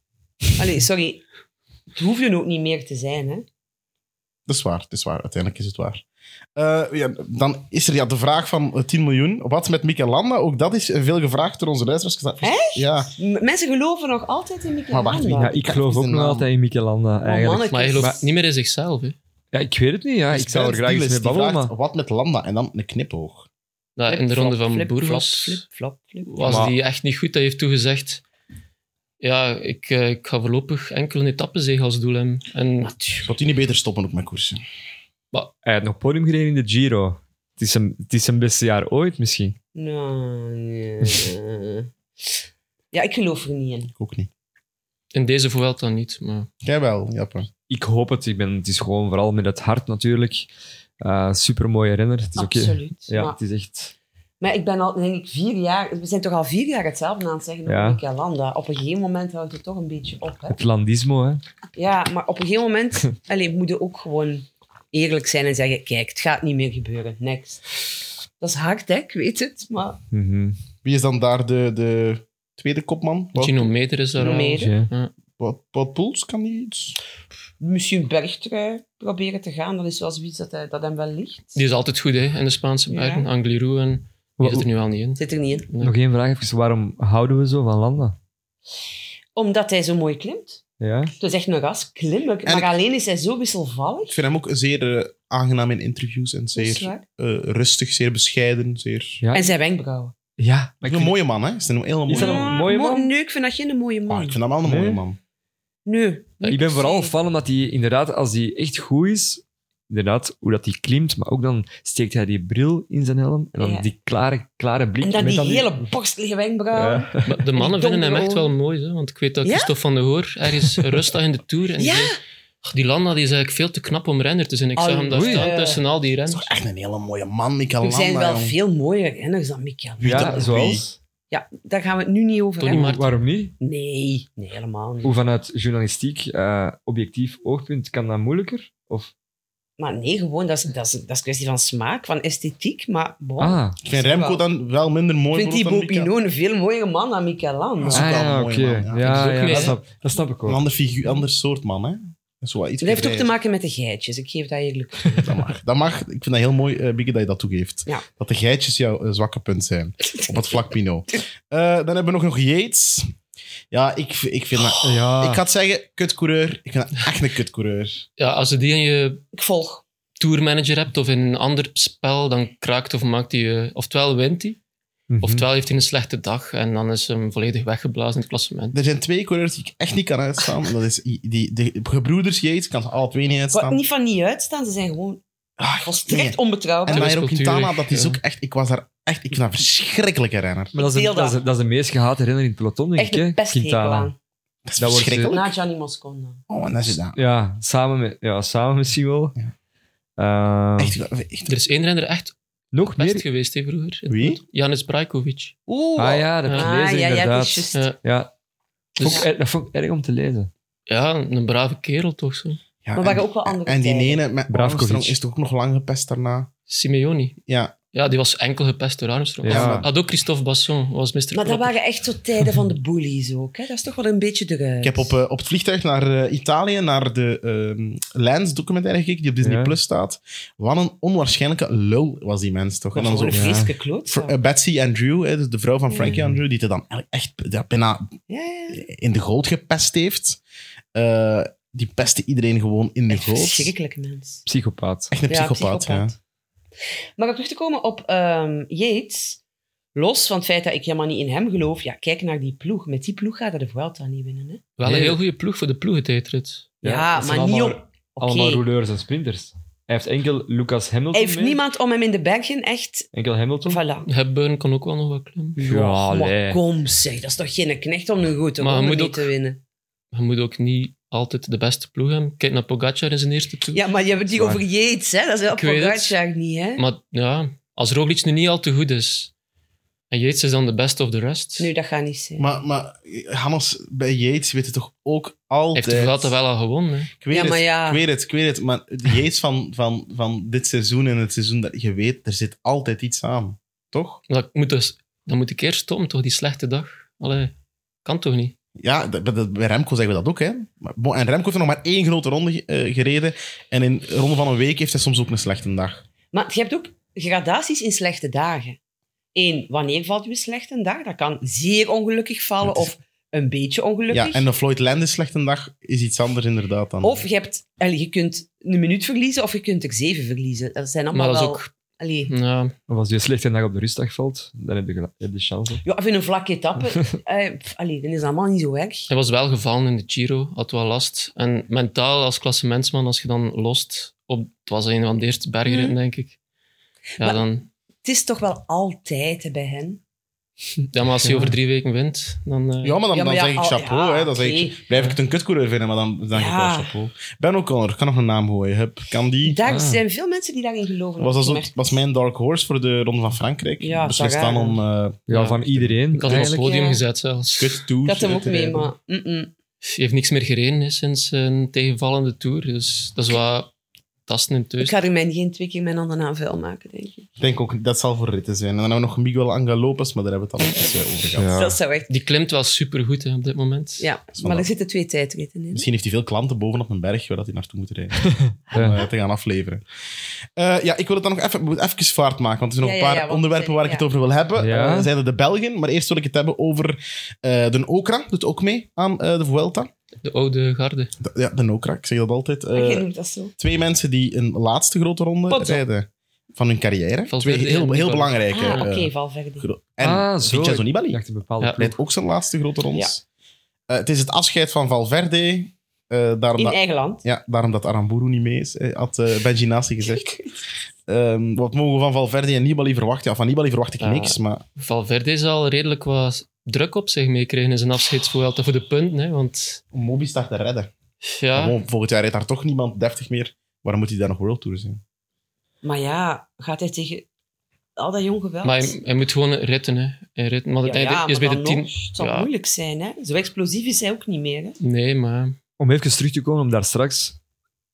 Allee, sorry. Het hoefde ook niet meer te zijn, hè.
Dat is waar, dat is waar. Uiteindelijk is het waar. Eh, ja, dan is er ja, de vraag van eh, 10 miljoen. Wat met Mikel Landa? Ook dat is eh, veel gevraagd door onze luisteraars.
Echt?
Ja,
M- mensen geloven nog altijd in Mikel
Maar wacht,
Landa.
Ja, ik geloof ook nog altijd in
Oh,
Mikelanda, eigenlijk.
mannetjes.
Maar hij gelooft
Maar-
niet meer in zichzelf. Hè.
Ja, ik weet het niet, ja.
Dus
Ik zou er graag eens mee
Die
babbelen,
vraagt,
maar...
Wat met Landa? En dan een knipoog.
Ja, in de
Flip,
ronde van
flip,
Burgos
Flap, flap, flap.
was
Maar-
die echt niet goed. Hij heeft toegezegd, ja, ik, eh, ik ga voorlopig enkel een etappezege als doel hebben. En
Gaat hij niet beter stoppen op mijn koersen?
Hij had nog podium gereden in de Giro. Het is zijn, het is zijn beste jaar ooit, misschien.
Nou, nee. Ja, ik geloof er niet in.
Ik ook niet.
in deze Vuelta niet. Maar
Jij wel, Jappe.
Ik hoop het. Ik ben, het is gewoon vooral met het hart, natuurlijk. Eh supermooie renner. Het is oké.
Absoluut.
Ja,
Maar,
het is echt...
maar ik ben al, denk ik, vier jaar... We zijn toch al vier jaar hetzelfde aan het zeggen over
Ja.
Mikel Landa. Op een gegeven moment houdt het toch een beetje op, hè.
Het landismo, hè.
Ja, maar op een gegeven moment allee, moet je ook gewoon eerlijk zijn en zeggen: kijk, het gaat niet meer gebeuren. Next. Dat is hard, hè? ik weet het. Maar
Mhm.
Wie is dan daar de, de tweede kopman? Wout-
Gino Meter is daar al.
Meter.
Ja.
Wout Wout Poels kan die iets?
misschien bergtrui proberen te gaan, dat is wel zoiets dat, hij, dat hem wel ligt.
Die is altijd goed hè, in de Spaanse
Ja.
bergen. Angliru en die zit er nu wel niet in.
Zit er niet in.
Nog één vraag even. Waarom houden we zo van Landa?
Omdat hij zo mooi klimt.
Ja?
Het is echt een ras klimmen.
En
Maar
ik-
alleen is hij zo wisselvallig.
Ik vind hem ook zeer eh, aangenaam in interviews en
Dat is
zeer
waar.
eh, rustig, zeer bescheiden. Zeer...
Ja.
En zijn wenkbrauwen.
Ja. Maar
Hij
ik
is een
vind-
mooie man, hè? Hij Is een hele mooie
dat een
man.
mooie
mo-
man?
Nee, ik vind dat geen mooie man.
Ah, ik vind hem wel een mooie
Nee.
man.
Nee.
Ik ben vooral
Zeker.
fan omdat hij inderdaad, als hij echt goed is, inderdaad, hoe dat hij klimt, maar ook dan steekt hij die bril in zijn helm en dan
Ja.
die klare, klare blik.
En dan
met
die
dan die-
hele borstelige wenkbrauwen.
Ja.
Maar de mannen
Die
vinden hem echt
donker
wel mooi, hè? want ik weet dat
Ja?
Christophe van der Hoor ergens rustig in de Tour... En die
Ja.
zei, "Ach, die Landa die is eigenlijk veel te knap om renner te zijn. Ik
Al-
zag hem daar
Oei.
staan
Eh.
tussen al die
Dat is
renners.
toch echt een hele mooie man, Mikel
Er
Landa.
zijn wel
jong.
veel mooier renners dan Mikel.
Wie
Ja,
dat-
zoals?
Ja, daar gaan we het nu niet over
Tony
hebben.
Martin.
Waarom niet?
Nee, nee, helemaal niet.
Hoe vanuit journalistiek, eh, objectief oogpunt, kan dat moeilijker? Of,
Maar nee, gewoon, dat is, dat is, dat is een kwestie van smaak, van esthetiek. Maar bon,
ah,
Ik vind Remco dan wel minder mooi.
ik vind die
bijvoorbeeld, dan Mikel.
Bobino een veel mooier man dan Michelan.
Dat is
ah,
ook wel een
ja, oké.
mooie
Ja,
man, ja.
ja,
Dat is ook mee,
dat,
hè?
snap, dat snap ik
Een
ook.
ander, figuur, ander soort man, hè? Dat is wel iets
Dat heeft ook te
gedreven.
maken met de geitjes, ik geef dat eerlijk toe.
Dat mag. dat mag. Ik vind dat heel mooi, eh Bieke, dat je dat toegeeft.
Ja.
Dat de geitjes jouw eh, zwakke punt zijn. Op het vlak Pino. Eh, dan hebben we nog, nog Yates. Ja, ik, v- ik vind dat...
Ja.
Ik ga het zeggen, kutcoureur. Ik vind dat echt een kutcoureur.
Ja, als je die in je
Ik volg.
tourmanager hebt of in een ander spel, dan kraakt of maakt hij je... Oftewel wint hij,
Mhm.
oftewel heeft hij een slechte dag en dan is hem volledig weggeblazen in het klassement.
Er zijn twee coureurs die ik echt niet kan uitstaan. En Dat is die, die, de gebroeders Yates. Ik kan ze alle twee niet
Wat,
uitstaan.
niet van niet uitstaan, ze zijn gewoon
Ah,
volstrekt
nee. En
onbetrouwbaar.
dat is
Nairo
cultuurlijk,
Quintana, dat is
ja.
ook echt... Ik was daar echt... Ik vind dat een verschrikkelijke renner.
Maar dat is, een-
Deel
dat, is,
dat.
dat is de meest gehate renner in het peloton, denk
Echt
ik. hè?
de pesthekel
Quintana.
aan.
Dat is
Dat wordt, eh,
verschrikkelijk.
Na Gianni Moscon dan.
Oh, en dat is het. nou.
Ja, samen, met, ja, samen misschien wel. Eh,
Echt, echt-
Er is één renner echt
nog
best
meer?
geweest hè, vroeger.
Wie?
Janis Brajkovic.
Oeh.
Ah ja, dat heb ik
Ah,
gelezen,
ja, ja, dat
inderdaad.
is juist.
Ja,
Ja, dat,
dus,
vond ik, er- dat vond ik erg om te lezen.
ja, een brave kerel toch zo.
Ja, en-
Maar we waren ook wel andere
En die
tijden.
ene met
Bravkovic.
Armstrong is toch ook nog lang gepest daarna?
Simeoni.
Ja.
Ja, die was enkel gepest door Armstrong.
Ja.
maar-
Had ook Christophe Basson, was Mr.
Maar dat
Klopper.
waren echt zo tijden van de bullies ook. Hè? Dat is toch wel een beetje eruit.
Ik heb op, eh, op het vliegtuig naar eh, Italië, naar de ehm Lens-documentaire gekeken, die op Disney
Ja.
Plus staat. Wat een onwaarschijnlijke lul was die mens toch? En dan zo,
een
Ja.
vreselijke kloot.
Fr- eh, Betsy Andrew, hè, dus de vrouw van Frankie
Ja.
Andrew, die het dan eigenlijk echt ja, bijna
Ja, ja.
in de goot gepest heeft. Eh, die pestte iedereen gewoon in de
Echt
goot.
verschrikkelijke mens.
Psychopaat.
Echt een
Ja,
psychopaat, ja.
Maar om terug te komen op ehm Yates, los van het feit dat ik helemaal niet in hem geloof, ja, kijk naar die ploeg. Met die ploeg gaat hij de Vuelta niet winnen. Hè?
Wel een
Nee.
heel goede ploeg voor de ploegentijdrit.
Ja,
dat zijn
maar niet
allemaal-
op... Oké.
Allemaal rouleurs en sprinters. Hij heeft enkel Lucas Hamilton
Hij heeft
mee.
niemand om hem in de bergen echt...
Enkel Hamilton.
Voilà.
Hepburn kon ook wel nog wat klimmen.
Ja,
maar
nee.
kom zeg, dat is toch geen knecht om een goede
Maar je
ronde
moet
mee
ook-
te winnen.
Je moet ook niet altijd de beste ploeg hebben. Kijk naar Pogacar in zijn eerste toer.
Ja, maar je hebt het hier
Zwaar.
over Yates, hè? dat is wel
Ik weet het.
Pogacar niet. Hè?
Maar ja, als Roglic nu niet al te goed is, en Yates is dan de best of the rest,
Nu, dat gaat niet zijn.
Maar, maar eh, Hannes, bij Yates weet het toch ook
heeft
altijd...
de Vuelta wel al gewonnen. hè.
Ik weet
Ja,
het,
maar ja.
ik weet het, ik weet het. Maar de geest van, van, van dit seizoen en het seizoen dat je weet, er zit altijd iets aan. Toch?
Dat moet, dus, dat moet ik eerst stoppen, toch? Die slechte dag. Allee, kan toch niet?
Ja, dat- dat- bij Remco zeggen we dat ook. Hè? Maar, bon, en Remco heeft nog maar één grote ronde eh, gereden. En in een ronde van een week heeft hij soms ook een slechte dag.
Maar je hebt ook gradaties in slechte dagen. Eén, wanneer valt je een slechte dag? Dat kan zeer ongelukkig vallen
Dat is-
of een beetje ongelukkig.
Ja, en een Floyd Landis slechte dag is iets anders inderdaad dan...
Of je, hebt, allee, je kunt een minuut verliezen of je kunt er zeven verliezen. Dat zijn allemaal
Maar dat is
wel...
ook...
Hm.
allee.
Ja,
Of als je slecht een dag op de rustdag valt, dan heb je, gel- heb je chance.
Ja, of in een vlakke etappe. eh, pff, allee, dan is dat allemaal niet zo erg.
Hij was wel gevallen in de Giro, had wel last. En mentaal als klassementsman, als je dan lost, op, het was een van de eerste bergritten,
Mhm.
denk ik. Ja,
Maar-
dan,
Het is toch wel altijd hè, bij hen.
ja, maar als hij
Ja.
over drie weken wint, dan... eh,
Ja, maar dan,
Ja, maar ja,
dan zeg ik
al-
chapeau.
ja,
hè. Dan zeg ik,
oké.
blijf ik het een kutcoureur vinden, maar dan, dan zeg ik
Ja.
wel chapeau. Ben O'Connor, kan nog een naam gooien. Hup, kan die...
Daar
Ah.
zijn veel mensen die daarin geloven.
Was, dat zo-
opgemerkt.
was mijn dark horse voor de Ronde van Frankrijk.
Ja,
Beslist
Sagan.
dan om... eh,
Ja,
Ja.
van iedereen.
Ik had hem op het
eigenlijk.
podium
ja.
gezet zelfs.
kut tour.
Ik had hem ook
te
mee,
rijden.
maar... mm-mm.
Hij heeft niks meer gereden hè, sinds een tegenvallende tour. Dus dat is wat tasten in
Ik
thuis.
ga er mijn geen twee keer mijn handen aan vuil maken, denk ik.
Ik denk ook dat zal voor ritten zijn. En dan hebben we nog Miguel Angel Lopez, maar daar hebben we het al eens eh, over gehad.
Ja.
Dat zou echt...
Die klimt wel supergoed hè, op dit moment.
Ja,
is wel
maar er
dat.
zitten twee tijdritten in.
Misschien heeft hij veel klanten bovenop een berg waar dat hij naartoe moet rijden. Om
Ja.
eh, te gaan afleveren. Eh, ja, ik wil het dan nog even, we moeten even vaart maken, want er zijn nog
Ja,
een
ja,
paar
ja, want- eh,
onderwerpen waar ik
ja.
het over wil hebben.
Ja.
Eh, zijn er de Belgen, maar eerst wil ik het hebben over eh, de Okra. Doet ook mee aan eh, de Vuelta.
De oude garde.
De- ja, de Okra, ik zeg dat altijd. Eh,
Jij noemt dat zo.
twee mensen die een laatste grote ronde
Potso.
rijden van hun carrière.
Valverde
twee heel,
en
heel
Nibali.
belangrijke.
Ah, oké,
eh,
Valverde.
gro- en
ah, zo.
Vincenzo
Ik
Nibali.
dacht een bepaalde
Ja.
ploeg.
leidt ook zijn laatste grote ronde. het is het afscheid van Valverde. eh, daarom,
In
dat,
eigen land.
ja, daarom dat Aramburu niet mee is, eh, had eh Benji Nasi gezegd. Ehm, wat mogen we van Valverde en Nibali verwachten? Ja, van Nibali verwacht ik
Ja.
niks, maar
Valverde zal redelijk wat druk op zich meekrijgen in zijn afscheidsvoorbeeld voor de punten. Hè, want
Moby staat te redden.
ja,
Gewoon, volgend jaar rijdt daar toch niemand deftig meer. Waarom moet hij daar nog World Tour zijn?
Maar ja, gaat hij tegen al dat jong geweld?
maar hij, hij moet gewoon ritten. Hè, Hij ritten. Want
ja,
uiteindelijk
ja,
is
maar
bij de
dan
tien.
nog, het zal
ja.
moeilijk zijn, hè? Zo explosief is hij ook niet meer. Hè?
Nee, maar
Om even terug te komen om daar straks.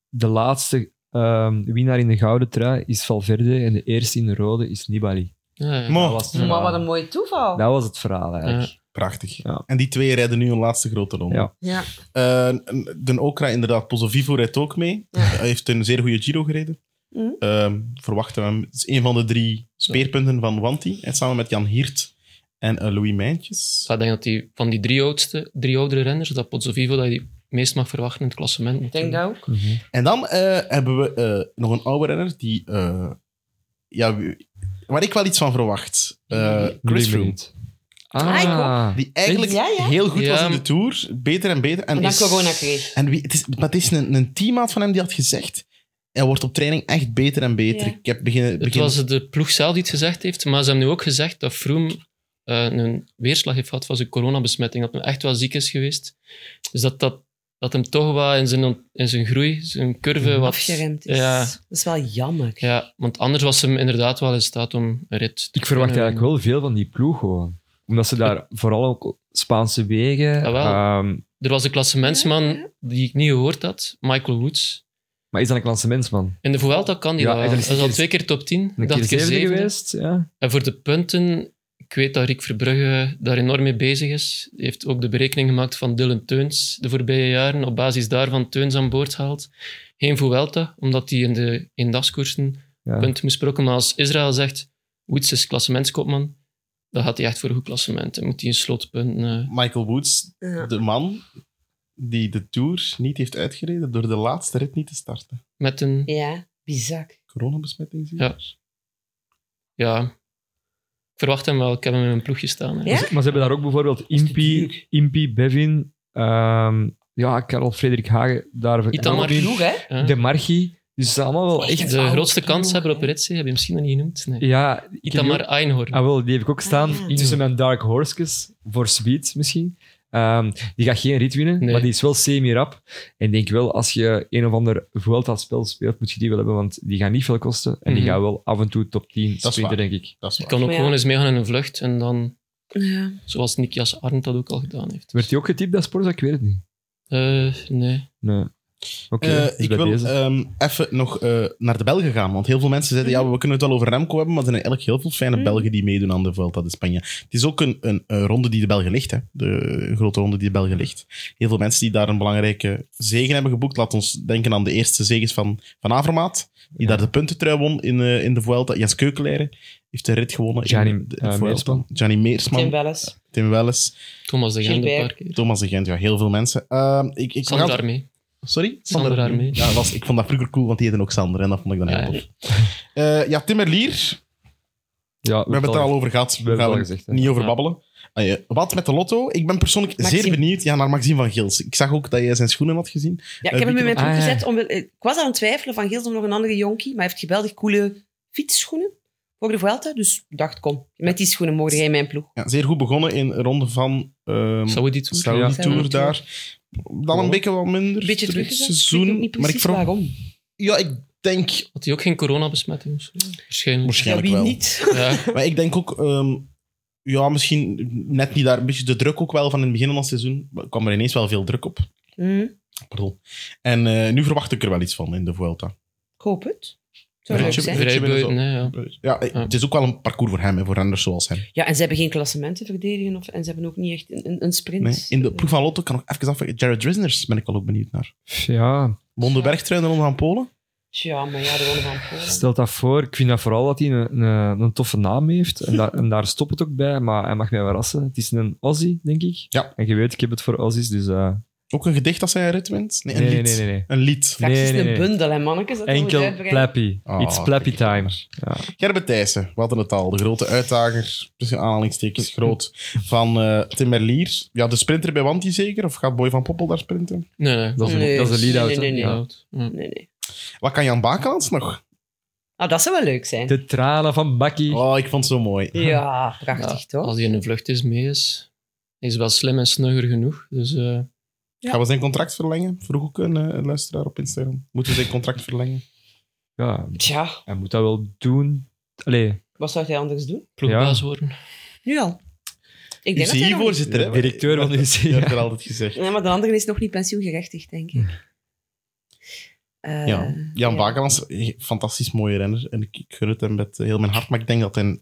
De laatste ehm, winnaar in de gouden trui is Valverde en de eerste in de rode is Nibali.
ja, ja.
Mo,
Dat was het verhaal.
Ah.
Maar wat een mooi toeval.
Nou,
Dat was het verhaal eigenlijk.
prachtig.
Ja.
En die twee rijden nu hun laatste grote ronde.
Ja.
Ja.
Eh, de Okra, inderdaad, Pozzovivo rijdt ook mee.
Ja.
Hij heeft een zeer goede Giro gereden.
Mhm.
Ehm, verwachten we hem. Het is een van de drie speerpunten van Wanti. hè, Samen met Jan Hiert En eh, Louis Mijntjes.
Ik denk dat die, van die drie, oudste, drie oudere renners, dat Pozzovivo dat je die meest mag verwachten in het klassement.
Ik denk dat
Mhm.
ook.
En dan eh, hebben we eh, nog een oude renner die... eh, ja, wie- waar ik wel iets van verwacht. Eh, Chris Froome.
Brilliant.
Ah, ik
Ah,
Die eigenlijk
Ja, ja.
heel goed
Ja.
was in de Tour. Beter en beter. En
En dan
is-
corona kreeg.
En wie, het is, maar het is een, een teammaat van hem die had gezegd... Hij wordt op training echt beter en beter.
Ja.
Ik heb beginnen...
Het
begin-
was de ploeg zelf die het gezegd heeft, maar ze hebben nu ook gezegd dat Froome eh, een weerslag heeft gehad van zijn coronabesmetting, dat hij echt wel ziek is geweest. Dus dat, dat, dat hem toch wel in zijn, ont- in zijn groei, zijn
Mhm.
curve wat...
Afgeremd is.
Ja.
Dat is wel jammer.
Ja, want anders was hem inderdaad wel in staat om een rit te
ik verwacht
kunnen
eigenlijk wel veel van die ploeg gewoon. Omdat ze daar vooral ook Spaanse wegen...
Ah, wel.
ehm,
Er was een klassementsman die ik niet gehoord had, Michael Woods.
maar is dat een klassementsman?
In de Vuelta kan die
Ja,
dat
en
wel.
dan
Hij
is
is al
hij-
twee keer top 10.
Een
dacht
keer
ik
zevende
zevende.
geweest? Ja.
En voor de punten, ik weet dat Rick Verbrugge daar enorm mee bezig is. Hij heeft ook de berekening gemaakt van Dylan Teuns de voorbije jaren. Op basis daarvan Teuns aan boord gehaald. Geen Vuelta, omdat hij in de eendagskoersen
Ja.
punten moest prokken. Maar als Israël zegt, Woods is klassementskopman, dan gaat hij echt voor een goed klassement. Dan moet hij een slootpunt... eh,
Michael Woods,
Ja.
de man die de Tour niet heeft uitgereden door de laatste rit niet te starten.
met een...
Ja, bizar.
Coronabesmetting zie je?
Ja. Ja. Ik verwacht hem wel. Ik heb hem in mijn ploegje staan. hè. Dus,
Ja?
Maar ze hebben daar ook bijvoorbeeld Impi, Impi Bevin, ehm, ja, Karel Frederik Hagen, daar
Itamar.
en ook
Ploeg, hè?
Ja.
in De Marchi. Dus het zijn allemaal wel echt...
Echt?
De
oude
eh, grootste
ploeg,
kans hebben
hè.
op Ritse heb je misschien nog niet genoemd. Nee.
Ja, ik heb die
Itamar
ook-
Einhorn.
Ah, wel, die heb ik ook staan.
Ah, ja.
Tussen mijn Dark Horses, voor Speed misschien. Ehm, die gaat geen rit winnen,
Nee.
maar die is wel semi-rap. En ik denk wel, als je een of ander Vuelta-spel speelt, moet je die wel hebben, want die gaan niet veel kosten. En die
Mhm.
gaan wel af en toe top 10
waar.
sprinten, denk ik.
Dat is
Je
waar.
kan ook
Ja.
gewoon eens meegaan in een vlucht. En dan,
Ja.
zoals Nikias Arndt dat ook al gedaan heeft.
Werd die ook getipt, dat Sporza? Ik weet het niet.
Eh, nee.
Nee. Oké,
Eh,
dus
ik
bij
wil
deze.
ehm, even nog eh, naar de Belgen gaan, want heel veel mensen zeiden,
Mhm.
ja, we kunnen het wel over Remco hebben, maar er zijn eigenlijk heel veel fijne
Mm.
Belgen die meedoen aan de Vuelta de Spanje. Het is ook een, een, eh, ronde die de Belgen ligt, hè. de eh, grote ronde die de Belgen ligt. Heel veel mensen die daar een belangrijke zegen hebben geboekt. Laat ons denken aan de eerste zegens van, van Avermaat, die daar de puntentrui won in, eh, in de Vuelta. Jens Keukeleire heeft de rit gewonnen
Gianni,
in de, de
eh,
Vuelta.
Meersman.
Gianni Meersman.
Tim Welles.
Tim Welles.
Thomas de Gent een
Gilbert.
paar keer.
Thomas de Gent, ja, heel veel mensen. Ehm, ik, ik
Sander
ik-
Armee.
Sorry?
Sander Armee.
Ja, dat was, ik vond dat vroeger cool, want die heette ook Sander. En dat vond ik dan heel
Ja, ja.
tof. Eh, ja, Timmerlier.
Ja,
We hebben het er al over gehad.
we hebben
We
het
gaan
al
er
gezegd, hè.
niet over
Ja.
babbelen. Ah, ja. Wat met de lotto? Ik ben persoonlijk
Maxime.
zeer benieuwd ja, naar Maxime van Gils. Ik zag ook dat jij zijn schoenen had gezien.
Ja, ik heb hem in mijn
Ah,
ploeg
ja.
gezet. Om, ik was aan het twijfelen van Gils om nog een andere jonkie, maar hij heeft geweldig coole fietsschoenen voor de Vuelta. Dus ik dacht, kom, met die schoenen mogen jij in mijn ploeg.
Ja, zeer goed begonnen in een ronde van ehm
Saoedi Tour.
Saudi
Ja.
Tour
Ja.
daar. Dan een
Ja.
beetje wat minder.
Een beetje
terug
teruggezet. ik weet
seizoen.
ook niet
maar
precies
ik vro-
waarom.
Ja, ik denk
Had hij ook geen coronabesmetting? of zo? Waarschijnlijk.
Ja,
waarschijnlijk
wie
wel.
niet?
Ja.
Maar ik denk ook, ehm, ja, misschien net niet daar een beetje de druk ook wel van in het begin van het seizoen. Maar kwam er ineens wel veel druk op.
Hm,
Pardon. En eh, nu verwacht ik er wel iets van in de Vuelta.
ik hoop het. Zou
Ja,
leuk
je-
zijn.
Vrijbuiten, hè, ja.
Ja, eh,
Ja.
het is ook wel een parcours voor hem, hè, voor renners zoals hem.
Ja, en ze hebben geen klassementen verdedigen of, en ze hebben ook niet echt een, een, een sprint.
Nee. In de ploeg van Lotto kan ik even afvragen. Jared Drisners ben ik wel ook benieuwd naar.
Ja,
Won de bergtrein onder aan Polen.
Ja, maar ja, de Ronde van Polen.
Stel dat voor. Ik vind dat vooral dat hij een, een, een toffe naam heeft. En, daar en daar stopt het ook bij. Maar hij mag mij verrassen. Het is een Aussie, denk ik.
Ja.
En je weet, ik heb het voor Aussies. Dus, eh,
Ook een gedicht als hij een rit wint? Nee, een
nee, nee,
lied.
nee, nee, nee.
Een lied.
Straks
Nee,
is het
nee,
een
nee.
bundel, hè, mannetjes. Dat moet je
Enkel
uitbrengen.
Plappy.
Oh,
It's Plappy
kijk.
time.
Gerben Thijssen, we hadden het al. De grote uitdager, tussen aanhalingstekens groot, van eh Tim Merlier. Ja, de sprinter bij Wanty zeker? Of gaat Boy van Poppel daar sprinten?
Nee, nee.
Dat is een,
Nee,
dat is een lead-out.
nee, nee,
hè.
nee.
Ja.
Ja.
Nee, nee.
Wat kan Jan Bakelands nog?
Nou, dat zou wel leuk zijn.
De tranen van Bakkie.
Oh, ik vond het zo mooi.
Ja, prachtig,
Ja,
toch?
Als hij in een vlucht is, mee is, hij is wel slim en snugger genoeg. Dus eh,
Gaan we zijn contract verlengen? Vroeg ook een eh, luisteraar op Instagram. Moeten we zijn contract verlengen?
Ja,
Tja,
hij moet dat wel doen. Allee,
wat zou jij anders doen?
ploegbaas worden.
Nu al. Ik denk dat hij nog niet-
UCI-voorzitter,
de
hè?
directeur van de UCI.
Je hebt er
Ja.
altijd gezegd.
Nee, maar de andere is nog niet pensioengerechtigd, denk ik. Eh,
Ja, Jan
ja.
Bakelans, fantastisch mooie renner. En ik, ik gun het hem met eh, heel mijn hart, maar ik denk dat hij...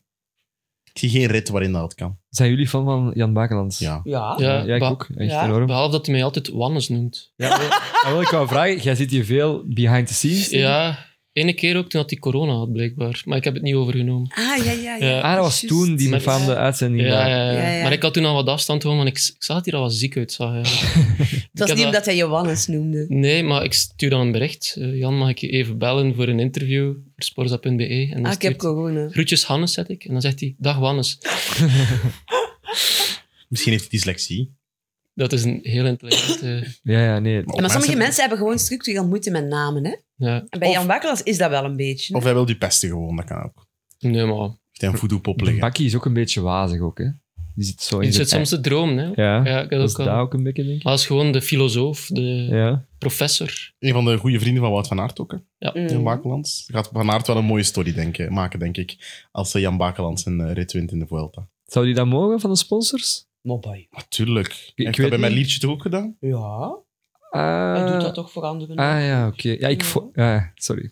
Ik zie geen rit waarin dat kan.
Zijn jullie fan van Jan Bakelands?
Ja.
Ja.
Ja,
ja ik
ba-
ook. Echt
Ja.
enorm.
Behalve dat hij mij altijd Wannes noemt.
Ja, wel- ah, wel, ik wou vragen, jij zit hier veel behind the scenes. denk ik.
Ja, Ene keer ook toen had hij corona had, blijkbaar. Maar ik heb het niet overgenomen.
Ah, ja, ja. ja.
Ja.
Ah, dat was
Juist.
toen die
Met-
befaamde uitzending.
Ja,
daar.
ja, ja.
Ja, ja.
Maar ik had toen al wat afstand gewoon, want ik, ik zag dat hij er al wat ziek uitzag. eigenlijk.
Het was
heb
niet
dat-
omdat hij Johannes noemde.
Nee, maar ik stuur dan een bericht. Eh, Jan, mag ik je even bellen voor een interview voor sporza.be? En dan
Ah, ik heb
stuurt-
corona.
Groetjes Hannes, zet ik. En dan zegt hij, dag Hannes.
Misschien heeft hij dyslexie.
Dat is een heel intelligent... eh,
Ja, ja, nee.
Maar-
Maar sommige
mensen-
mensen hebben gewoon structureel moeite met namen, hè?
ja.
En bij
Of-
Jan Wakkelaars is dat wel een beetje.
Of hij wil die pesten gewoon, dat kan ook. Heeft
Nee, maar...
hij een voodoo-pop
De
liggen.
bakkie is ook een beetje wazig ook, hè. Die zit zo in
Je
zijn
zit soms te dromen, hè.
Ja,
Ja, ik had
dat is
ook al...
daar ook een beetje, denk ik.
Maar dat is gewoon de filosoof, de
Ja.
professor.
Een van de goede vrienden van Wout van Aert ook, hè?
Mm.
Jan Bakelands. Gaat van Aert wel een mooie story denken, maken, denk ik. Als eh, Jan Bakelands een eh, rit wint in de Vuelta.
Zou die dat mogen van de sponsors?
Mobile.
Natuurlijk.
weet
Heeft dat bij
niet.
mijn liedje toch ook gedaan?
Ja,
Ah,
hij doet dat toch voor anderen.
Ah ja, oké. Ja, ik... vo- ja, sorry.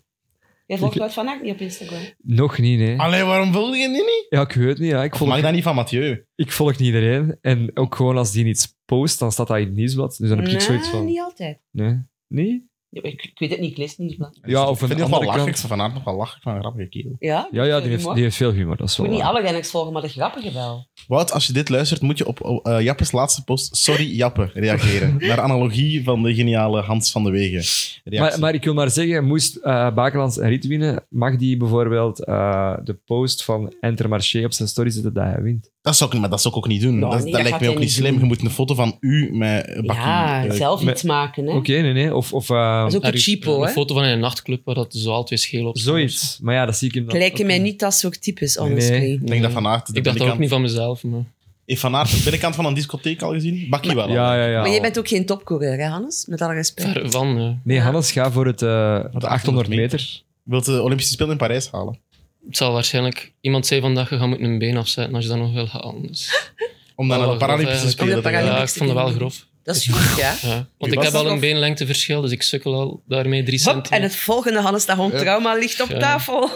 Jij volgt Wout van Aert niet op Instagram.
Nog niet, nee.
Allee, waarom wilde je die niet?
Ja, ik weet niet. Ja. Ik,
Mag
volg,
dat niet van Mathieu?
ik volg niet iedereen. En ook gewoon als die iets post, dan staat dat in het nieuwsblad. Dus dan heb ik
Nee,
zoiets van...
niet altijd.
Nee? Nee?
Ja, ik, ik weet het niet, ik lees het nieuwsblad.
Ja, of
ik vind
een
die nog wel
andere
lachig.
kant.
Van Aert nog wel lachig van een grappige kerel.
Ja?
Ja, ja die, heeft,
Humor.
die heeft veel humor, dat is
Ik moet
wel
niet
waar.
alle Gennex volgen, maar de grappige wel.
Wout, als je dit luistert, moet je op eh, Jappe's laatste post Sorry Jappe reageren. Naar analogie van de geniale Hans van de Wegen. reactie.
Maar, maar ik wil maar zeggen, moest eh Bakelands een rit winnen, mag die bijvoorbeeld eh, de post van Intermarché op zijn story zetten dat hij wint?
dat, zou ik, maar dat zou ik ook niet doen.
Nou,
dat
nee,
dat
dat
lijkt
gaat
mij ook
hij
niet
niet
slim.
doen.
Je moet een foto van u met eh, Bakkie.
ja,
eh,
zelf
met-
iets maken, hè.
Oké, nee, nee. Of, of eh,
Dat is ook
Daar
een
is
cheapo,
Een
hè.
foto van in een nachtclub waar dat zo al twee schelen op stonden.
zoiets. Maar ja, dat zie ik hem
Het lijken mij niet dat soort types, honestly.
Nee.
Ik denk dat Van Aert de
Ik dacht dat ook
binnenkant...
niet van mezelf, maar...
Heeft Van Aert de binnenkant van een discotheek al gezien? Bakkie wel. al.
Ja, ja, ja.
Maar jij bent ook geen topcoureur, hè, Hannes? Met alle respect.
Ver van, ja.
Nee, Hannes, ga voor het, eh,
Voor de
800 meter.
meter. Wilt de Olympische Spelen in Parijs halen?
Het zal waarschijnlijk... Iemand zei vandaag, je gaat moeten een been afzetten als je dat nog wil halen. Dus-
Om dan
Oh,
naar de
wel
Paralympische
grof,
Spelen te gaan.
eigenlijk.
Ja,
Paralympische
ik vond het wel
dingen.
grof.
Dat is goed, ja.
Ja.
was
Want ik heb
dat
al een
nog?
beenlengteverschil, dus ik sukkel al daarmee drie
Hop, en
centimeter.
het volgende, Hannes, dat gewoon
Ja.
trauma ligt op
Ja.
tafel.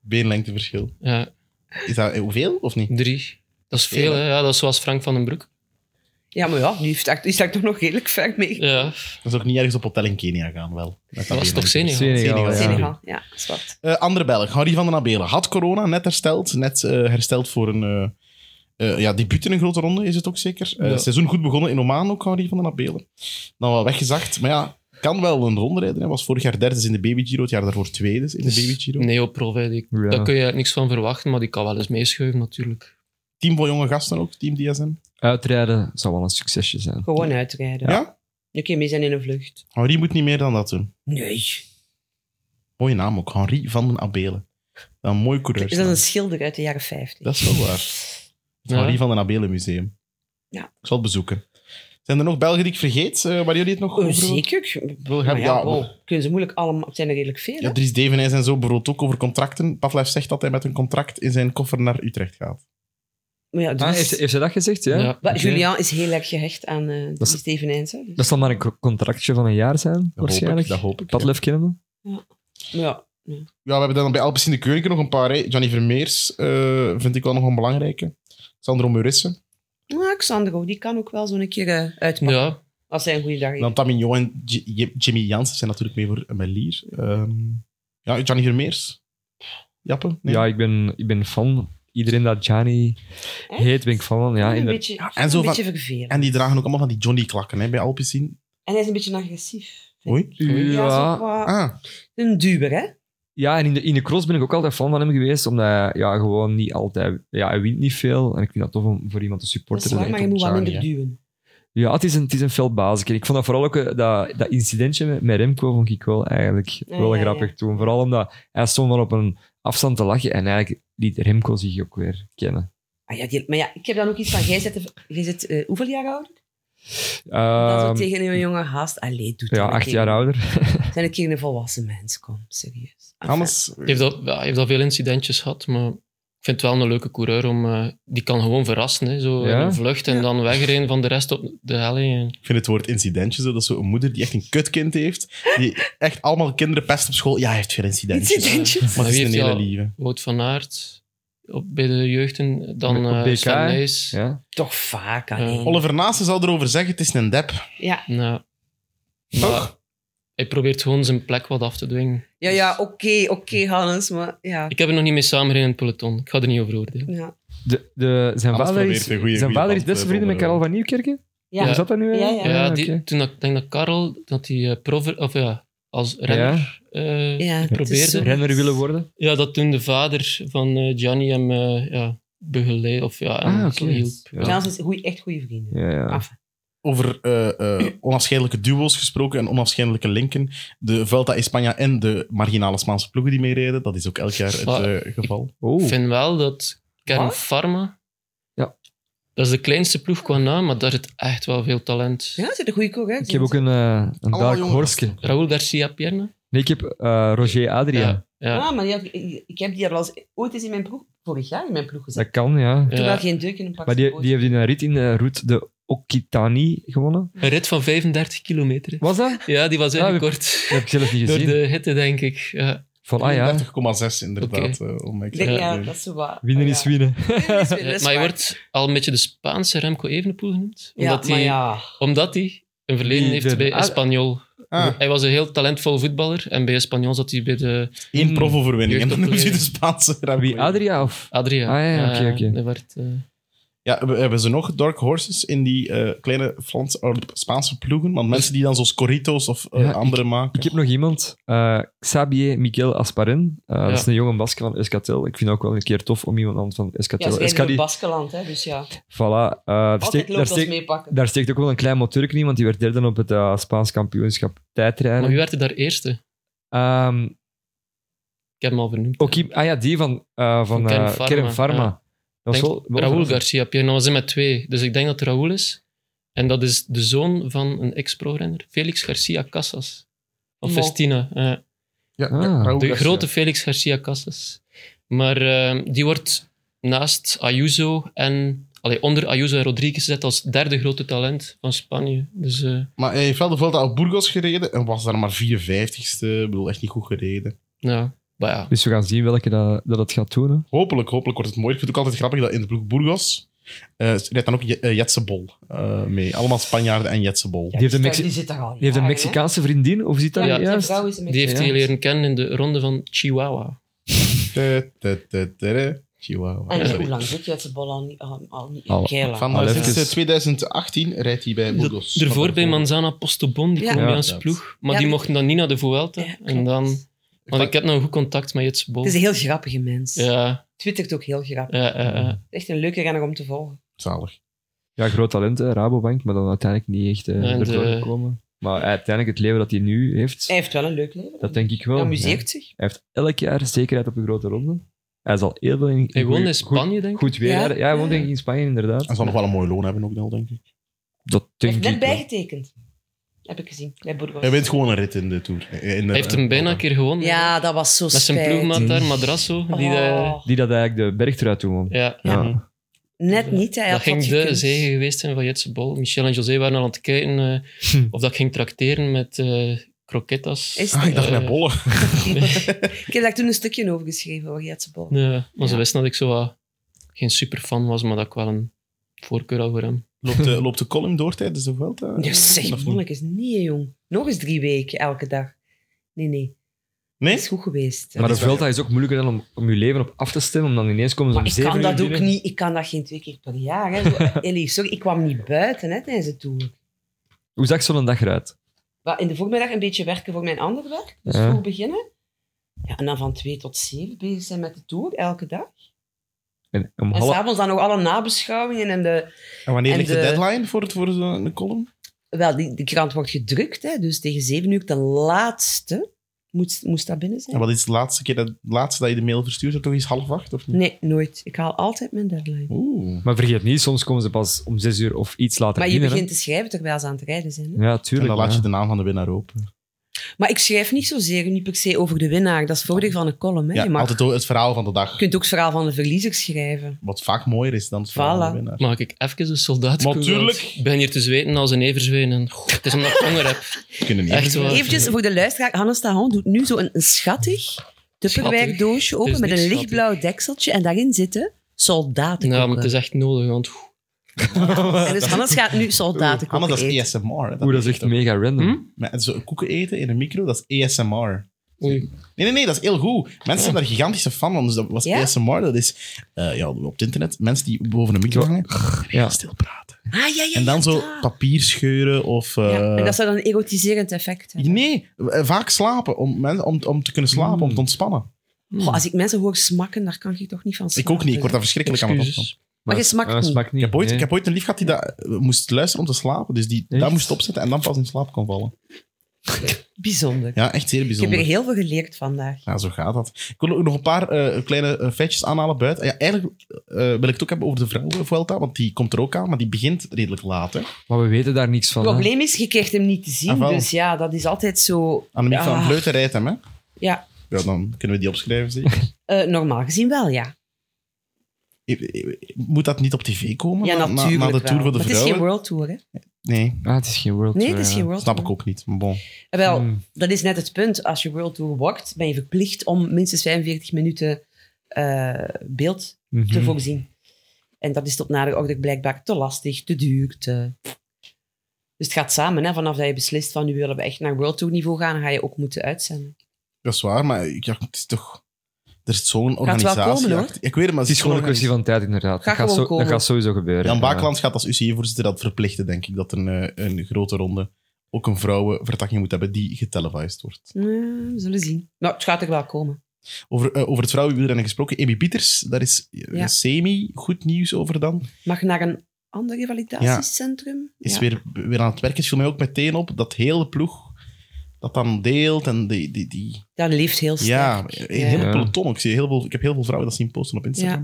Beenlengteverschil.
Ja,
Is dat eh, hoeveel of niet?
drie. Dat is veel, hè. Ja, dat is zoals Frank van den Broek.
Ja, maar ja, die staat, die staat toch nog redelijk ver mee.
Ja,
Dat is ook niet ergens op hotel in Kenia gaan, wel. Met
dat is toch
beenlengte.
Senegal.
Senegal,
Senegal.
ja.
Senegal, ja, zwart.
Eh, andere Belg, Harry van den Abelen, had corona net hersteld. Net eh, hersteld voor een eh, eh, ja, debuut in een grote ronde, is het ook zeker. Eh,
Ja.
Seizoen goed begonnen in Oman ook, Harry van den Abelen. Dan wel weggezakt, maar ja, kan wel een ronde rijden. Hij was vorig jaar derde in de Baby Giro, het jaar daarvoor tweede in
Dus,
Dus
de Baby Giro.
Neoprof, hè. Die-
Ja.
daar kun je niks van verwachten, maar die kan wel eens meeschuiven natuurlijk.
Team van jonge gasten ook, Team DSM.
Uitrijden zou wel een succesje zijn.
Gewoon uitrijden.
Ja.
Een keer mee zijn in een vlucht.
Henri moet niet meer dan dat doen.
Nee.
Mooie naam ook, Henri van den Abelen. Een mooi coureur.
Is dat een schilder uit de jaren 50?
Dat is wel waar. Het Henri van den Abelen Museum.
Ja.
Ik zal het bezoeken. Zijn er nog Belgen die ik vergeet, eh, waar jullie het nog
Oh,
over
zeker.
wil
Maar
hebben?
ja,
Ja,
wow, kunnen ze moeilijk allemaal... Het zijn er redelijk veel, hè?
Ja, Dries Devenijs en zo bijvoorbeeld ook over contracten. Pavlov zegt dat hij met een contract in zijn koffer naar Utrecht gaat.
Maar ja,
Ah,
dus-
heeft, heeft hij dat gezegd? Ja.
Ja.
Wa-
Oké.
Julian is heel erg gehecht aan eh
Dat is-
Steven Heinz, hè. Dus-
Dat zal maar een co- contractje van een jaar zijn,
hoop ik,
waarschijnlijk.
dat hoop ik,
Padlef kennen we.
dus- maar ja,
Ja, we hebben dan bij Alpecin de Keurinken nog een paar. hè. Johnny Vermeers eh, vind ik wel nog een belangrijke. Sandro Murissen.
Nou, Xandro, die kan ook wel zo'n keer eh, uitmaken.
Ja,
Als hij een goede dag heeft.
Dan Tamignon en J- J- Jimmy Jansen zijn natuurlijk mee voor Melier. Ehm, ja, Johnny Vermeers. Jappe? Nee.
Ja, ik ben, ik ben fan. Iedereen dat Gianni
Echt?
heet, ben ik fan van. Ja,
een
inderdaad.
beetje,
Ja, en
en
zo
een
van-
beetje vervelend.
En die dragen ook allemaal van die Johnny-klakken hè, bij Alpecin.
En hij is een beetje agressief. vind
Oei.
ik. Ja, zo
Ja,
qua-
Ah,
Een duwer, hè?
ja en in de, in de cross ben ik ook altijd fan van hem geweest, omdat hij ja, gewoon niet altijd... Ja, hij wint niet veel. En ik vind dat tof om voor iemand te
Dat is
supporteren.
waar, maar je moet wel
Gianni,
minder
hè.
duwen.
Ja, het is een, het is een veldbasis. En ik vond dat vooral ook eh, dat, dat incidentje met, met Remco vond ik wel eigenlijk
Ja,
wel
ja,
grappig
ja.
toen. Vooral omdat hij stond dan op een afstand te lachen en eigenlijk liet Remco zich ook weer kennen.
Ah, ja, die- maar ja, ik heb dan ook iets van, jij zit, jij zit eh, hoeveel jaar ouder? dan
Ehm,
zo tegen een jonge haast. Allee, doe
ja,
dat een
acht
keer.
jaar ouder.
Zijn een keer een volwassen mens, kom, serieus. Enfin,
Anders...
hij heeft, al, ja, hij heeft al veel incidentjes gehad, maar ik vind het wel een leuke coureur. Om, eh, die kan gewoon verrassen, hè. Zo
Ja?
in een vlucht en dan wegrijden van de rest op de helling.
Ik vind het woord incidentje zo. Dat is zo'n moeder die echt een kutkind heeft. Die echt allemaal kinderen pest op school. Ja, hij heeft weer incidentjes.
Incidentjes.
Maar het
Wie
is een
heeft
hele
jou-
lieve.
Wout van Aert op, bij de jeugden, dan
Op
eh
BK,
Sven Nys.
Ja.
Toch vaak,
Ja.
alleen.
Oliver Naassen zou erover zeggen, het is een dep.
Ja,
Nou,
Toch?
maar Hij probeert gewoon zijn plek wat af te dwingen.
Ja, ja, oké, oké, Hannes, maar ja.
Ik heb er nog niet mee samengereden in het peloton. Ik ga er niet over oordelen.
Ja,
De, de, zijn
Anders
vader is,
probeert een goeie-
zijn
goeie
vader is
band,
beste
eh,
vrienden met
te
Karel van Nieuwkerken?
ja.
Hoe zat dat nu?
Ja,
Ja,
ja.
die,
oké.
toen dat, ik denk dat Karel dat die eh prof, of ja, als renner eh,
Ja, het is
probeerde.
zo.
Renner willen worden.
Ja, dat toen de vader van eh, Gianni hem eh, ja, begeleid of ja, hem
Ah, oké.
zo hielp.
Ja.
Trouwens, is goeie- echt goede vrienden.
Ja, ja.
Af.
Over eh, eh, onafscheidelijke duo's gesproken en onafscheidelijke linken. De Vuelta España en de marginale Spaanse ploegen die meereden. Dat is ook elk jaar het
Maar-
eh, geval.
Oh.
Ik vind wel dat Kern
Wat?
Pharma,
Ja.
dat is de kleinste ploeg qua naam, maar daar zit echt wel veel talent.
Ja, zit een goede kok, hè?
Ik heb ook een, eh een
Allemaal
Dark
jonge
Horske.
Raúl Garcia Pierna?
Nee, ik heb eh, Roger Adria.
Ja. ja.
Ah, maar die had- ik- ik heb die al eens, ooit eens in mijn ploeg, vorig jaar in mijn ploeg gezet.
Dat kan, ja.
Ja.
Terwijl geen deuk in een pak
Maar die,
spoor.
die heeft in een rit in de route de Occitanie gewonnen.
Een rit van 35 kilometer. hè.
Was dat?
Ja, die was
Ah,
even
we-
kort.
Dat heb ik zelf niet
Door
gezien.
de hitte, denk ik. Ja.
Van, ah ja,
30,6 inderdaad. eh, om
Ik
exact
denk,
te
ja,
doen.
dat is zo waar. Oh,
winnen
Ah
Ja.
is winnen.
Winnen is winnen,
Eh,
dat is
maar je
waar.
wordt al een beetje de Spaanse Remco Evenepoel genoemd.
Ja,
Omdat
maar
hij
ja.
omdat hij een verleden
Die
heeft
de-
bij
ah,
Espanyol.
Ah,
Hij was een heel talentvol voetballer. En bij Espanyol zat hij bij de
één profoverwinning. En dan noemen ze de
Jeugdopleiding.
Spaanse
Wie,
Rambling.
Adria of...
Adria.
Ah, ja, oké,
Eh,
oké.
daar werd, eh,
Ja, we- hebben ze nog Dark Horses in die eh, kleine Franse, or, Spaanse ploegen? Want mensen die dan zo Corritos of eh,
Ja, ik-
andere maken.
Ik heb nog iemand, eh Xabier Miguel Asparin. Eh, Dat
Ja.
is een jonge Baske van Escatel. Ik vind het ook wel een keer tof om iemand van
Ja,
Escatel...
ze rijden
Escadi-
in Baskeland, hè, dus ja.
Voilà. eh, daar,
Altijd
steekt, daar,
loopt als
steekt,
meepakken.
daar steekt ook wel een klein motorken in, want die werd derde op het eh, Spaans kampioenschap
Maar wie
tijdrijden.
werd er daar eerste?
Ehm
Ik heb hem al vernoemd.
ook i- ah ja, die van, eh van, eh,
Van Kern Pharma,
Kern Pharma.
ja.
Dat was
Denk-
wel- wel
Raúl
verrassend.
Garcia Pierna was in met twee. Dus ik denk dat het Raúl is. En dat is de zoon van een ex-pro-renner. Felix Garcia Casas. Van
Mo.
Festina. eh.
Ja,
Ah.
Raúl
de
Garcia.
grote Felix Garcia Casas. Maar eh, die wordt naast Ayuso en... Allee, onder Ayuso en Rodriguez gezet als derde grote talent van Spanje. Dus eh,
Maar hij heeft wel de Vuelta op Burgos gereden en was daar maar 54ste. Ik bedoel, echt niet goed gereden.
ja, maar ja.
Dus we gaan zien welke dat, dat het gaat doen. Hè.
Hopelijk, hopelijk wordt het mooi. Ik vind het ook altijd grappig dat in de ploeg Burgos eh rijdt dan ook Je- eh, Jetse Bol eh, mee. Allemaal Spanjaarden en Jetse Bol.
Die heeft een,
Die
Mexi-
die zit daar al
die heeft een
jaren, hè.
Mexicaanse vriendin, of ziet dat
Ja,
Ja,
niet
zijn
juist?
vrouw is een
Die heeft
Ja.
hij leren kennen in de ronde van Chihuahua.
Te, te, te, te, te. Chihuahua.
Ah,
En
Sorry.
hoe lang zit je uit de bal al niet? Al, al niet
Al-
kei lang.
Van
Al
eh,
even.
sinds eh, 2018 rijdt hij bij Burgos.
Daarvoor Dus bij Manzana Postobon, die
dus- Ja.
Colombiaanse
Ja.
ploeg. Maar
Ja,
die
maar-
mochten dan niet naar de Vuelta.
Ja,
en dan... Want ik heb nog goed contact met Jits Bol.
Het is een heel grappige mens.
Ja,
Twittert ook heel grappig.
ja, ja, ja.
Echt een leuke renner om te volgen.
Zalig.
Ja, groot talent, hè, Rabobank, maar dan uiteindelijk niet echt eh
Nee, de-
erdoor gekomen. Maar uiteindelijk het leven dat hij nu heeft,
Hij heeft wel een leuk leven.
dat denk ik wel.
Hij
Ja.
amuseert zich.
Hij heeft elk jaar zekerheid op een grote ronde. Hij zal heel veel in
Hij woonde
goeie-
in Spanje,
Goed,
denk ik.
goed weer.
Ja.
Ja, hij woont denk ik in Spanje,
Hij
inderdaad.
zal nog wel een mooi loon hebben ook wel, denk ik.
Dat
Hij
denk
heeft
ik.
net
wel.
bijgetekend. Heb ik gezien. Bij Burgos.
Hij wint gewoon een rit in de Tour. Eh, In de,
Hij heeft hem bijna een keer gewonnen.
Ja, dat was zo
Met zijn
spijtig.
ploegmaat daar, Madrasso. Die de,
Oh,
Die dat eigenlijk de bergtrui toen won.
ja.
Ja.
net niet. Hij
Dat
had
ging
dat
de
gekund.
zege geweest zijn van Jetse Bol. Michel en José waren al aan het kijken eh,
Hm.
of dat ik ging tracteren met eh croquetas.
Is
Ah, ik dacht
Eh,
met bollen.
Ik heb daar toen een stukje over geschreven, over Jetse Bol.
Nee, maar ze
Ja.
wisten dat ik zo wat geen superfan was, maar dat ik wel een voorkeur had voor hem.
Loopt de, loopt de column door tijdens de Vuelta?
Ja,
Of
zeg,
niet?
monnik is niet, hè, jong. Nog eens drie weken, elke dag. Nee, nee.
Nee?
Het is goed geweest.
Maar de
is wel-
Vuelta is ook moeilijker dan om, om je leven op af te stemmen, om dan ineens komen ze
Maar
om
ik
zeven
kan
uur
dat ook
binnen.
niet. Ik kan dat geen twee keer per jaar. Hè. Zo, Ellie, sorry, ik kwam niet buiten hè, tijdens de tour.
Hoe zag zo'n dag eruit?
Maar in de voormiddag een beetje werken voor mijn ander werk. Dus
Ja.
vroeg beginnen. Ja, en dan van twee tot zeven bezig zijn met de tour, elke dag.
En om
En
half...
s'avonds dan nog alle nabeschouwingen. En de,
En wanneer
En
ligt de,
de-
deadline voor, het- voor zo'n- een column?
wel, die, die krant wordt gedrukt. Hè, dus tegen zeven uur, de laatste, moest, moest dat binnen zijn.
En wat is de laatste keer dat, het laatste dat je de mail verstuurt? Is dat toch iets half acht, of niet?
Nee, nooit. Ik haal altijd mijn deadline.
Oeh.
Maar vergeet niet, soms komen ze pas om zes uur of iets later
Maar je
binnen. hè.
begint te schrijven terwijl ze aan het rijden zijn. Hè?
Ja,
En
tuurlijk.
dan laat
ja.
je de naam van de winnaar open.
Maar ik schrijf niet zozeer, niet per se over de winnaar. Dat is het voordeel van een column. Hè?
Ja,
je, mag-
altijd ook het verhaal van de
je
dag.
kunt ook het verhaal van de verliezer schrijven.
Wat vaak mooier is dan het verhaal van
Voilà.
de winnaar.
Mag ik even de soldaat
Maar
doen?
tuurlijk.
Want Ik ben hier te zweten als een everzwijn. En, goh, het is omdat ik honger heb.
We kunnen niet.
Echt waar.
Eventjes voor de luisteraar. Hannes Tahon doet nu zo'n een schattig
Schattig.
Tupperware-doosje
Het
open
is
met
niks
een lichtblauw dekseltje. En daarin zitten soldaten.
Nou, maar het is echt nodig, want
En
En dus Hannes gaat nu soldaten koken
Hannes, dat is
eten.
ASMR. hè.
Oeh, dat is echt mega random.
Hm?
Maar Zo koeken eten in een micro, dat is ASMR.
Oei.
Nee, nee, nee, dat is heel goed. Mensen zijn daar gigantische fan van. Dus dat was
Ja?
ASMR, dat is eh, ja, op het internet. Mensen die boven een micro
Zo.
hangen,
Ja.
stil praten.
Ah, ja, ja,
En dan
ja,
zo
daar.
papier scheuren of... eh,
Ja, en dat zou dan een erotiserend effect hebben.
Nee, eh, vaak slapen. Om, men- om, om te kunnen slapen,
Hmm.
om te ontspannen.
Goh, als ik mensen hoor smakken, daar kan ik toch niet van
Ik
slapen.
ook niet, ik word daar verschrikkelijk aan het
Excuses.
Maar je
het-
smakt
ah, het
niet.
smakt niet.
ik heb, ooit,
nee.
ik heb ooit een lief gehad die dat, eh, moest luisteren om te slapen. Dus die daar
Echt?
moest opzetten en dan pas in slaap kon vallen.
Bijzonder.
Ja, echt zeer
Ik heb
bijzonder.
er heel veel geleerd vandaag.
Ja, zo gaat dat. Ik wil ook nog een paar eh, kleine eh, feitjes aanhalen buiten. Ja, eigenlijk eh, wil ik het ook hebben over de vrouwenvuelta, want die komt er ook aan, maar die begint redelijk laat. Hè.
Maar we weten daar niks van.
Het
hè.
probleem is, je krijgt hem niet te zien.
Ah, wel.
dus ja, dat is altijd zo...
Annemiek van
Ah.
Vleuten rijdt hem, hè?
Ja,
Ja, dan kunnen we die opschrijven, zeker.
eh, normaal gezien wel, ja.
Eh, eh, Moet dat niet op tv komen?
Ja,
na- na-
natuurlijk
Na, de
wel.
Tour voor de
Maar het is
Vrouwen?
geen world tour, hè?
Nee,
Ah, het is geen World
Nee,
Tour,
het is
ja.
geen world
snap
tour.
ik ook niet. Maar bon.
Eh, Wel,
Hmm.
dat is net het punt. Als je world tour wordt, ben je verplicht om minstens 45 minuten eh, beeld
Mhm.
te voorzien. En dat is tot nader order blijkbaar te lastig, te duur, te... Dus het gaat samen, hè? vanaf dat je beslist van nu willen we echt naar World Tour niveau gaan, dan ga je ook moeten uitzenden.
Dat is waar, maar ik- ja, het is toch... Er is zo'n
het wel
organisatie...
komen, hoor.
achter- Ik weet het, maar
Het is gewoon een kwestie van tijd, inderdaad.
Ga
dat, gaat
gewoon
zo, dat
komen.
gaat sowieso gebeuren.
Jan
Ja.
Bakelands gaat als UCI-voorzitter dat verplichten, denk ik, dat een, eh, een grote ronde ook een vrouwenvertakking moet hebben die getelevised wordt.
Ja, we zullen zien. Nou, het gaat er wel komen.
Over, eh, over het vrouwenwielrennen gesproken. Amy Pieters, daar is eh,
Ja.
semi goed nieuws over dan.
Mag naar een ander revalidatiecentrum?
Is
Ja.
weer, weer aan het werken. Het viel mij ook meteen op dat hele ploeg dat dan deelt. En die, die, die,
Dat leeft heel
ja, eh,
sterk.
een hele
Ja.
peloton. ook. Ik, zie heel veel, ik heb heel veel vrouwen dat zien posten op Instagram.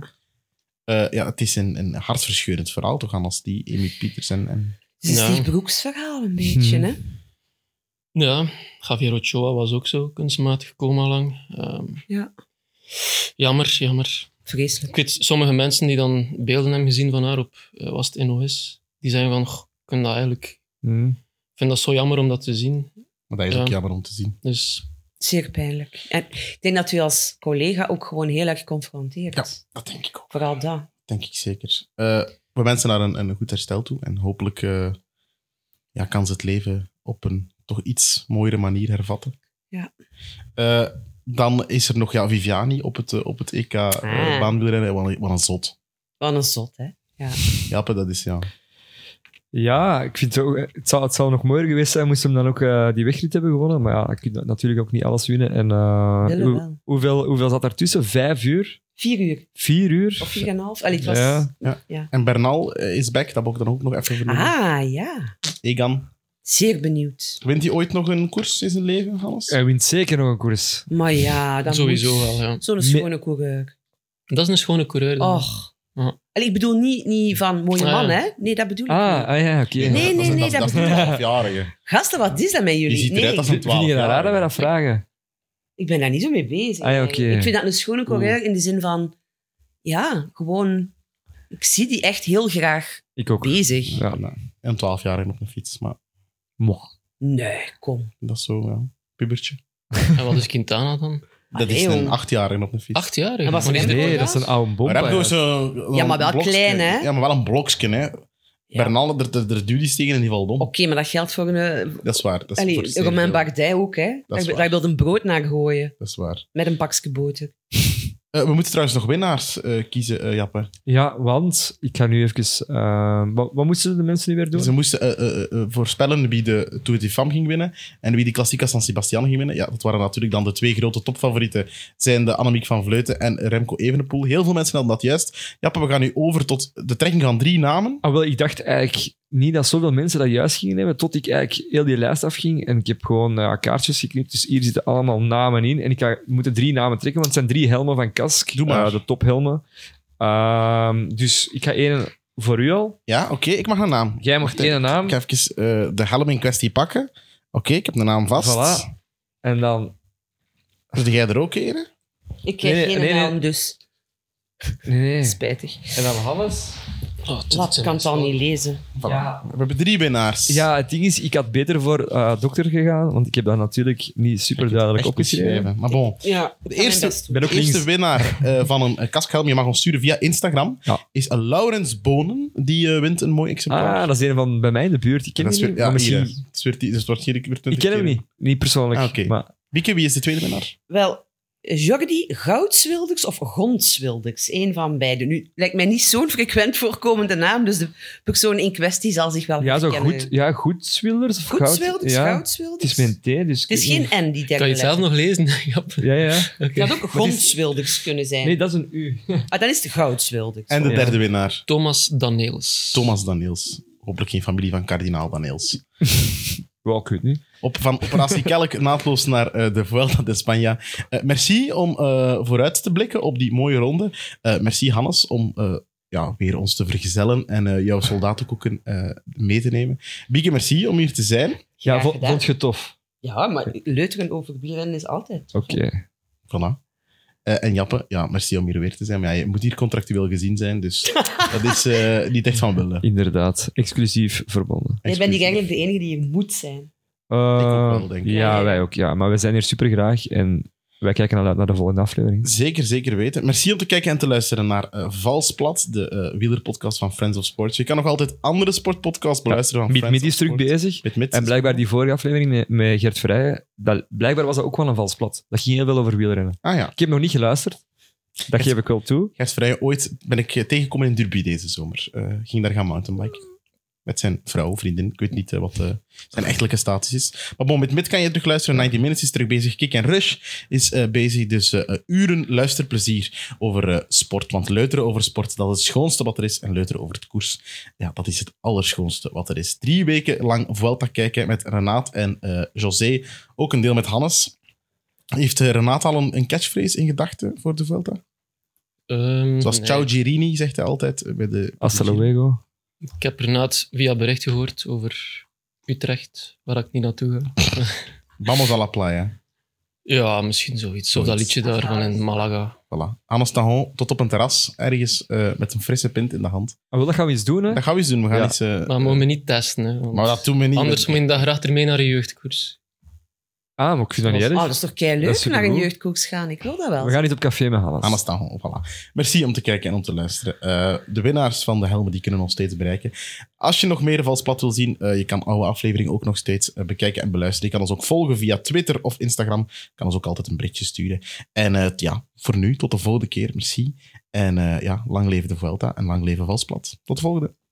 Ja. ja, het is een, een hartverscheurend verhaal toch, als die Amy Pieters en... en
Het is
Ja.
die broeksverhaal een beetje,
Hmm.
hè?
Ja, Javier Ochoa was ook zo kunstmatig coma lang. Ehm,
Ja.
Jammer, jammer. Ik
Vreselijk.
weet, sommige mensen die dan beelden hebben gezien van haar op eh, was het NOS, die zijn van, "Goh, ik vind dat eigenlijk...
Hm.
Ik vind dat zo jammer om dat te zien.
maar dat is ook
Ja.
jammer om te zien.
Dus
Zeer pijnlijk. En ik denk dat u als collega ook gewoon heel erg geconfronteerd
Ja, dat denk ik ook.
Vooral dat.
Denk ik zeker. Eh, we wensen haar een, een goed herstel toe. En hopelijk eh, ja, kan ze het leven op een toch iets mooiere manier hervatten.
Ja.
Eh, dan is er nog ja, Viviani op het, eh, op het EK eh,
Ah.
baanwielrennen. Wat een, wat een zot.
Wat een zot, hè?
Jappe, dat is ja.
Ja, ik vind het, ook, het, zou, het zou nog mooier geweest zijn moest hem dan ook eh, die wegrit hebben gewonnen. Maar ja, ik kun natuurlijk ook niet alles winnen. En, eh,
Willen
hoe-
wel.
hoeveel, hoeveel zat daartussen? Vijf uur?
Vier uur.
Vier uur?
Of vier en een half. Allee, het was...
Ja.
En Bernal eh, is back. Dat wil ik dan ook nog even vernoemen.
Ah, ja.
Egan,
Zeer benieuwd.
wint hij ooit nog een koers in zijn leven, Hans?
Hij wint zeker nog een koers.
Maar ja, dan
sowieso
moet-
wel, ja.
Zo'n
Me-
schone coureur.
Dat is een schone coureur. dan.
Och.
Ja.
Allee, ik bedoel niet, niet van mooie
Ah,
man,
ja.
hè? Nee, dat bedoel ik
Ah,
niet.
ah ja, oké.
Ja,
nee,
dat is een-
nee, dat
dat is een
bedoel ik.
12-jarige.
Gasten, wat is dat met
Je
jullie?
ziet
nee,
eruit als een
Vind je dat raar dat wij
12-jarige.
dat vragen?
ik ben daar niet zo mee bezig.
Ah, ja,
eigenlijk.
oké.
Ik vind dat een schone coureur in de zin van... Ja, gewoon... Ik zie die echt heel graag
Ik ook.
bezig.
Ja.
Een 12-jarige op een fiets, maar
Mwah.
Nee, kom.
dat is zo, ja. Pubertje.
En wat is Quintana dan?
Dat is
Allee,
een
jong.
8-jarige op een fiets.
Acht jaar.
En was
Maar
Remco?
die-
Nee, dat is een oude bomba.
Maar Remco is
ja.
een- een
Ja, maar wel
blokje.
klein, hè?
Ja, maar wel een blokje, hè. Bernal, er, er, er duwt iets tegen en die valt om.
Oké, maar dat geldt voor een... eh,
Dat is waar. Dat is voor
Allee,
zeer
Romain
veel.
Bardet ook, hè?
Dat is
Daar,
waar.
daar wil een brood naar gooien.
Dat is waar.
Met een pakje boter.
Eh, we moeten trouwens nog winnaars eh, kiezen, eh, Jappe.
Ja, want ik ga nu even... eh, wat, wat moesten de mensen nu weer doen?
Ze moesten eh, eh, eh, voorspellen wie de Tour de Femme ging winnen en wie de Klassica San Sebastian ging winnen. Ja, dat waren natuurlijk dan de twee grote topfavorieten, zijn de Annemiek van Vleuten en Remco Evenepoel. Heel veel mensen hadden dat juist. Jappe, we gaan nu over tot de trekking van drie namen.
Ah, wel, ik dacht eigenlijk niet dat zoveel mensen dat juist gingen hebben, tot ik eigenlijk heel die lijst afging en ik heb gewoon eh, kaartjes geknipt. Dus hier zitten allemaal namen in en ik ga, ik moet er drie namen trekken, want het zijn drie helmen van Kask.
Doe maar.
Eh, de tophelmen. Ehm, dus ik ga één voor u al.
Ja, oké, ik mag een naam.
Jij mag
Wacht,
één naam.
Ik ga even eh, de helm in kwestie pakken. Oké, ik heb de naam vast.
Voilà. En dan...
Zit jij er ook een? hè?
Ik krijg
Nee, nee,
geen
nee, nee.
naam, dus
Nee, nee.
spijtig.
En dan Hannes.
Oh, het-
Laat
het-
kan het al niet lezen.
Ja.
We hebben drie winnaars.
ja, het ding is, ik had beter voor eh, dokter gegaan, want ik heb dat natuurlijk niet super duidelijk
Echt
opgeschreven.
geschreven. Maar bon.
Ja,
De
eerste.
eerste,
doen. Ben ook
de eerste
links.
winnaar eh, van een eh, kaskhelm, je mag ons sturen via Instagram,
Ja.
is eh, Laurens Bonen. Die eh, wint een mooi exemplaar.
Ah, dat is een van bij mij in de buurt. Ik ken
dat is
hem
weer,
niet.
ja,
maar misschien-
hier, hè. Het is weer die- dus het wordt hier weer 20
ik ken hem
keer.
niet. Niet persoonlijk.
Ah, oké.
Maar
Wieke, wie is de tweede winnaar?
Wel, Jordi Goudswilders of Gondswilders, één van beide. Nu lijkt mij niet zo'n frequent voorkomende naam, dus de persoon in kwestie zal zich
Ah,
wel
ja, zo
herkennen.
goed, ja, goed Swilders of Goud-
Goedswilders,
ja.
Goudswilders.
Het is mijn T, dus...
Het is
ik weet
geen N, die derde
Kan je het zelf
letter.
nog lezen? Ja.
niet. Ja, ja.
Oké.
Het had ook Gondswilders kunnen zijn.
Nee, dat is een U.
Ah, dan is het Goudswilders.
En de
Oh, Ja.
derde winnaar,
Thomas Daneels.
Thomas Daniels. Hopelijk geen familie van kardinaal Daniels.
Wel, ik weet niet.
Op, van Operatie Kelk naadloos naar eh, de Vuelta de España. Eh, merci om eh, vooruit te blikken op die mooie ronde. Eh, merci, Hannes, om eh, ja, weer ons te vergezellen en eh, jouw soldatenkoeken eh, mee te nemen. Bieke, merci om hier te zijn.
Ja,
Graag
vo-
gedaan.
vond je tof?
Ja, maar leuteren over wielrennen is altijd.
Oké.
Voilà. Eh, en Jappe, ja, merci om hier weer te zijn. Maar ja, je moet hier contractueel gezien zijn, dus dat is eh, niet echt van wilde.
Inderdaad. Exclusief verbonden.
Ik ben niet eigenlijk de enige die hier moet zijn.
Eh,
ook wel, denk ik.
Ja, wij ook. Ja. Maar we zijn hier super graag en wij kijken al uit naar de volgende aflevering.
Zeker, zeker weten. Merci om te kijken en te luisteren naar eh, Valsplat, de eh, wielerpodcast van Friends of Sports. Je kan nog altijd andere sportpodcasts beluisteren van
Mid,
Friends
mid is
of
druk
Sports.
bezig.
Met mits.
En blijkbaar die vorige aflevering met, met Gert Vrijen, dat, blijkbaar was dat ook wel een vals plat. Dat ging heel veel over wielrennen.
Ah ja,
Ik heb nog niet geluisterd. Dat geef ik wel toe.
Gert Vrij, ooit ben ik eh, tegengekomen in Derby deze zomer. Eh, ging daar gaan mountainbiken. Met zijn vrouw, vriendin. Ik weet niet eh, wat eh, zijn echtelijke status is. Maar bon, met Mid kan je terugluisteren. 90 Minutes is terug bezig. Kick en Rush is eh, bezig. Dus eh, eh, uren luisterplezier over eh, sport. Want leuteren over sport, dat is het schoonste wat er is. En leuteren over het koers, ja, dat is het allerschoonste wat er is. Drie weken lang Vuelta kijken met Renaat en eh, José. Ook een deel met Hannes. Heeft eh, Renaat al een, een catchphrase in gedachten voor de Vuelta?
Ehm,
Zoals
nee.
Ciao Girini zegt hij altijd eh, bij de.
Mhm, Hasta luego.
Ik heb er net via bericht gehoord over Utrecht, waar ik niet naartoe ga.
Vamos a la playa.
Ja, misschien zoiets. Of dat liedje daar van in Malaga.
Voilà. Hannes Tahon, tot op een terras, ergens eh, met een frisse pint in de hand.
Ah, wel, dat gaan we eens doen, hè?
Dat gaan we eens doen. We gaan
Ja.
iets. eh,
Maar mogen we niet testen, hè, want
maar dat doen we niet.
anders moet je dat graag ermee naar je jeugdkoers.
Ah, maar ik vind dat niet
Oh,
erg.
dat is toch kei
Dat is
leuk naar een
supergoed.
jeugdkoeks gaan. Ik wil dat wel. Ah,
We gaan niet op café met Hannes.
Hannes Tahon, voilà. Merci om te kijken en om te luisteren. Eh, de winnaars van de helmen die kunnen nog steeds bereiken. Als je nog meer Valsplat wil zien, eh, je kan oude afleveringen ook nog steeds eh, bekijken en beluisteren. Je kan ons ook volgen via Twitter of Instagram. Je kan ons ook altijd een berichtje sturen. En eh, ja, voor nu, tot de volgende keer. Merci. En eh, ja, lang leven de Vuelta en lang leven Valsplat. Tot de volgende.